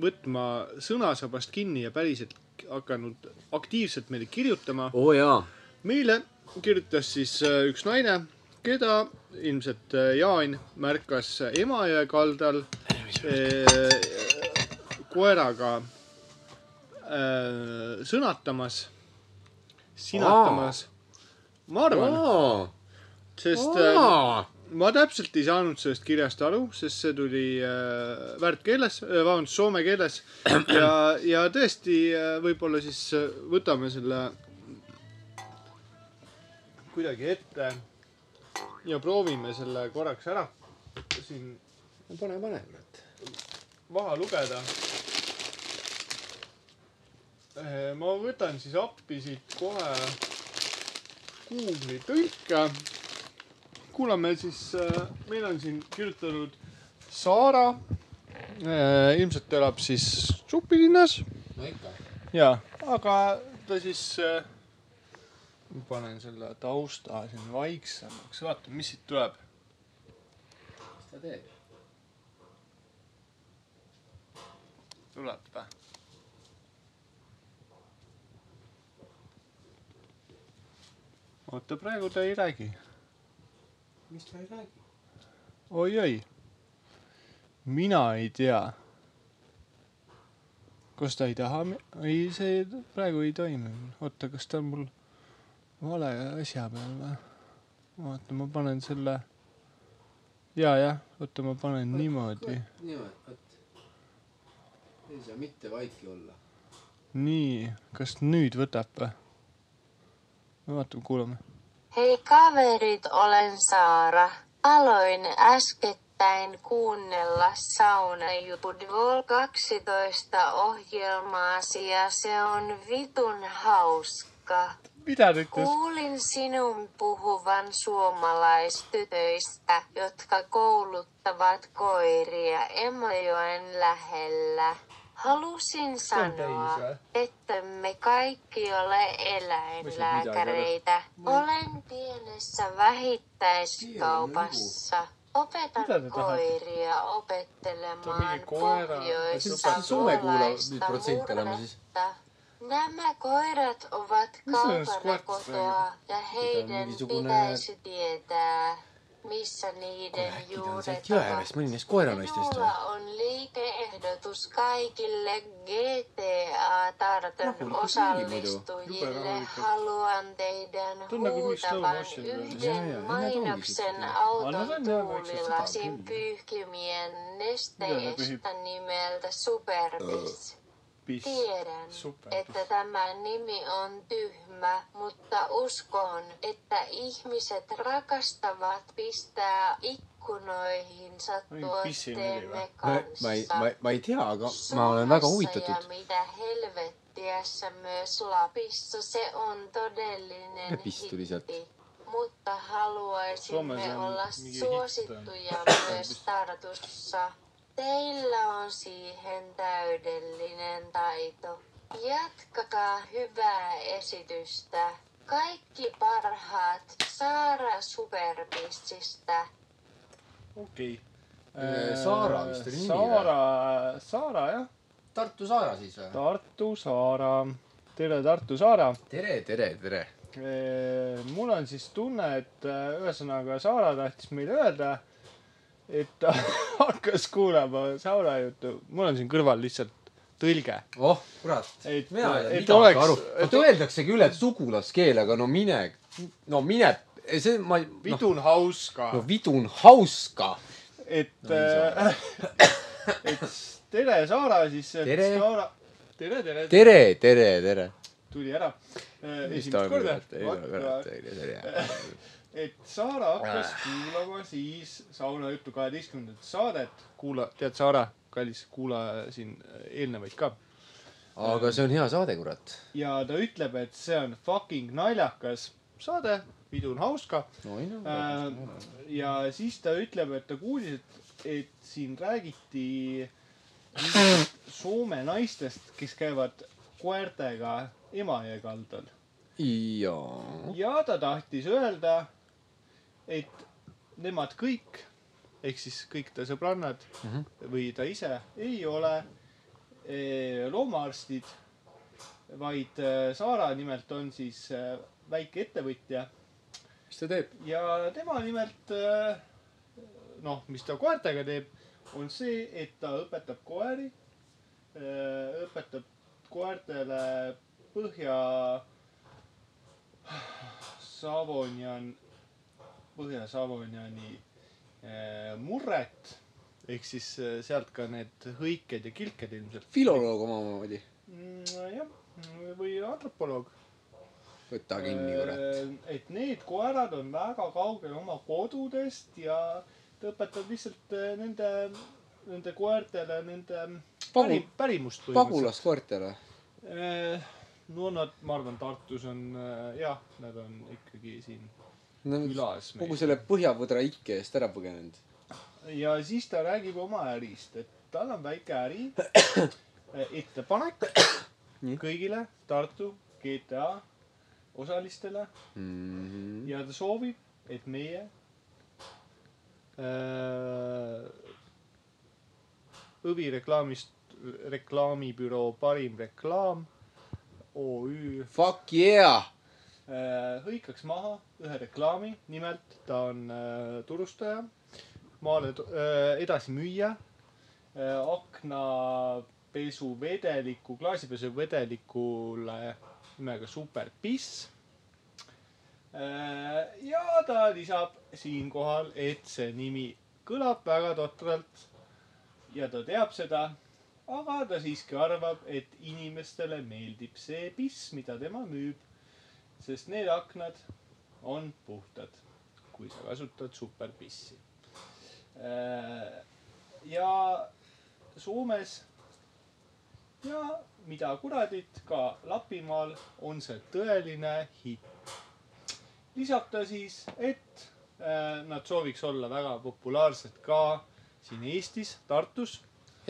[SPEAKER 3] võtma sõnasabast kinni ja päriselt hakanud aktiivselt meile kirjutama .
[SPEAKER 2] oo jaa ,
[SPEAKER 3] meile kirjutas siis äh, üks naine , keda ilmselt äh, Jaan märkas Emajõe kaldal äh, koeraga äh, sõnatamas , sinatamas . ma arvan ,
[SPEAKER 2] aa ,
[SPEAKER 3] sest äh,
[SPEAKER 2] aa ,
[SPEAKER 3] ma täpselt ei saanud sellest kirjast aru , sest see tuli äh, väärtkeeles äh, , vabandust , soome keeles ja , ja tõesti äh, võib-olla siis äh, võtame selle kuidagi ette ja proovime selle korraks ära siin
[SPEAKER 2] pane , pane kurat .
[SPEAKER 3] maha lugeda . Äh, ma võtan siis appi siit kohe Google'i tõlke . kuulame siis , meil on siin kirjutanud Saara . ilmselt elab siis supilinnas
[SPEAKER 2] no ikka .
[SPEAKER 3] ja , aga ta siis . ma panen selle tausta siin vaiksemaks , vaatame , mis siit tuleb .
[SPEAKER 2] mis ta teeb ?
[SPEAKER 3] tuleb vä ? oota , praegu ta ei räägi .
[SPEAKER 2] mis ta ei räägi ?
[SPEAKER 3] oi-oi . mina ei tea . kas ta ei taha , ei , see praegu ei toimi . oota , kas ta on mul vale asja peal või ? oota , ma panen selle . ja , jah , oota , ma panen niimoodi .
[SPEAKER 2] niimoodi , vot . ei saa mitte vaiki olla .
[SPEAKER 3] nii , kas nüüd võtab või ? vaatame , kuulame .
[SPEAKER 4] Hei kaverit, olen Saara. Aloin äskettäin kuunnella Saunajutut Vol 12 ohjelmaasi ja se on vitun hauska.
[SPEAKER 3] mida ta ütles ?
[SPEAKER 4] Kuulin sinun puhuvan suomalaistytöistä, jotka kouluttavat koiria Emajoen lähellä. Halusin sanoa, että me kaikki ole eläinlääkäreitä. Olen pienessä vähittäiskaupassa. Opetan
[SPEAKER 3] Mitä te tehdään?
[SPEAKER 4] koiria
[SPEAKER 3] Tämä
[SPEAKER 4] opettelemaan
[SPEAKER 3] oli koira.
[SPEAKER 4] pohjoista
[SPEAKER 2] Suome kuulab nüüd protsente olema
[SPEAKER 4] murretta.
[SPEAKER 2] siis .
[SPEAKER 4] Nämä koirat ovat
[SPEAKER 3] Missä No on
[SPEAKER 4] kaukana
[SPEAKER 3] squats
[SPEAKER 4] kotoa ja heidän
[SPEAKER 2] mingisugune-
[SPEAKER 4] pitäisi tietää, missä niiden
[SPEAKER 2] äkki ta on
[SPEAKER 4] juuret
[SPEAKER 2] sealt jõe äärest ,
[SPEAKER 4] ovat.
[SPEAKER 2] mõni neist koeranaistest
[SPEAKER 4] Minulla
[SPEAKER 2] või ?
[SPEAKER 4] on liikeehdotus kaikille
[SPEAKER 3] No,
[SPEAKER 4] GTA-tartan osallistujille. Haluan teidän
[SPEAKER 3] Tunneeko kuin slow
[SPEAKER 4] huutavan
[SPEAKER 3] motion
[SPEAKER 2] Jaa, jaa,
[SPEAKER 4] yhden
[SPEAKER 2] enää tulikin
[SPEAKER 4] mainoksen
[SPEAKER 2] sitten.
[SPEAKER 4] auton
[SPEAKER 3] Anna mennä, vaikka se sitä
[SPEAKER 4] tuulilasin
[SPEAKER 3] on
[SPEAKER 4] pyyhkimien
[SPEAKER 3] Mitä ne
[SPEAKER 4] nesteestä nimeltä Superbis. Tiedän,
[SPEAKER 3] Super.
[SPEAKER 4] että tämä nimi on tyhmä, mutta uskon, että ihmiset rakastavat pistää ikkunoihinsa
[SPEAKER 3] Oi, pissin
[SPEAKER 4] tuotteemme
[SPEAKER 2] ma
[SPEAKER 4] kanssa.
[SPEAKER 2] ma ei , ma , ma ei tea , aga ma olen väga huvitatud
[SPEAKER 4] Suomessa . ja mitä helvettiässä myös Lapissa se on todellinen
[SPEAKER 2] Lepis tuli sieltä.
[SPEAKER 4] hitti. Mutta haluaisimme
[SPEAKER 3] Suomessa on
[SPEAKER 4] olla
[SPEAKER 3] mikä
[SPEAKER 4] suosittuja myös Tartussa. Teillä on siihen täydellinen taito. Jatkakaa hyvää esitystä. Kaikki parhaat Saara Superpissistä.
[SPEAKER 3] okei
[SPEAKER 2] Äh, Saara vist oli nimi,
[SPEAKER 3] Saara , Saara jah ,
[SPEAKER 2] Tartu Saara siis või ?
[SPEAKER 3] Tartu Saara . tere , Tartu Saara .
[SPEAKER 2] tere , tere , tere .
[SPEAKER 3] mul on siis tunne , et äh, ühesõnaga Saara tahtis meile öelda , et ta *laughs* hakkas kuulama Saara juttu . mul on siin kõrval lihtsalt tõlge .
[SPEAKER 2] oh , kurat .
[SPEAKER 3] Et-
[SPEAKER 2] mina ei
[SPEAKER 3] et
[SPEAKER 2] saa midagi
[SPEAKER 3] oleks-
[SPEAKER 2] aru .
[SPEAKER 3] et-
[SPEAKER 2] et öeldakse küll , et sugulaskeel , aga no mine , no mine , see ma , noh ,
[SPEAKER 3] vidun hauska
[SPEAKER 2] no vidun hauska .
[SPEAKER 3] et
[SPEAKER 2] No ei saa.
[SPEAKER 3] *laughs* no, , et tere , Saara siis .
[SPEAKER 2] Tere.
[SPEAKER 3] tere , tere, tere. .
[SPEAKER 5] tere , tere , tere .
[SPEAKER 3] tuli ära eh, esimest korda . et Saara hakkas kuulama siis sauna juttu kaheteistkümnendat saadet . kuula , tead Saara , kallis kuulaja siin äh, eelnevaid ka .
[SPEAKER 5] aga see on hea saade , kurat .
[SPEAKER 3] ja ta ütleb , et see on fucking naljakas saade , pidu on hauska . Äh, ja siis ta ütleb , et ta kuulis , et , et siin räägiti mingist Soome naistest , kes käivad koertega Emajõe kaldal .
[SPEAKER 5] jaa .
[SPEAKER 3] ja ta tahtis öelda , et nemad kõik ehk siis kõik ta sõbrannad mm -hmm. või ta ise ei ole eh, loomaarstid , vaid eh, Saara nimelt on siis eh, väike ettevõtja
[SPEAKER 2] mis ta teeb ?
[SPEAKER 3] ja tema nimelt eh, noh , mis ta koertega teeb , on see , et ta õpetab koeri , õpetab koertele põhja Savonjan , Põhja-Savonjani eh, murret ehk siis eh, sealt ka need hõiked ja kilked ilmselt .
[SPEAKER 2] filoloog omamoodi .
[SPEAKER 3] Mm, jah , või antropoloog .
[SPEAKER 2] võta Äh, kinni ,
[SPEAKER 3] Äh,
[SPEAKER 2] kurat .
[SPEAKER 3] et need koerad on väga kaugel oma kodudest ja ta õpetab lihtsalt eh, nende , nende koertele nende
[SPEAKER 2] Pagu-
[SPEAKER 3] päri, pärimust
[SPEAKER 2] pagulast koertele .
[SPEAKER 3] Eh, no nad , ma arvan , Tartus on eh, jah , nad on ikkagi siin külas
[SPEAKER 2] kogu
[SPEAKER 3] meil .
[SPEAKER 2] selle põhjavõdra ikke eest ära põgenenud .
[SPEAKER 3] ja siis ta räägib oma ärist , et tal on väike äri eh, ettepanek
[SPEAKER 2] Nii.
[SPEAKER 3] kõigile Tartu GTA osalistele
[SPEAKER 2] Mhm.
[SPEAKER 3] ja ta soovib , et meie äh, õvireklaamist , reklaamibüroo Parim Reklaam OÜ
[SPEAKER 2] Fuck yeah !
[SPEAKER 3] Äh, hõikaks maha ühe reklaami , nimelt ta on äh, turustaja , maale tu- äh, edasimüüja äh,, aknapesuvedeliku , klaasipesuvedelikule nimega Super Piss äh, . ja ta lisab siinkohal , et see nimi kõlab väga totralt ja ta teab seda , aga ta siiski arvab , et inimestele meeldib see piss , mida tema müüb sest need aknad on puhtad , kui sa kasutad superpissi . ja Soomes ja mida kuradit , ka Lapimaal on see tõeline hitt . lisab ta siis , et äh, nad sooviks olla väga populaarsed ka siin Eestis , Tartus ,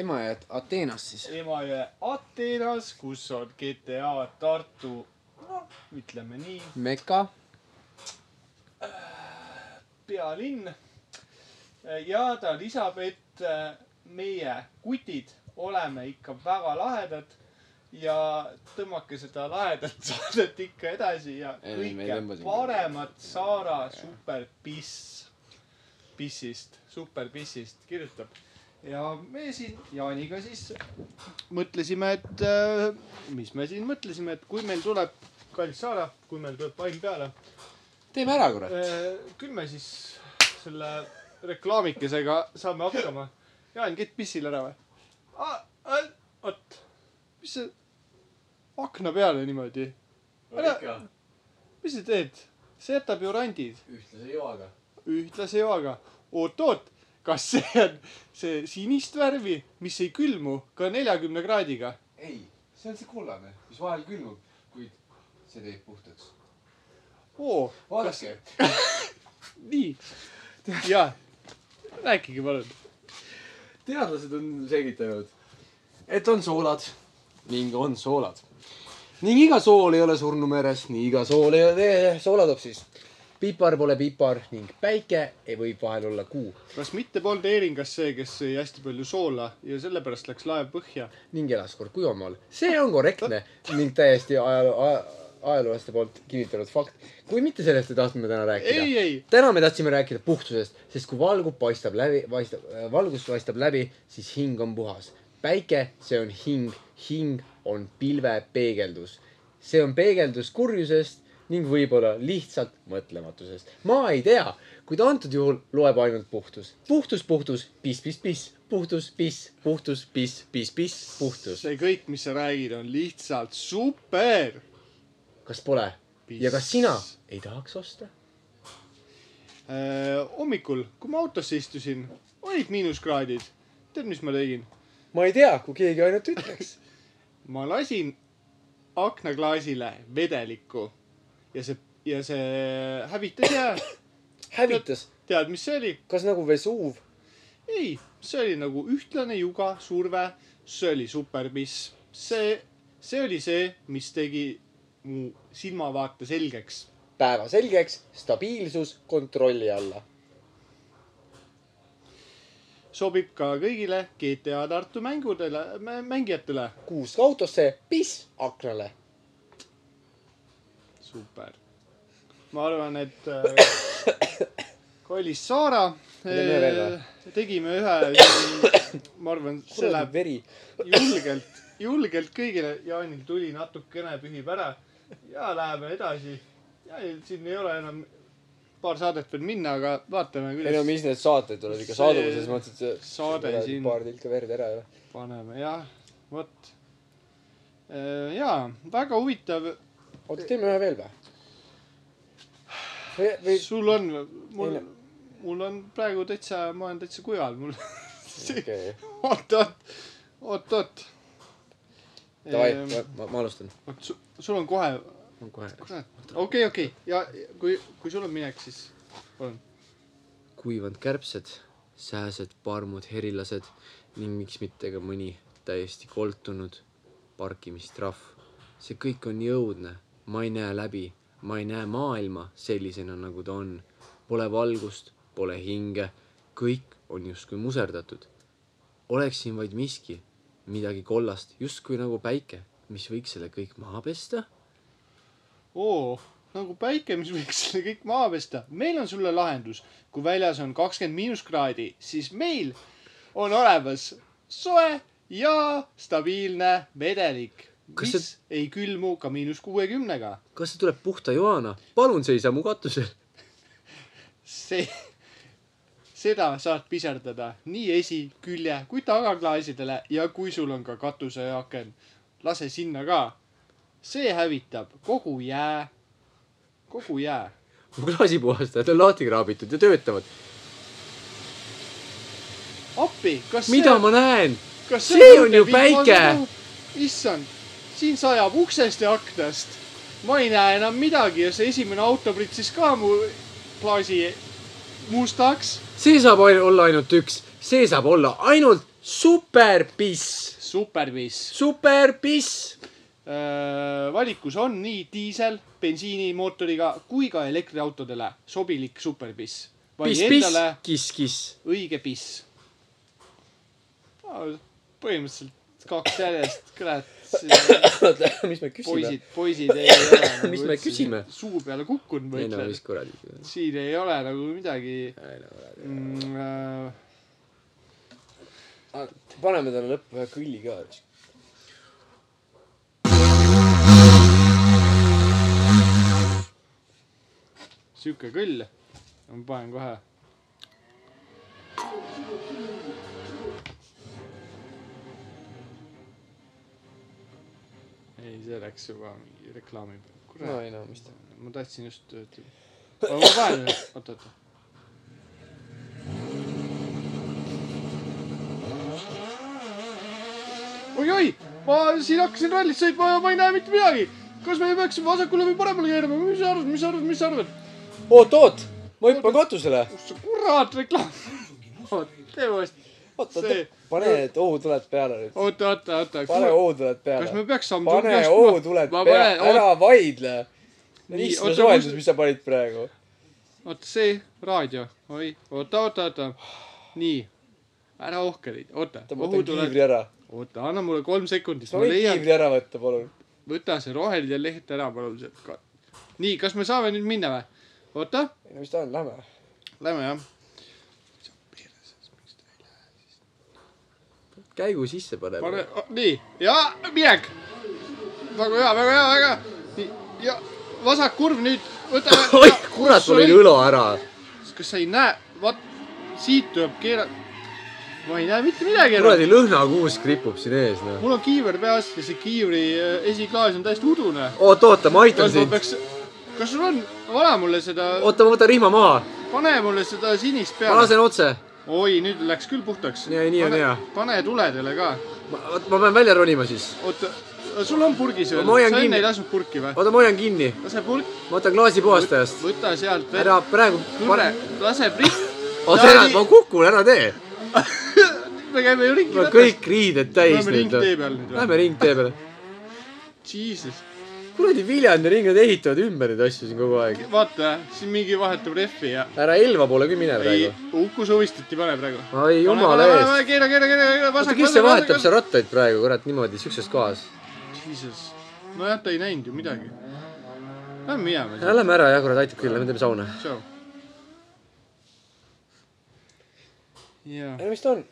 [SPEAKER 2] ema jääb Ateenas siis .
[SPEAKER 3] Emajõe Ateenas , kus on GTA Tartu , noh , ütleme nii ,
[SPEAKER 2] Meka .
[SPEAKER 3] pealinn . ja ta lisab , et äh, meie kutid oleme ikka väga lahedad ja tõmmake seda lahedat *laughs* saadet ikka edasi ja
[SPEAKER 2] Ei, me ei tõmba
[SPEAKER 3] kõike
[SPEAKER 2] sind.
[SPEAKER 3] paremat Saara superpiss , pissist , superpissist kirjutab . ja me siin Jaaniga siis mõtlesime , et äh, mis me siin mõtlesime , et kui meil tuleb , kallis Saara , kui meil tuleb vaim peale
[SPEAKER 2] teeme ära , kurat .
[SPEAKER 3] Eh, küll me siis selle reklaamikesega saame hakkama . Jaan , käid pissil ära või ? oot , mis sa akna peale niimoodi , mis sa teed ? see jätab ju randid
[SPEAKER 2] ühtlase joaga .
[SPEAKER 3] ühtlase joaga . oot-oot , kas see on see sinist värvi , mis ei külmu ka neljakümne kraadiga ?
[SPEAKER 2] ei , see on see kollane , mis vahel külmub , kuid see teeb puhtaks .
[SPEAKER 3] oo ,
[SPEAKER 2] vaadake .
[SPEAKER 3] nii . jaa , rääkige palun .
[SPEAKER 2] teadlased on selgitanud , et on soolad ning on soolad . ning iga sool ei ole surnu meres , nii iga sool ei ole , soola toob siis . pipar pole pipar ning päike ei võib vahel olla kuu
[SPEAKER 3] kas mitte polnud Eeringas see , kes sõi hästi palju soola ja sellepärast läks laev põhja ?
[SPEAKER 2] ning elas kord Kujomaal . see on korrektne ning täiesti ajaloo , ajaloolaste poolt kinnitatud fakt . kui mitte sellest ei tahtnud me täna rääkida .
[SPEAKER 3] ei , ei ,
[SPEAKER 2] täna me tahtsime rääkida puhtusest , sest kui valgub , paistab läbi , paistab , valgus paistab läbi , siis hing on puhas . päike , see on hing , hing on pilve peegeldus . see on peegeldus kurjusest ning võib-olla lihtsalt mõtlematusest . ma ei tea , kuid antud juhul loeb ainult puhtus . puhtus , puhtus , piss , piss , piss , puhtus , piss , puhtus , piss , piss , piss , puhtus .
[SPEAKER 3] see kõik , mis sa räägid , on lihtsalt super .
[SPEAKER 2] kas pole ? ja kas sina ei tahaks osta ?
[SPEAKER 3] Äh, hommikul , kui ma autosse istusin , olid miinuskraadid . tead , mis ma tegin ?
[SPEAKER 2] ma ei tea , kui keegi ainult ütleks .
[SPEAKER 3] ma lasin aknaklaasile vedelikku ja see , ja see hävitas jää .
[SPEAKER 2] hävitas ,
[SPEAKER 3] *coughs* tead , mis see oli ?
[SPEAKER 2] kas nagu Vesuv ?
[SPEAKER 3] ei , see oli nagu ühtlane juga , surve , see oli superbiss , see , see oli see , mis tegi mu silmavaate selgeks .
[SPEAKER 2] päevaselgeks , stabiilsus kontrolli alla .
[SPEAKER 3] sobib ka kõigile GTA Tartu mängudele , mängijatele .
[SPEAKER 2] kuusk autosse , piss aknale .
[SPEAKER 3] super . ma arvan , et äh, kallis Saara
[SPEAKER 2] Teeme veel või?
[SPEAKER 3] äh, tegime ühe , ma arvan , see
[SPEAKER 2] kuradi
[SPEAKER 3] läheb
[SPEAKER 2] veri .
[SPEAKER 3] julgelt , julgelt kõigile . Jaanil tuli natukene , pühib ära ja läheme edasi . Jaanil siin ei ole enam paar saadet veel minna , aga vaatame ,
[SPEAKER 5] ei no
[SPEAKER 3] kuidas
[SPEAKER 5] mis need saated tulevad ikka
[SPEAKER 3] See-
[SPEAKER 5] saaduses , ma mõtlesin , et see
[SPEAKER 3] saade
[SPEAKER 5] kuradi
[SPEAKER 3] siin-
[SPEAKER 5] paar tilka verd ära ju .
[SPEAKER 3] paneme , jah , vot . ja väga huvitav ,
[SPEAKER 5] oota , teeme ühe veel või ? või ,
[SPEAKER 3] *laughs*
[SPEAKER 5] või
[SPEAKER 3] sul on , mul
[SPEAKER 5] ei ,
[SPEAKER 3] mul on praegu täitsa , ma olen täitsa kuival , mul *laughs*
[SPEAKER 5] okei ,
[SPEAKER 3] oot-oot , oot-oot .
[SPEAKER 5] davai ,
[SPEAKER 3] vot
[SPEAKER 5] ma , ma alustan .
[SPEAKER 3] Ehm, su- sul on kohe ,
[SPEAKER 2] kohe .
[SPEAKER 3] kurat , okei , okei ja kui , kui sul on minek , siis palun .
[SPEAKER 2] kuivanud kärbsed , sääsed , parmud , herilased ning miks mitte ka mõni täiesti koltunud parkimistrahv . see kõik on nii õudne , ma ei näe läbi , ma ei näe maailma sellisena , nagu ta on . Pole valgust , pole hinge , kõik on justkui muserdatud . oleks siin vaid miski , midagi kollast , justkui nagu päike , mis võiks selle kõik maha pesta .
[SPEAKER 3] oo , nagu päike , mis võiks selle kõik maha pesta . meil on sulle lahendus , kui väljas on kakskümmend miinuskraadi , siis meil on olemas soe ja stabiilne vedelik ,
[SPEAKER 2] Kas
[SPEAKER 3] mis
[SPEAKER 2] see-
[SPEAKER 3] see... ei külmu ka miinus kuuekümnega .
[SPEAKER 2] kas see tuleb puhta Joana ? palun seisa mu katusel .
[SPEAKER 3] see , *laughs* seda saad piserdada nii esi , külje kui tagaklaasidele ja kui sul on ka katuseaken , lase sinna ka . see hävitab kogu jää , kogu jää .
[SPEAKER 2] mu klaasipuhastajad on lahti kraabitud ja töötavad .
[SPEAKER 3] appi , kas
[SPEAKER 2] mida
[SPEAKER 3] see,
[SPEAKER 2] ma näen ?
[SPEAKER 3] kas
[SPEAKER 2] see on
[SPEAKER 3] õudne
[SPEAKER 2] ju
[SPEAKER 3] vihmane
[SPEAKER 2] päike!
[SPEAKER 3] õhu? issand , siin sajab uksest ja aknast . ma ei näe enam midagi ja see esimene auto pritsis ka mu klaasi mustaks
[SPEAKER 2] see saab ain- olla ainult üks , see saab olla ainult superpiss ,
[SPEAKER 3] superviis
[SPEAKER 2] superpiss .
[SPEAKER 3] Öö, Äh, valikus on nii diisel , bensiinimootoriga kui ka elektriautodele sobilik superpiss . vali
[SPEAKER 2] piss , piss
[SPEAKER 3] endale ,
[SPEAKER 2] kiss , kiss .
[SPEAKER 3] õige piss . põhimõtteliselt kaks järjest ,
[SPEAKER 2] *laughs*
[SPEAKER 3] kurat ,
[SPEAKER 2] oota , mis me
[SPEAKER 3] poisid , poisid ei
[SPEAKER 2] *laughs*
[SPEAKER 3] ole nagu
[SPEAKER 2] Mis me
[SPEAKER 3] üldse
[SPEAKER 2] küsime?
[SPEAKER 3] suu peale kukkunud , ma
[SPEAKER 2] ei no
[SPEAKER 3] ütlen
[SPEAKER 2] mis . kuradi .
[SPEAKER 3] siin ei ole nagu midagi mm, . Äh,
[SPEAKER 5] paneme talle lõppu ühe kõlli ka .
[SPEAKER 3] sihuke küll . ma panen kohe . ei , see läks juba mingi reklaami peale .
[SPEAKER 5] no
[SPEAKER 3] kurat ,
[SPEAKER 5] ei no , mis ta .
[SPEAKER 3] ma tahtsin just . aga ma panen ühe , oota , oota . oi-oi , ma siin hakkasin rallis sõitma ja ma ei näe mitte midagi . kas me peaksime vasakule või paremale keerama , mis sa arvad , mis sa arvad , mis sa arvad ?
[SPEAKER 5] oot , oot , ma hüppan katusele .
[SPEAKER 3] kus see kurat reklaam on , tee uuesti .
[SPEAKER 5] oot , oot ,
[SPEAKER 3] see ,
[SPEAKER 5] pane need ohutuled peale nüüd .
[SPEAKER 3] oota , oota , oota .
[SPEAKER 5] pane ohutuled
[SPEAKER 3] kas
[SPEAKER 5] peale
[SPEAKER 3] me . peaks samm
[SPEAKER 5] pane ohutuled
[SPEAKER 3] ma
[SPEAKER 5] peale ,
[SPEAKER 3] panen-
[SPEAKER 5] ära vaidle .
[SPEAKER 3] Nii,
[SPEAKER 5] lihtne
[SPEAKER 3] oota,
[SPEAKER 5] soojendus ,
[SPEAKER 3] kus-
[SPEAKER 5] mis sa panid praegu .
[SPEAKER 3] oota , see raadio , oi , oota , oota , oota . nii , ära ohkeri , oota .
[SPEAKER 5] oota , ma võtan kiivri ära .
[SPEAKER 3] oota , anna mulle kolm sekundit ,
[SPEAKER 5] kas ma
[SPEAKER 3] ma
[SPEAKER 5] võin
[SPEAKER 3] leian ,
[SPEAKER 5] kiivri ära võtta , palun ?
[SPEAKER 3] võta see roheline leht ära , palun sealt ka . nii , kas me saame nüüd minna või ? oota ,
[SPEAKER 5] ei no mis ta on , lähme .
[SPEAKER 3] lähme jah .
[SPEAKER 2] käigu sisse pane,
[SPEAKER 3] pane , nii ja minek . väga hea , väga hea , väga hea . nii ja vasak kurv nüüd , võta .
[SPEAKER 2] *laughs* oih , kurat , mul oli õlo ära .
[SPEAKER 3] kas sa ei näe , vaat siit tuleb keerata . ma ei näe mitte midagi enam
[SPEAKER 2] kuradi lõhnakuusk ripub siin ees , noh .
[SPEAKER 3] mul on kiiver peas ja see kiivri eh, esiklaas on täiesti udune .
[SPEAKER 2] oot , oota , ma aitan
[SPEAKER 3] kas ma
[SPEAKER 2] sind .
[SPEAKER 3] peaks , kas sul on , pane mulle seda ,
[SPEAKER 2] oota , ma võtan rihma maha .
[SPEAKER 3] pane mulle seda sinist
[SPEAKER 2] ma
[SPEAKER 3] peale .
[SPEAKER 2] lasen otse .
[SPEAKER 3] oi , nüüd läks küll puhtaks .
[SPEAKER 2] Nii- nii on hea. .
[SPEAKER 3] pane tuledele ka .
[SPEAKER 2] oot , ma pean välja ronima siis .
[SPEAKER 3] oota , sul on purgis veel ?
[SPEAKER 2] Ma hoian
[SPEAKER 3] sa
[SPEAKER 2] kinni.
[SPEAKER 3] enne ei lasknud purki või ?
[SPEAKER 2] oota , ma hoian kinni .
[SPEAKER 3] lase purk ,
[SPEAKER 2] ma võtan klaasi puhastajast .
[SPEAKER 3] võta sealt veel .
[SPEAKER 2] ära praegu ,
[SPEAKER 3] kuule
[SPEAKER 2] pane .,
[SPEAKER 3] lase prist- .
[SPEAKER 5] Oh,
[SPEAKER 2] oota , ära , ma kukun , ära tee .
[SPEAKER 3] me käime ju ringi
[SPEAKER 2] mul on . kõik riided täis
[SPEAKER 3] Lähme
[SPEAKER 2] nüüd .
[SPEAKER 3] ringtee peal nüüd või ?
[SPEAKER 2] Lähme ringtee peale .
[SPEAKER 3] Jesus ,
[SPEAKER 2] kuradi Viljandi ringlad ehitavad ümber neid asju siin kogu aeg .
[SPEAKER 3] vaata , siin mingi vahetab rehvi ja .
[SPEAKER 2] ära Elva poole küll mine
[SPEAKER 3] ei
[SPEAKER 2] praegu .,
[SPEAKER 3] Uku Suvistiti pane praegu .
[SPEAKER 2] ai jumala eest .
[SPEAKER 3] keera , keera , keera , keera ,
[SPEAKER 2] oota ,
[SPEAKER 3] vasak .
[SPEAKER 2] kes see vahetab seal rattaid praegu , kurat , niimoodi siukses kohas ?
[SPEAKER 3] Jesus , nojah , ta ei näinud ju midagi . Lähme minema siis ,
[SPEAKER 2] Lähme ära jah , kurat , aitab küll , lähme teeme sauna .
[SPEAKER 3] tšau . jaa .
[SPEAKER 5] ei no mis ta on ?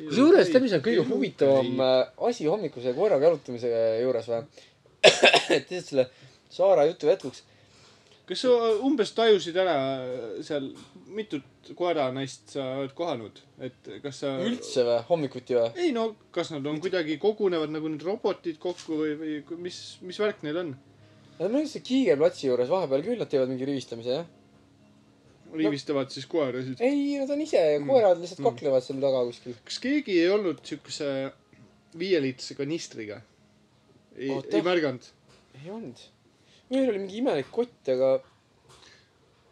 [SPEAKER 2] kusjuures tead , mis on kõige huvitavam ?
[SPEAKER 5] äh, asi hommikuse koeraga jalutamise juures
[SPEAKER 2] *coughs*
[SPEAKER 5] või ? et lihtsalt selle Saara jutu jätkuks .
[SPEAKER 3] kas sa äh, umbes tajusid ära äh, seal , mitut koeranaist sa oled kohanud , et kas sa ?
[SPEAKER 5] üldse või ? hommikuti või ?
[SPEAKER 3] ei no , kas nad on kuidagi kogunevad nagu need robotid kokku või , või ku- mis , mis värk neil on ?
[SPEAKER 5] Nad on lihtsalt Kiige platsi juures vahepeal küll , nad teevad mingi rivistamise jah .
[SPEAKER 3] riivistavad siis koerasid .
[SPEAKER 5] ei , nad on ise , koerad lihtsalt kaklevad seal taga kuskil .
[SPEAKER 3] kas keegi ei olnud siukse viieliitrise kanistriga ? ei ,
[SPEAKER 5] Oota.
[SPEAKER 3] ei märganud ?
[SPEAKER 5] ei olnud . meil oli mingi imelik kott , aga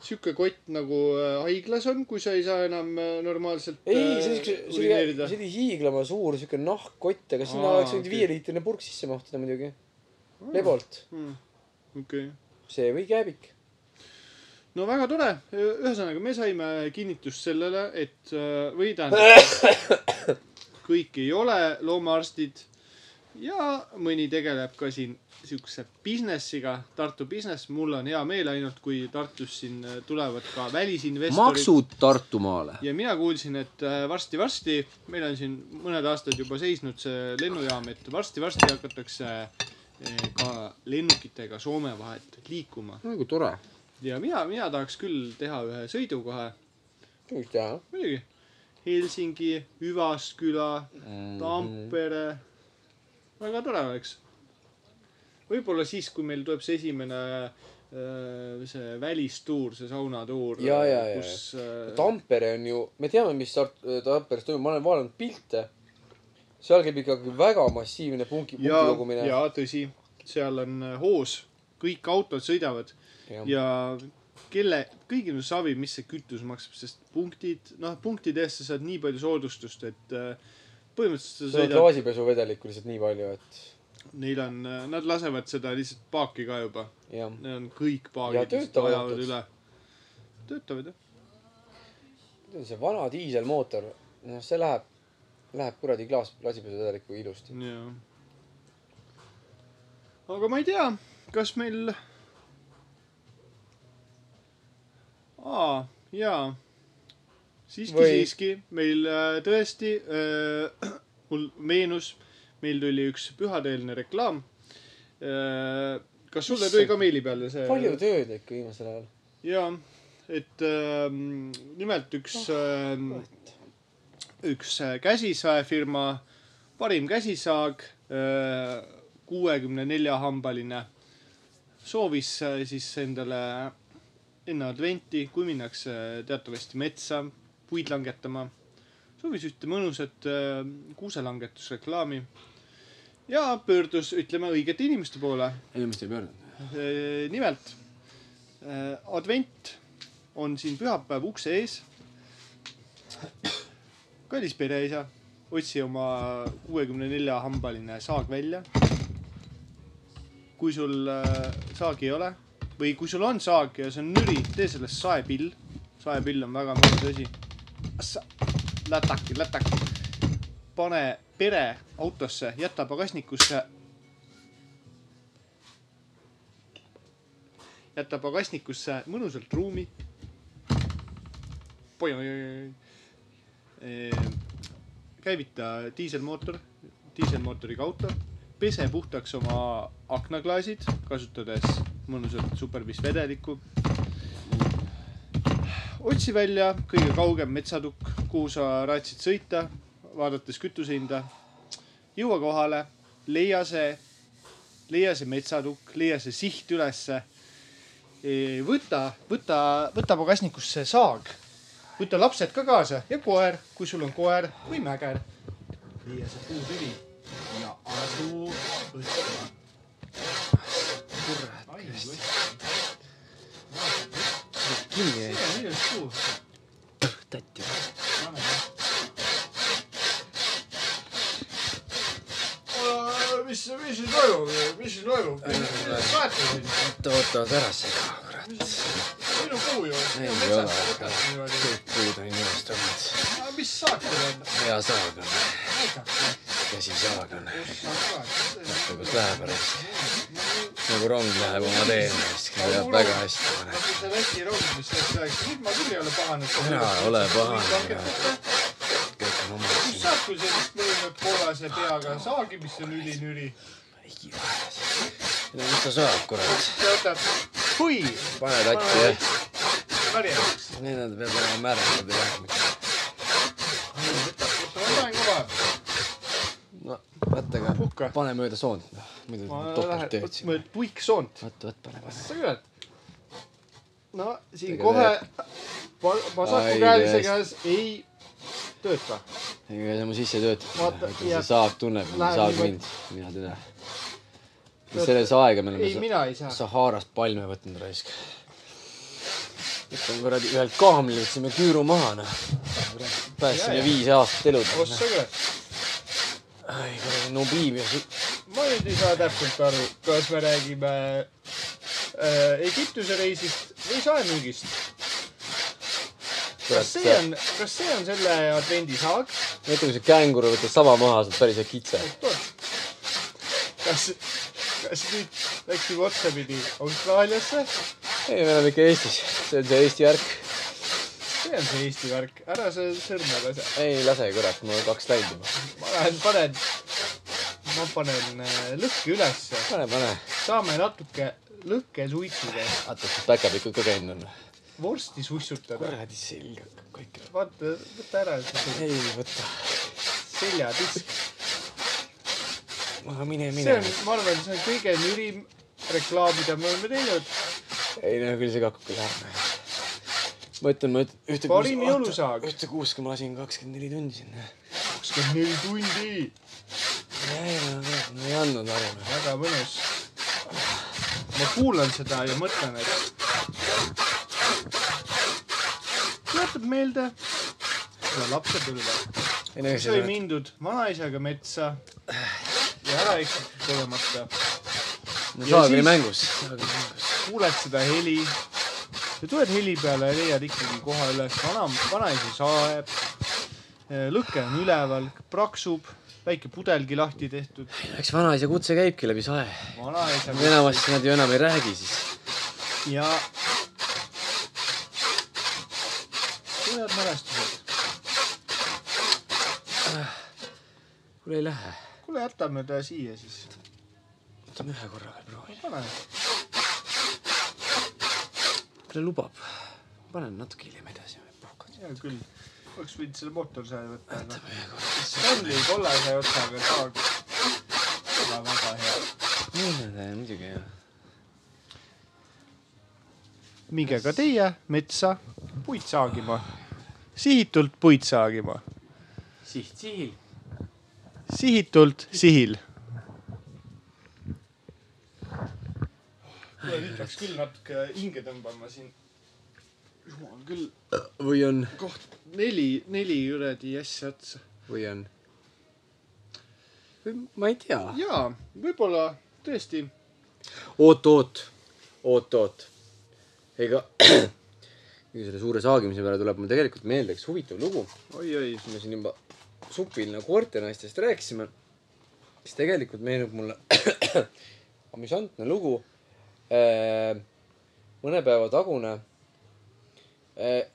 [SPEAKER 3] siuke kott nagu äh, haiglas on , kui sa ei saa enam äh, normaalselt
[SPEAKER 5] ei ,
[SPEAKER 3] äh,
[SPEAKER 5] see oli siukse , see oli ,
[SPEAKER 3] urineerida
[SPEAKER 5] see . oli hiiglama suur siuke nahkkott , aga sinna
[SPEAKER 3] Aa,
[SPEAKER 5] oleks võinud
[SPEAKER 3] okei.
[SPEAKER 5] viieliitrine purk sisse mahtida muidugi . lebolt .
[SPEAKER 3] okei ,
[SPEAKER 5] see või kääbik .
[SPEAKER 3] no väga tore , ühesõnaga me saime kinnitust sellele , et äh, või tähendab , kõik ei ole loomaarstid ja mõni tegeleb ka siin siukse business'iga , Tartu business , mul on hea meel ainult , kui Tartus siin äh, tulevad ka välisinvestorid .
[SPEAKER 2] Tartumaale .
[SPEAKER 3] ja mina kuulsin , et äh, varsti-varsti , meil on siin mõned aastad juba seisnud see lennujaam , et varsti-varsti hakatakse äh, ka lennukitega Soome vahet liikuma
[SPEAKER 2] no kui tore .
[SPEAKER 3] ja mina , mina tahaks küll teha ühe sõidukoha ,
[SPEAKER 5] võiks teha .
[SPEAKER 3] muidugi . Helsingi , Hüvasküla ,
[SPEAKER 5] Äh.
[SPEAKER 3] Tampere . väga tore oleks . võib-olla siis , kui meil tuleb see esimene äh, see välistuur , see saunatuur .
[SPEAKER 5] Ja, ja, ja, ja.
[SPEAKER 3] kus äh,
[SPEAKER 5] Tampere on ju , me teame , mis Tart- , Tamperes toimub , ma olen vaadanud pilte . seal käib ikkagi väga massiivne punki , punki
[SPEAKER 3] ja ,
[SPEAKER 5] kogumine .
[SPEAKER 3] ja tõsi , seal on äh, hoos , kõik autod sõidavad ja, ja kelle , kõigil on savi , mis see kütus maksab , sest punktid , noh , punktide eest sa saad nii palju soodustust , et äh, põhimõtteliselt sa
[SPEAKER 5] seda
[SPEAKER 3] sõidad ,
[SPEAKER 5] klaasipesuvedelikku lihtsalt nii palju , et
[SPEAKER 3] neil on , nad lasevad seda lihtsalt paaki ka juba ,
[SPEAKER 5] jah .
[SPEAKER 3] need on kõik
[SPEAKER 5] Ja
[SPEAKER 3] paagid , mis
[SPEAKER 5] töötavad
[SPEAKER 3] ajavad
[SPEAKER 5] autod.
[SPEAKER 3] üle . töötavad jah ,
[SPEAKER 5] see vana diiselmootor , noh , see läheb , läheb kuradi klaas , klaasipesuvedelikku ilusti .
[SPEAKER 3] ja . aga ma ei tea , kas meil . aa , jaa siiski Või... ,
[SPEAKER 5] Või-
[SPEAKER 3] siiski meil äh, tõesti äh, , *clears throat* mul meenus , meil tuli üks pühadeelne reklaam äh, . kas sulle tuli ka meili peale see ?
[SPEAKER 5] palju tööd ikka viimasel ajal .
[SPEAKER 3] jaa , et äh, nimelt üks äh, , üks äh, käsisaefirma , parim käsisaag , kuuekümne nelja hambaline , soovis äh, siis endale enne adventi , kui minnakse äh, teatavasti metsa puid langetama , soovis ühte mõnusat äh, kuuselangetusreklaami ja pöördus , ütleme , õigete inimeste poole
[SPEAKER 2] inimesed ei pöördunud .
[SPEAKER 3] Eh, nimelt eh, advent on siin pühapäev ukse ees . kallis pereisa , otsi oma kuuekümne nelja hambaline saag välja . kui sul eh, saagi ei ole või kui sul on saag ja see on nüri , tee sellest saepill . saepill on väga mõnus asi . lätaki , lätaki . pane pere autosse , jäta pagasnikusse jäta pagasnikusse mõnusalt ruumi .
[SPEAKER 6] Ehm,
[SPEAKER 3] käivita diiselmootor , diiselmootoriga auto ,
[SPEAKER 6] pese puhtaks oma aknaklaasid , kasutades mõnusat supervis vedelikku . otsi välja kõige kaugem metsatukk , kuhu sa raatsid sõita , vaadates kütusehinda . jõua kohale , leia see , leia see metsatukk , leia see siht ülesse . võta , võta , võta pagasnikusse saag , võta lapsed ka kaasa ja koer , kui sul on koer või mäger .
[SPEAKER 3] leia see puutüli ja asu õtsima . kurat .
[SPEAKER 5] kinni jäi .
[SPEAKER 3] see on ilus puu .
[SPEAKER 5] tätti .
[SPEAKER 3] mis , mis siin toimub , mis siin toimub ? saete siin ,
[SPEAKER 5] oota , oota , ära sega , kurat .
[SPEAKER 3] minu puu ju .
[SPEAKER 5] Ei ole. kõik puud on ilusad olnud .
[SPEAKER 3] mis saate on ?
[SPEAKER 5] hea saag on , käsisaag on . vaata , kus läheb alles . nagu rong läheb oma teele , siis läheb väga hästi .
[SPEAKER 3] see Läti rong , mis läks , läks , nüüd ma küll ei ole pahane .
[SPEAKER 5] ära ole pahane , kõik on oma
[SPEAKER 3] kus saab , kui sellist mõningat kollase peaga saagi , mis on ülinüri .
[SPEAKER 5] ligi vahel . mis ta saab , kurat .
[SPEAKER 3] see võtab hui
[SPEAKER 5] pane tatti , jah .
[SPEAKER 3] märjaks .
[SPEAKER 5] Need nad peavad olema märgad ja
[SPEAKER 3] ma panen kõva .
[SPEAKER 5] no vaata aga
[SPEAKER 6] Puhka.
[SPEAKER 5] pane mööda soont , noh muidu topelt teed siin .
[SPEAKER 6] võtma puiksoont .
[SPEAKER 5] vaata , vaata , pane , pane .
[SPEAKER 6] sa küll . no siin
[SPEAKER 5] Ega
[SPEAKER 6] kohe va-
[SPEAKER 5] Ai,
[SPEAKER 6] vasaku käelise
[SPEAKER 5] tõesti.
[SPEAKER 6] käes ei tööta .
[SPEAKER 5] ega see mu sisse ei
[SPEAKER 6] Vaata,
[SPEAKER 5] tööta . see
[SPEAKER 6] jääb-
[SPEAKER 5] saag tunneb mind ,
[SPEAKER 6] läheb
[SPEAKER 5] saag
[SPEAKER 6] niimoodi-
[SPEAKER 5] mind , mina teda . selles aega me
[SPEAKER 6] ei ,
[SPEAKER 5] oleme
[SPEAKER 6] mina ei saa
[SPEAKER 5] Sa- . Saharast palme võtnud raisk . võtame kuradi ühelt kaamli , võtsime küüru maha , noh . päästsime
[SPEAKER 3] Jajah.
[SPEAKER 5] viis aastat elu .
[SPEAKER 3] ossa ka .
[SPEAKER 5] ai kuradi Nubiibia ,
[SPEAKER 3] ma nüüd ei saa täpselt aru , kas me räägime äh, Egiptuse reisist või saemüügist . kas see
[SPEAKER 5] kurat .
[SPEAKER 3] on , kas see on selle advendi saag ?
[SPEAKER 5] mõtle , kui see känguru võtab saba maha , saad päris hea kitse .
[SPEAKER 3] kas , kas nüüd läksime otsapidi Austraaliasse ?
[SPEAKER 5] ei , me oleme ikka Eestis , see on see Eesti värk
[SPEAKER 3] see on see Eesti värk , ära sa sõrme lase .
[SPEAKER 5] ei lase kurat , mul on kaks läinud juba .
[SPEAKER 3] ma lähen panen , ma panen äh, lõhki ülesse ,
[SPEAKER 5] pane , pane .
[SPEAKER 3] saame natuke lõhke suitsuga
[SPEAKER 5] vaata , kas päkapikud ka käinud on .
[SPEAKER 3] vorsti suitsutada .
[SPEAKER 5] kuradi selg hakkab kõik .
[SPEAKER 3] vaata , võta ära see
[SPEAKER 5] ei võta .
[SPEAKER 3] seljadisk .
[SPEAKER 5] aga mine ,
[SPEAKER 3] see
[SPEAKER 5] mine
[SPEAKER 3] on ., ma arvan , see on kõige nürim reklaam , mida me oleme teinud .
[SPEAKER 5] ei no küll see kakku ei lähe . ma ütlen , ma ütlen , ühte
[SPEAKER 3] Parim jõulusaag.
[SPEAKER 5] ühte kuuske ma lasin kakskümmend neli tundi sinna .
[SPEAKER 3] kakskümmend neli tundi ,
[SPEAKER 5] ei no , ma ei andnud noh. varem .
[SPEAKER 3] väga mõnus . ma kuulan seda ja mõtlen , et tuletab meelde seda lapsepõlve .
[SPEAKER 5] ei no
[SPEAKER 3] sai mindud vanaisaga metsa ja ära eksitud kogemata .
[SPEAKER 5] no saag oli
[SPEAKER 3] siis-
[SPEAKER 5] mängus . saag oli mängus .
[SPEAKER 3] kuuled seda heli ja tuled heli peale ja leiad ikkagi koha üles , vana , vanaisa saeb , lõke on üleval , praksub , väike pudelgi lahti tehtud ,
[SPEAKER 5] eks vanaisa kutse käibki läbi sae .
[SPEAKER 3] vanaisa
[SPEAKER 5] enamasti nad ju enam ei räägi siis .
[SPEAKER 3] ja tulevad mälestused .
[SPEAKER 5] kuule ei lähe .
[SPEAKER 3] kuule , jätame ta siia siis ,
[SPEAKER 5] võtame ühe korra veel proovi .
[SPEAKER 3] pane .
[SPEAKER 5] kuule lubab . panen natuke hiljem edasi . puhkad .
[SPEAKER 3] hea küll , oleks võinud selle mootorsae võtta , aga Stanley kollase otsaga saag . väga-väga hea .
[SPEAKER 5] muidugi jah .
[SPEAKER 3] minge ka teie metsa puid saagima , sihitult puid saagima ,
[SPEAKER 5] siht sihil .
[SPEAKER 3] sihitult sihil .
[SPEAKER 6] nüüd peaks küll natuke hinge tõmbama siin . jumal küll ,
[SPEAKER 5] või on ,
[SPEAKER 6] neli , neli kuradi asja otsa .
[SPEAKER 5] või on ? ma ei tea .
[SPEAKER 6] jaa , võib-olla tõesti .
[SPEAKER 5] oot , oot , oot , oot . ega , *clears throat* ega selle suure saagimise peale tuleb mul tegelikult meelde üks huvitav lugu ,
[SPEAKER 6] oi-oi .
[SPEAKER 5] me siin juba supil nagu koertenaistest rääkisime . siis tegelikult meenub mulle *coughs* amüsantne lugu . mõne päeva tagune .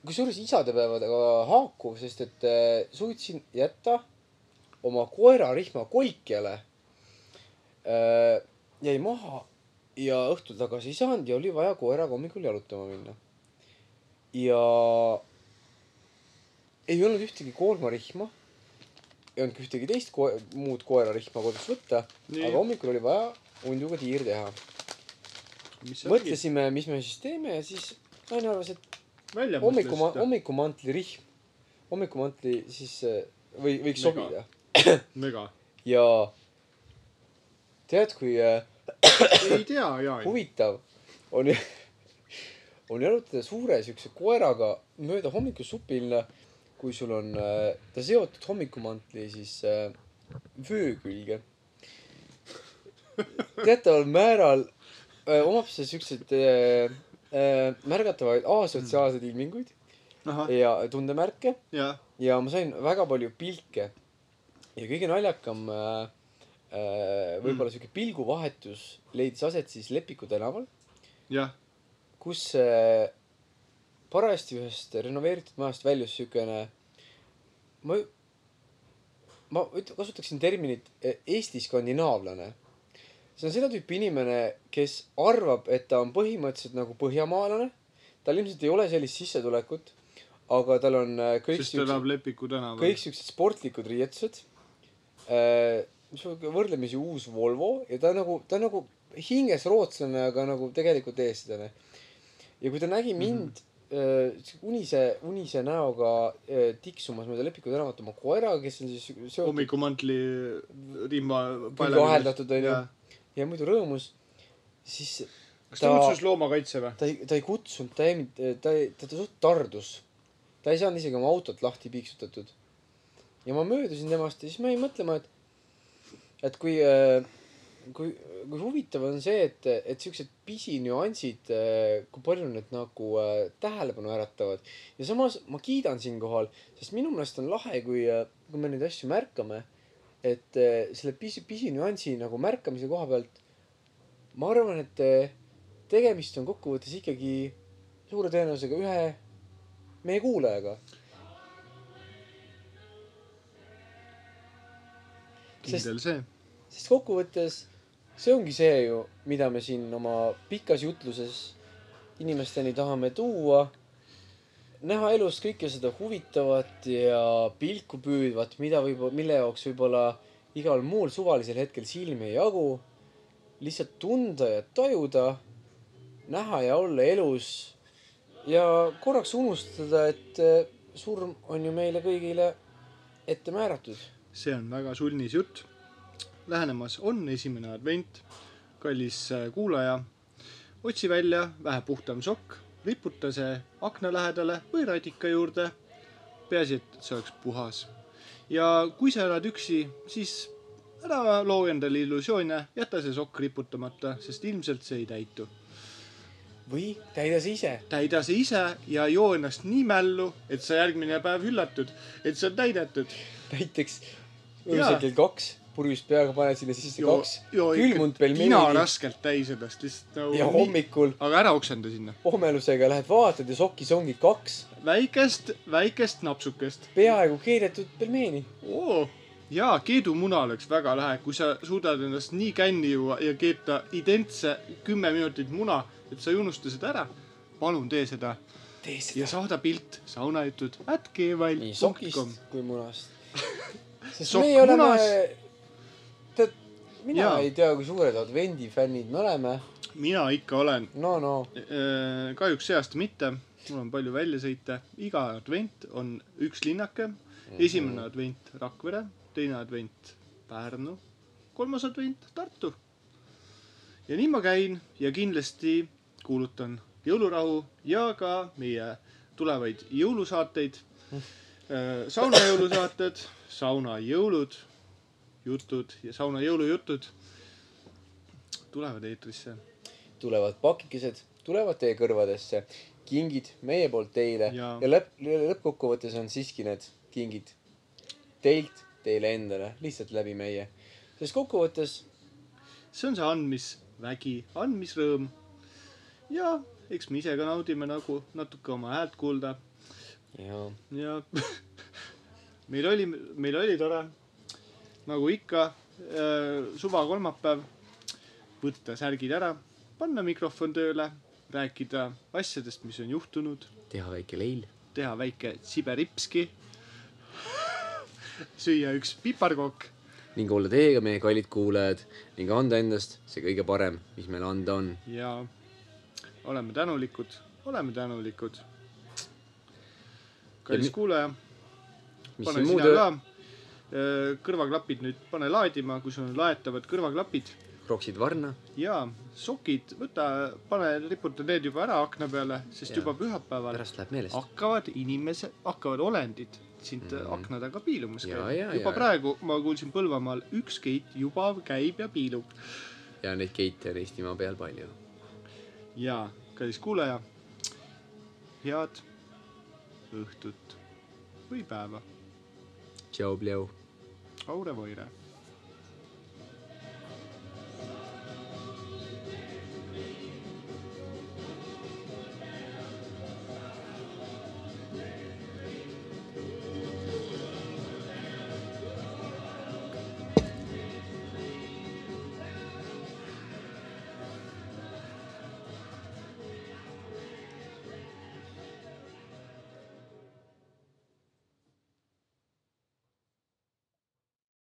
[SPEAKER 5] kusjuures isadepäevadega haakuv , sest et äh, eh, suutsin jätta oma koera rihma kolkjale . äh, jäi maha ja õhtul tagasi ei saanud ja oli vaja koeraga hommikul jalutama minna . ja ei olnud ühtegi koormarihma , ei olnud ka ühtegi teist koe- , muud koerarihma kodus võtta ,
[SPEAKER 3] Nii.
[SPEAKER 5] aga hommikul oli vaja hundiga tiir teha .
[SPEAKER 3] mis sa tegid ?
[SPEAKER 5] mõtlesime , mis me siis teeme ja siis naine arvas , et
[SPEAKER 3] välja
[SPEAKER 5] hommiku ,
[SPEAKER 3] mõtlesite ?
[SPEAKER 5] hommikumantli rihm , hommikumantli siis eh, või võiks
[SPEAKER 3] Mega.
[SPEAKER 5] sobida
[SPEAKER 3] mega .
[SPEAKER 5] ja tead , kui eh,
[SPEAKER 3] ei tea , Jaan .
[SPEAKER 5] huvitav on , *laughs* on jalutada suure siukse koeraga mööda hommikusupilna , kui sul on eh, ta seotud hommikumantli siis eh, vöö külge . teataval määral eh, omab see siukseid eh, eh, märgatavaid asotsiaalseid ilminguid
[SPEAKER 3] ahah ,
[SPEAKER 5] ja tundemärke
[SPEAKER 3] jah ,
[SPEAKER 5] ja ma sain väga palju pilke . ja kõige naljakam äh, äh, võib-olla siuke pilguvahetus leidis aset siis Lepiku tänaval ,
[SPEAKER 3] jah ,
[SPEAKER 5] kus äh, parajasti ühest renoveeritud majast väljus siukene , ma , ma üt- , kasutaksin terminit eh, Eesti-skandinaavlane . see on seda tüüpi inimene , kes arvab , et ta on põhimõtteliselt nagu põhjamaalane . tal ilmselt ei ole sellist sissetulekut , aga tal on äh, kõik
[SPEAKER 3] sest ta elab Lepiku tänaval .
[SPEAKER 5] kõik siuksed sportlikud riietused . sihuke võrdlemisi uus Volvo ja ta nagu , ta on nagu hinges rootslane , aga nagu tegelikult eestlane . ja kui ta nägi mind mm -hmm. unise , unise näoga öö, tiksumas mööda Lepiku tänavat oma koeraga , kes on siis seotud
[SPEAKER 3] hommikumantli rimma .
[SPEAKER 5] küll vaheldatud onju ja muidu rõõmus , siis
[SPEAKER 3] kas ta
[SPEAKER 5] Ta-
[SPEAKER 3] kutsus loomakaitse või ?
[SPEAKER 5] ta ei , ta ei kutsunud , ta ei , ta ei , ta, ta suht tardus . ta ei saanud isegi oma autot lahti piiksutatud . ja ma möödusin temast ja siis ma jäin mõtlema , et , et kui , kui , kui huvitav on see , et , et siuksed pisinüansid , kui palju need nagu äh, tähelepanu äratavad . ja samas ma kiidan siinkohal , sest minu meelest on lahe , kui , kui me neid asju märkame , et äh, selle pisi , pisinüansi nagu märkamise koha pealt ma arvan , et äh, tegemist on kokkuvõttes ikkagi suure tõenäosusega ühe meie kuulajaga . sest ,
[SPEAKER 3] kindel see .
[SPEAKER 5] sest kokkuvõttes see ongi see ju , mida me siin oma pikas jutluses inimesteni tahame tuua . näha elus kõike seda huvitavat ja pilku püüdvat , mida võib , mille jaoks võib-olla igal muul suvalisel hetkel silmi ei jagu . lihtsalt tunda ja tajuda , näha ja olla elus ja korraks unustada , et eh, surm on ju meile kõigile ette määratud .
[SPEAKER 3] see on väga sulnis jutt . lähenemas on esimene advent . kallis äh, kuulaja , otsi välja vähe puhtam sokk , riputa see akna lähedale või radika juurde . peaasi , et see oleks puhas . ja kui sa elad üksi , siis ära loo endale illusioone , jäta see sokk riputamata , sest ilmselt see ei täitu .
[SPEAKER 5] või täida see ise
[SPEAKER 3] täida see ise ja joo ennast nii mällu , et sa järgmine päev üllatud , et see on täidetud .
[SPEAKER 5] näiteks öösel
[SPEAKER 3] Jaa.
[SPEAKER 5] kell kaks , purjus peaga paned sinna sisse
[SPEAKER 3] Joo-
[SPEAKER 5] kaks
[SPEAKER 3] joo ikka
[SPEAKER 5] külmunud pelmeeni
[SPEAKER 3] kina raskelt täis ennast lihtsalt nagu
[SPEAKER 5] ja . hommikul
[SPEAKER 3] aga ära oksenda sinna .
[SPEAKER 5] omelusega lähed vaatad ja sokis ongi kaks
[SPEAKER 3] väikest , väikest napsukest .
[SPEAKER 5] peaaegu keedetud pelmeeni .
[SPEAKER 3] jaa , keedumuna oleks väga lahe , kui sa suudad ennast nii känni juua ja keeta identse kümme minutit muna , et sa ei unusta seda ära . palun tee seda
[SPEAKER 5] tee
[SPEAKER 3] ja
[SPEAKER 5] seda
[SPEAKER 3] saada pilt saunajutud at
[SPEAKER 5] nii
[SPEAKER 3] gmail.com
[SPEAKER 5] sokist . kui
[SPEAKER 3] *laughs*
[SPEAKER 5] munast . sest
[SPEAKER 3] Sokk
[SPEAKER 5] meie oleme
[SPEAKER 3] munas. ,
[SPEAKER 5] tead , mina
[SPEAKER 3] Jaa.
[SPEAKER 5] ei tea , kui suured advendifännid me oleme .
[SPEAKER 3] mina ikka olen ,
[SPEAKER 5] no , no
[SPEAKER 3] Äh, kahjuks see aasta mitte , mul on palju väljasõite . iga advent on üks linnake . esimene advent Rakvere , teine advent Pärnu , kolmas advent Tartu . ja nii ma käin ja kindlasti kuulutan jõulurahu ja ka meie tulevaid jõulusaateid . Äh, sauna jõulusaated , sauna jõulud , jutud ja sauna jõulujutud tulevad eetrisse
[SPEAKER 5] tulevad pakikesed , tulevad teie kõrvadesse , kingid meie poolt teile ja,
[SPEAKER 3] Jaa.
[SPEAKER 5] ja lõpp , lõppkokkuvõttes on siiski need kingid teilt teile endale , lihtsalt läbi meie . sest kokkuvõttes
[SPEAKER 3] see on see andmisvägi , andmisrõõm . ja eks me ise ka naudime nagu natuke oma häält kuulda
[SPEAKER 5] ja
[SPEAKER 3] *laughs* ja meil oli , meil oli tore . nagu ikka , suva kolmapäev , võtta särgid ära , panna mikrofon tööle , rääkida asjadest , mis on juhtunud ,
[SPEAKER 5] teha väike leil .
[SPEAKER 3] teha väike siberipski , *laughs* süüa üks piparkokk
[SPEAKER 5] ning olla teiega meie kallid kuulajad ning anda endast see kõige parem , mis meil anda on .
[SPEAKER 3] ja oleme tänulikud , oleme tänulikud .
[SPEAKER 5] Ja
[SPEAKER 3] kallis
[SPEAKER 5] mi-
[SPEAKER 3] kuulaja ,
[SPEAKER 5] mis
[SPEAKER 3] pane
[SPEAKER 5] siin
[SPEAKER 3] sina
[SPEAKER 5] muud
[SPEAKER 3] ka äh,
[SPEAKER 5] öelda ,
[SPEAKER 3] kõrvaklapid nüüd pane laadima , kui sul on laetavad kõrvaklapid
[SPEAKER 5] roksid varna .
[SPEAKER 3] ja sokid , võta , pane , riputa need juba ära akna peale , sest
[SPEAKER 5] Jaa.
[SPEAKER 3] ja. juba pühapäeval
[SPEAKER 5] pärast läheb meelest .
[SPEAKER 3] hakkavad inimesed , hakkavad olendid siit mm.
[SPEAKER 5] Mhm.
[SPEAKER 3] akna taga piilumas
[SPEAKER 5] Jaa, jaa,
[SPEAKER 3] käima . juba
[SPEAKER 5] jaa.
[SPEAKER 3] ja. praegu ma kuulsin Põlvamaal , üks geit juba käib ja piilub . Ah.
[SPEAKER 5] ja neid geite on Eestimaa peal palju .
[SPEAKER 3] ja kallis kuulaja , head õhtut või päeva .
[SPEAKER 5] tšau , Pleu .
[SPEAKER 3] Aure Voire .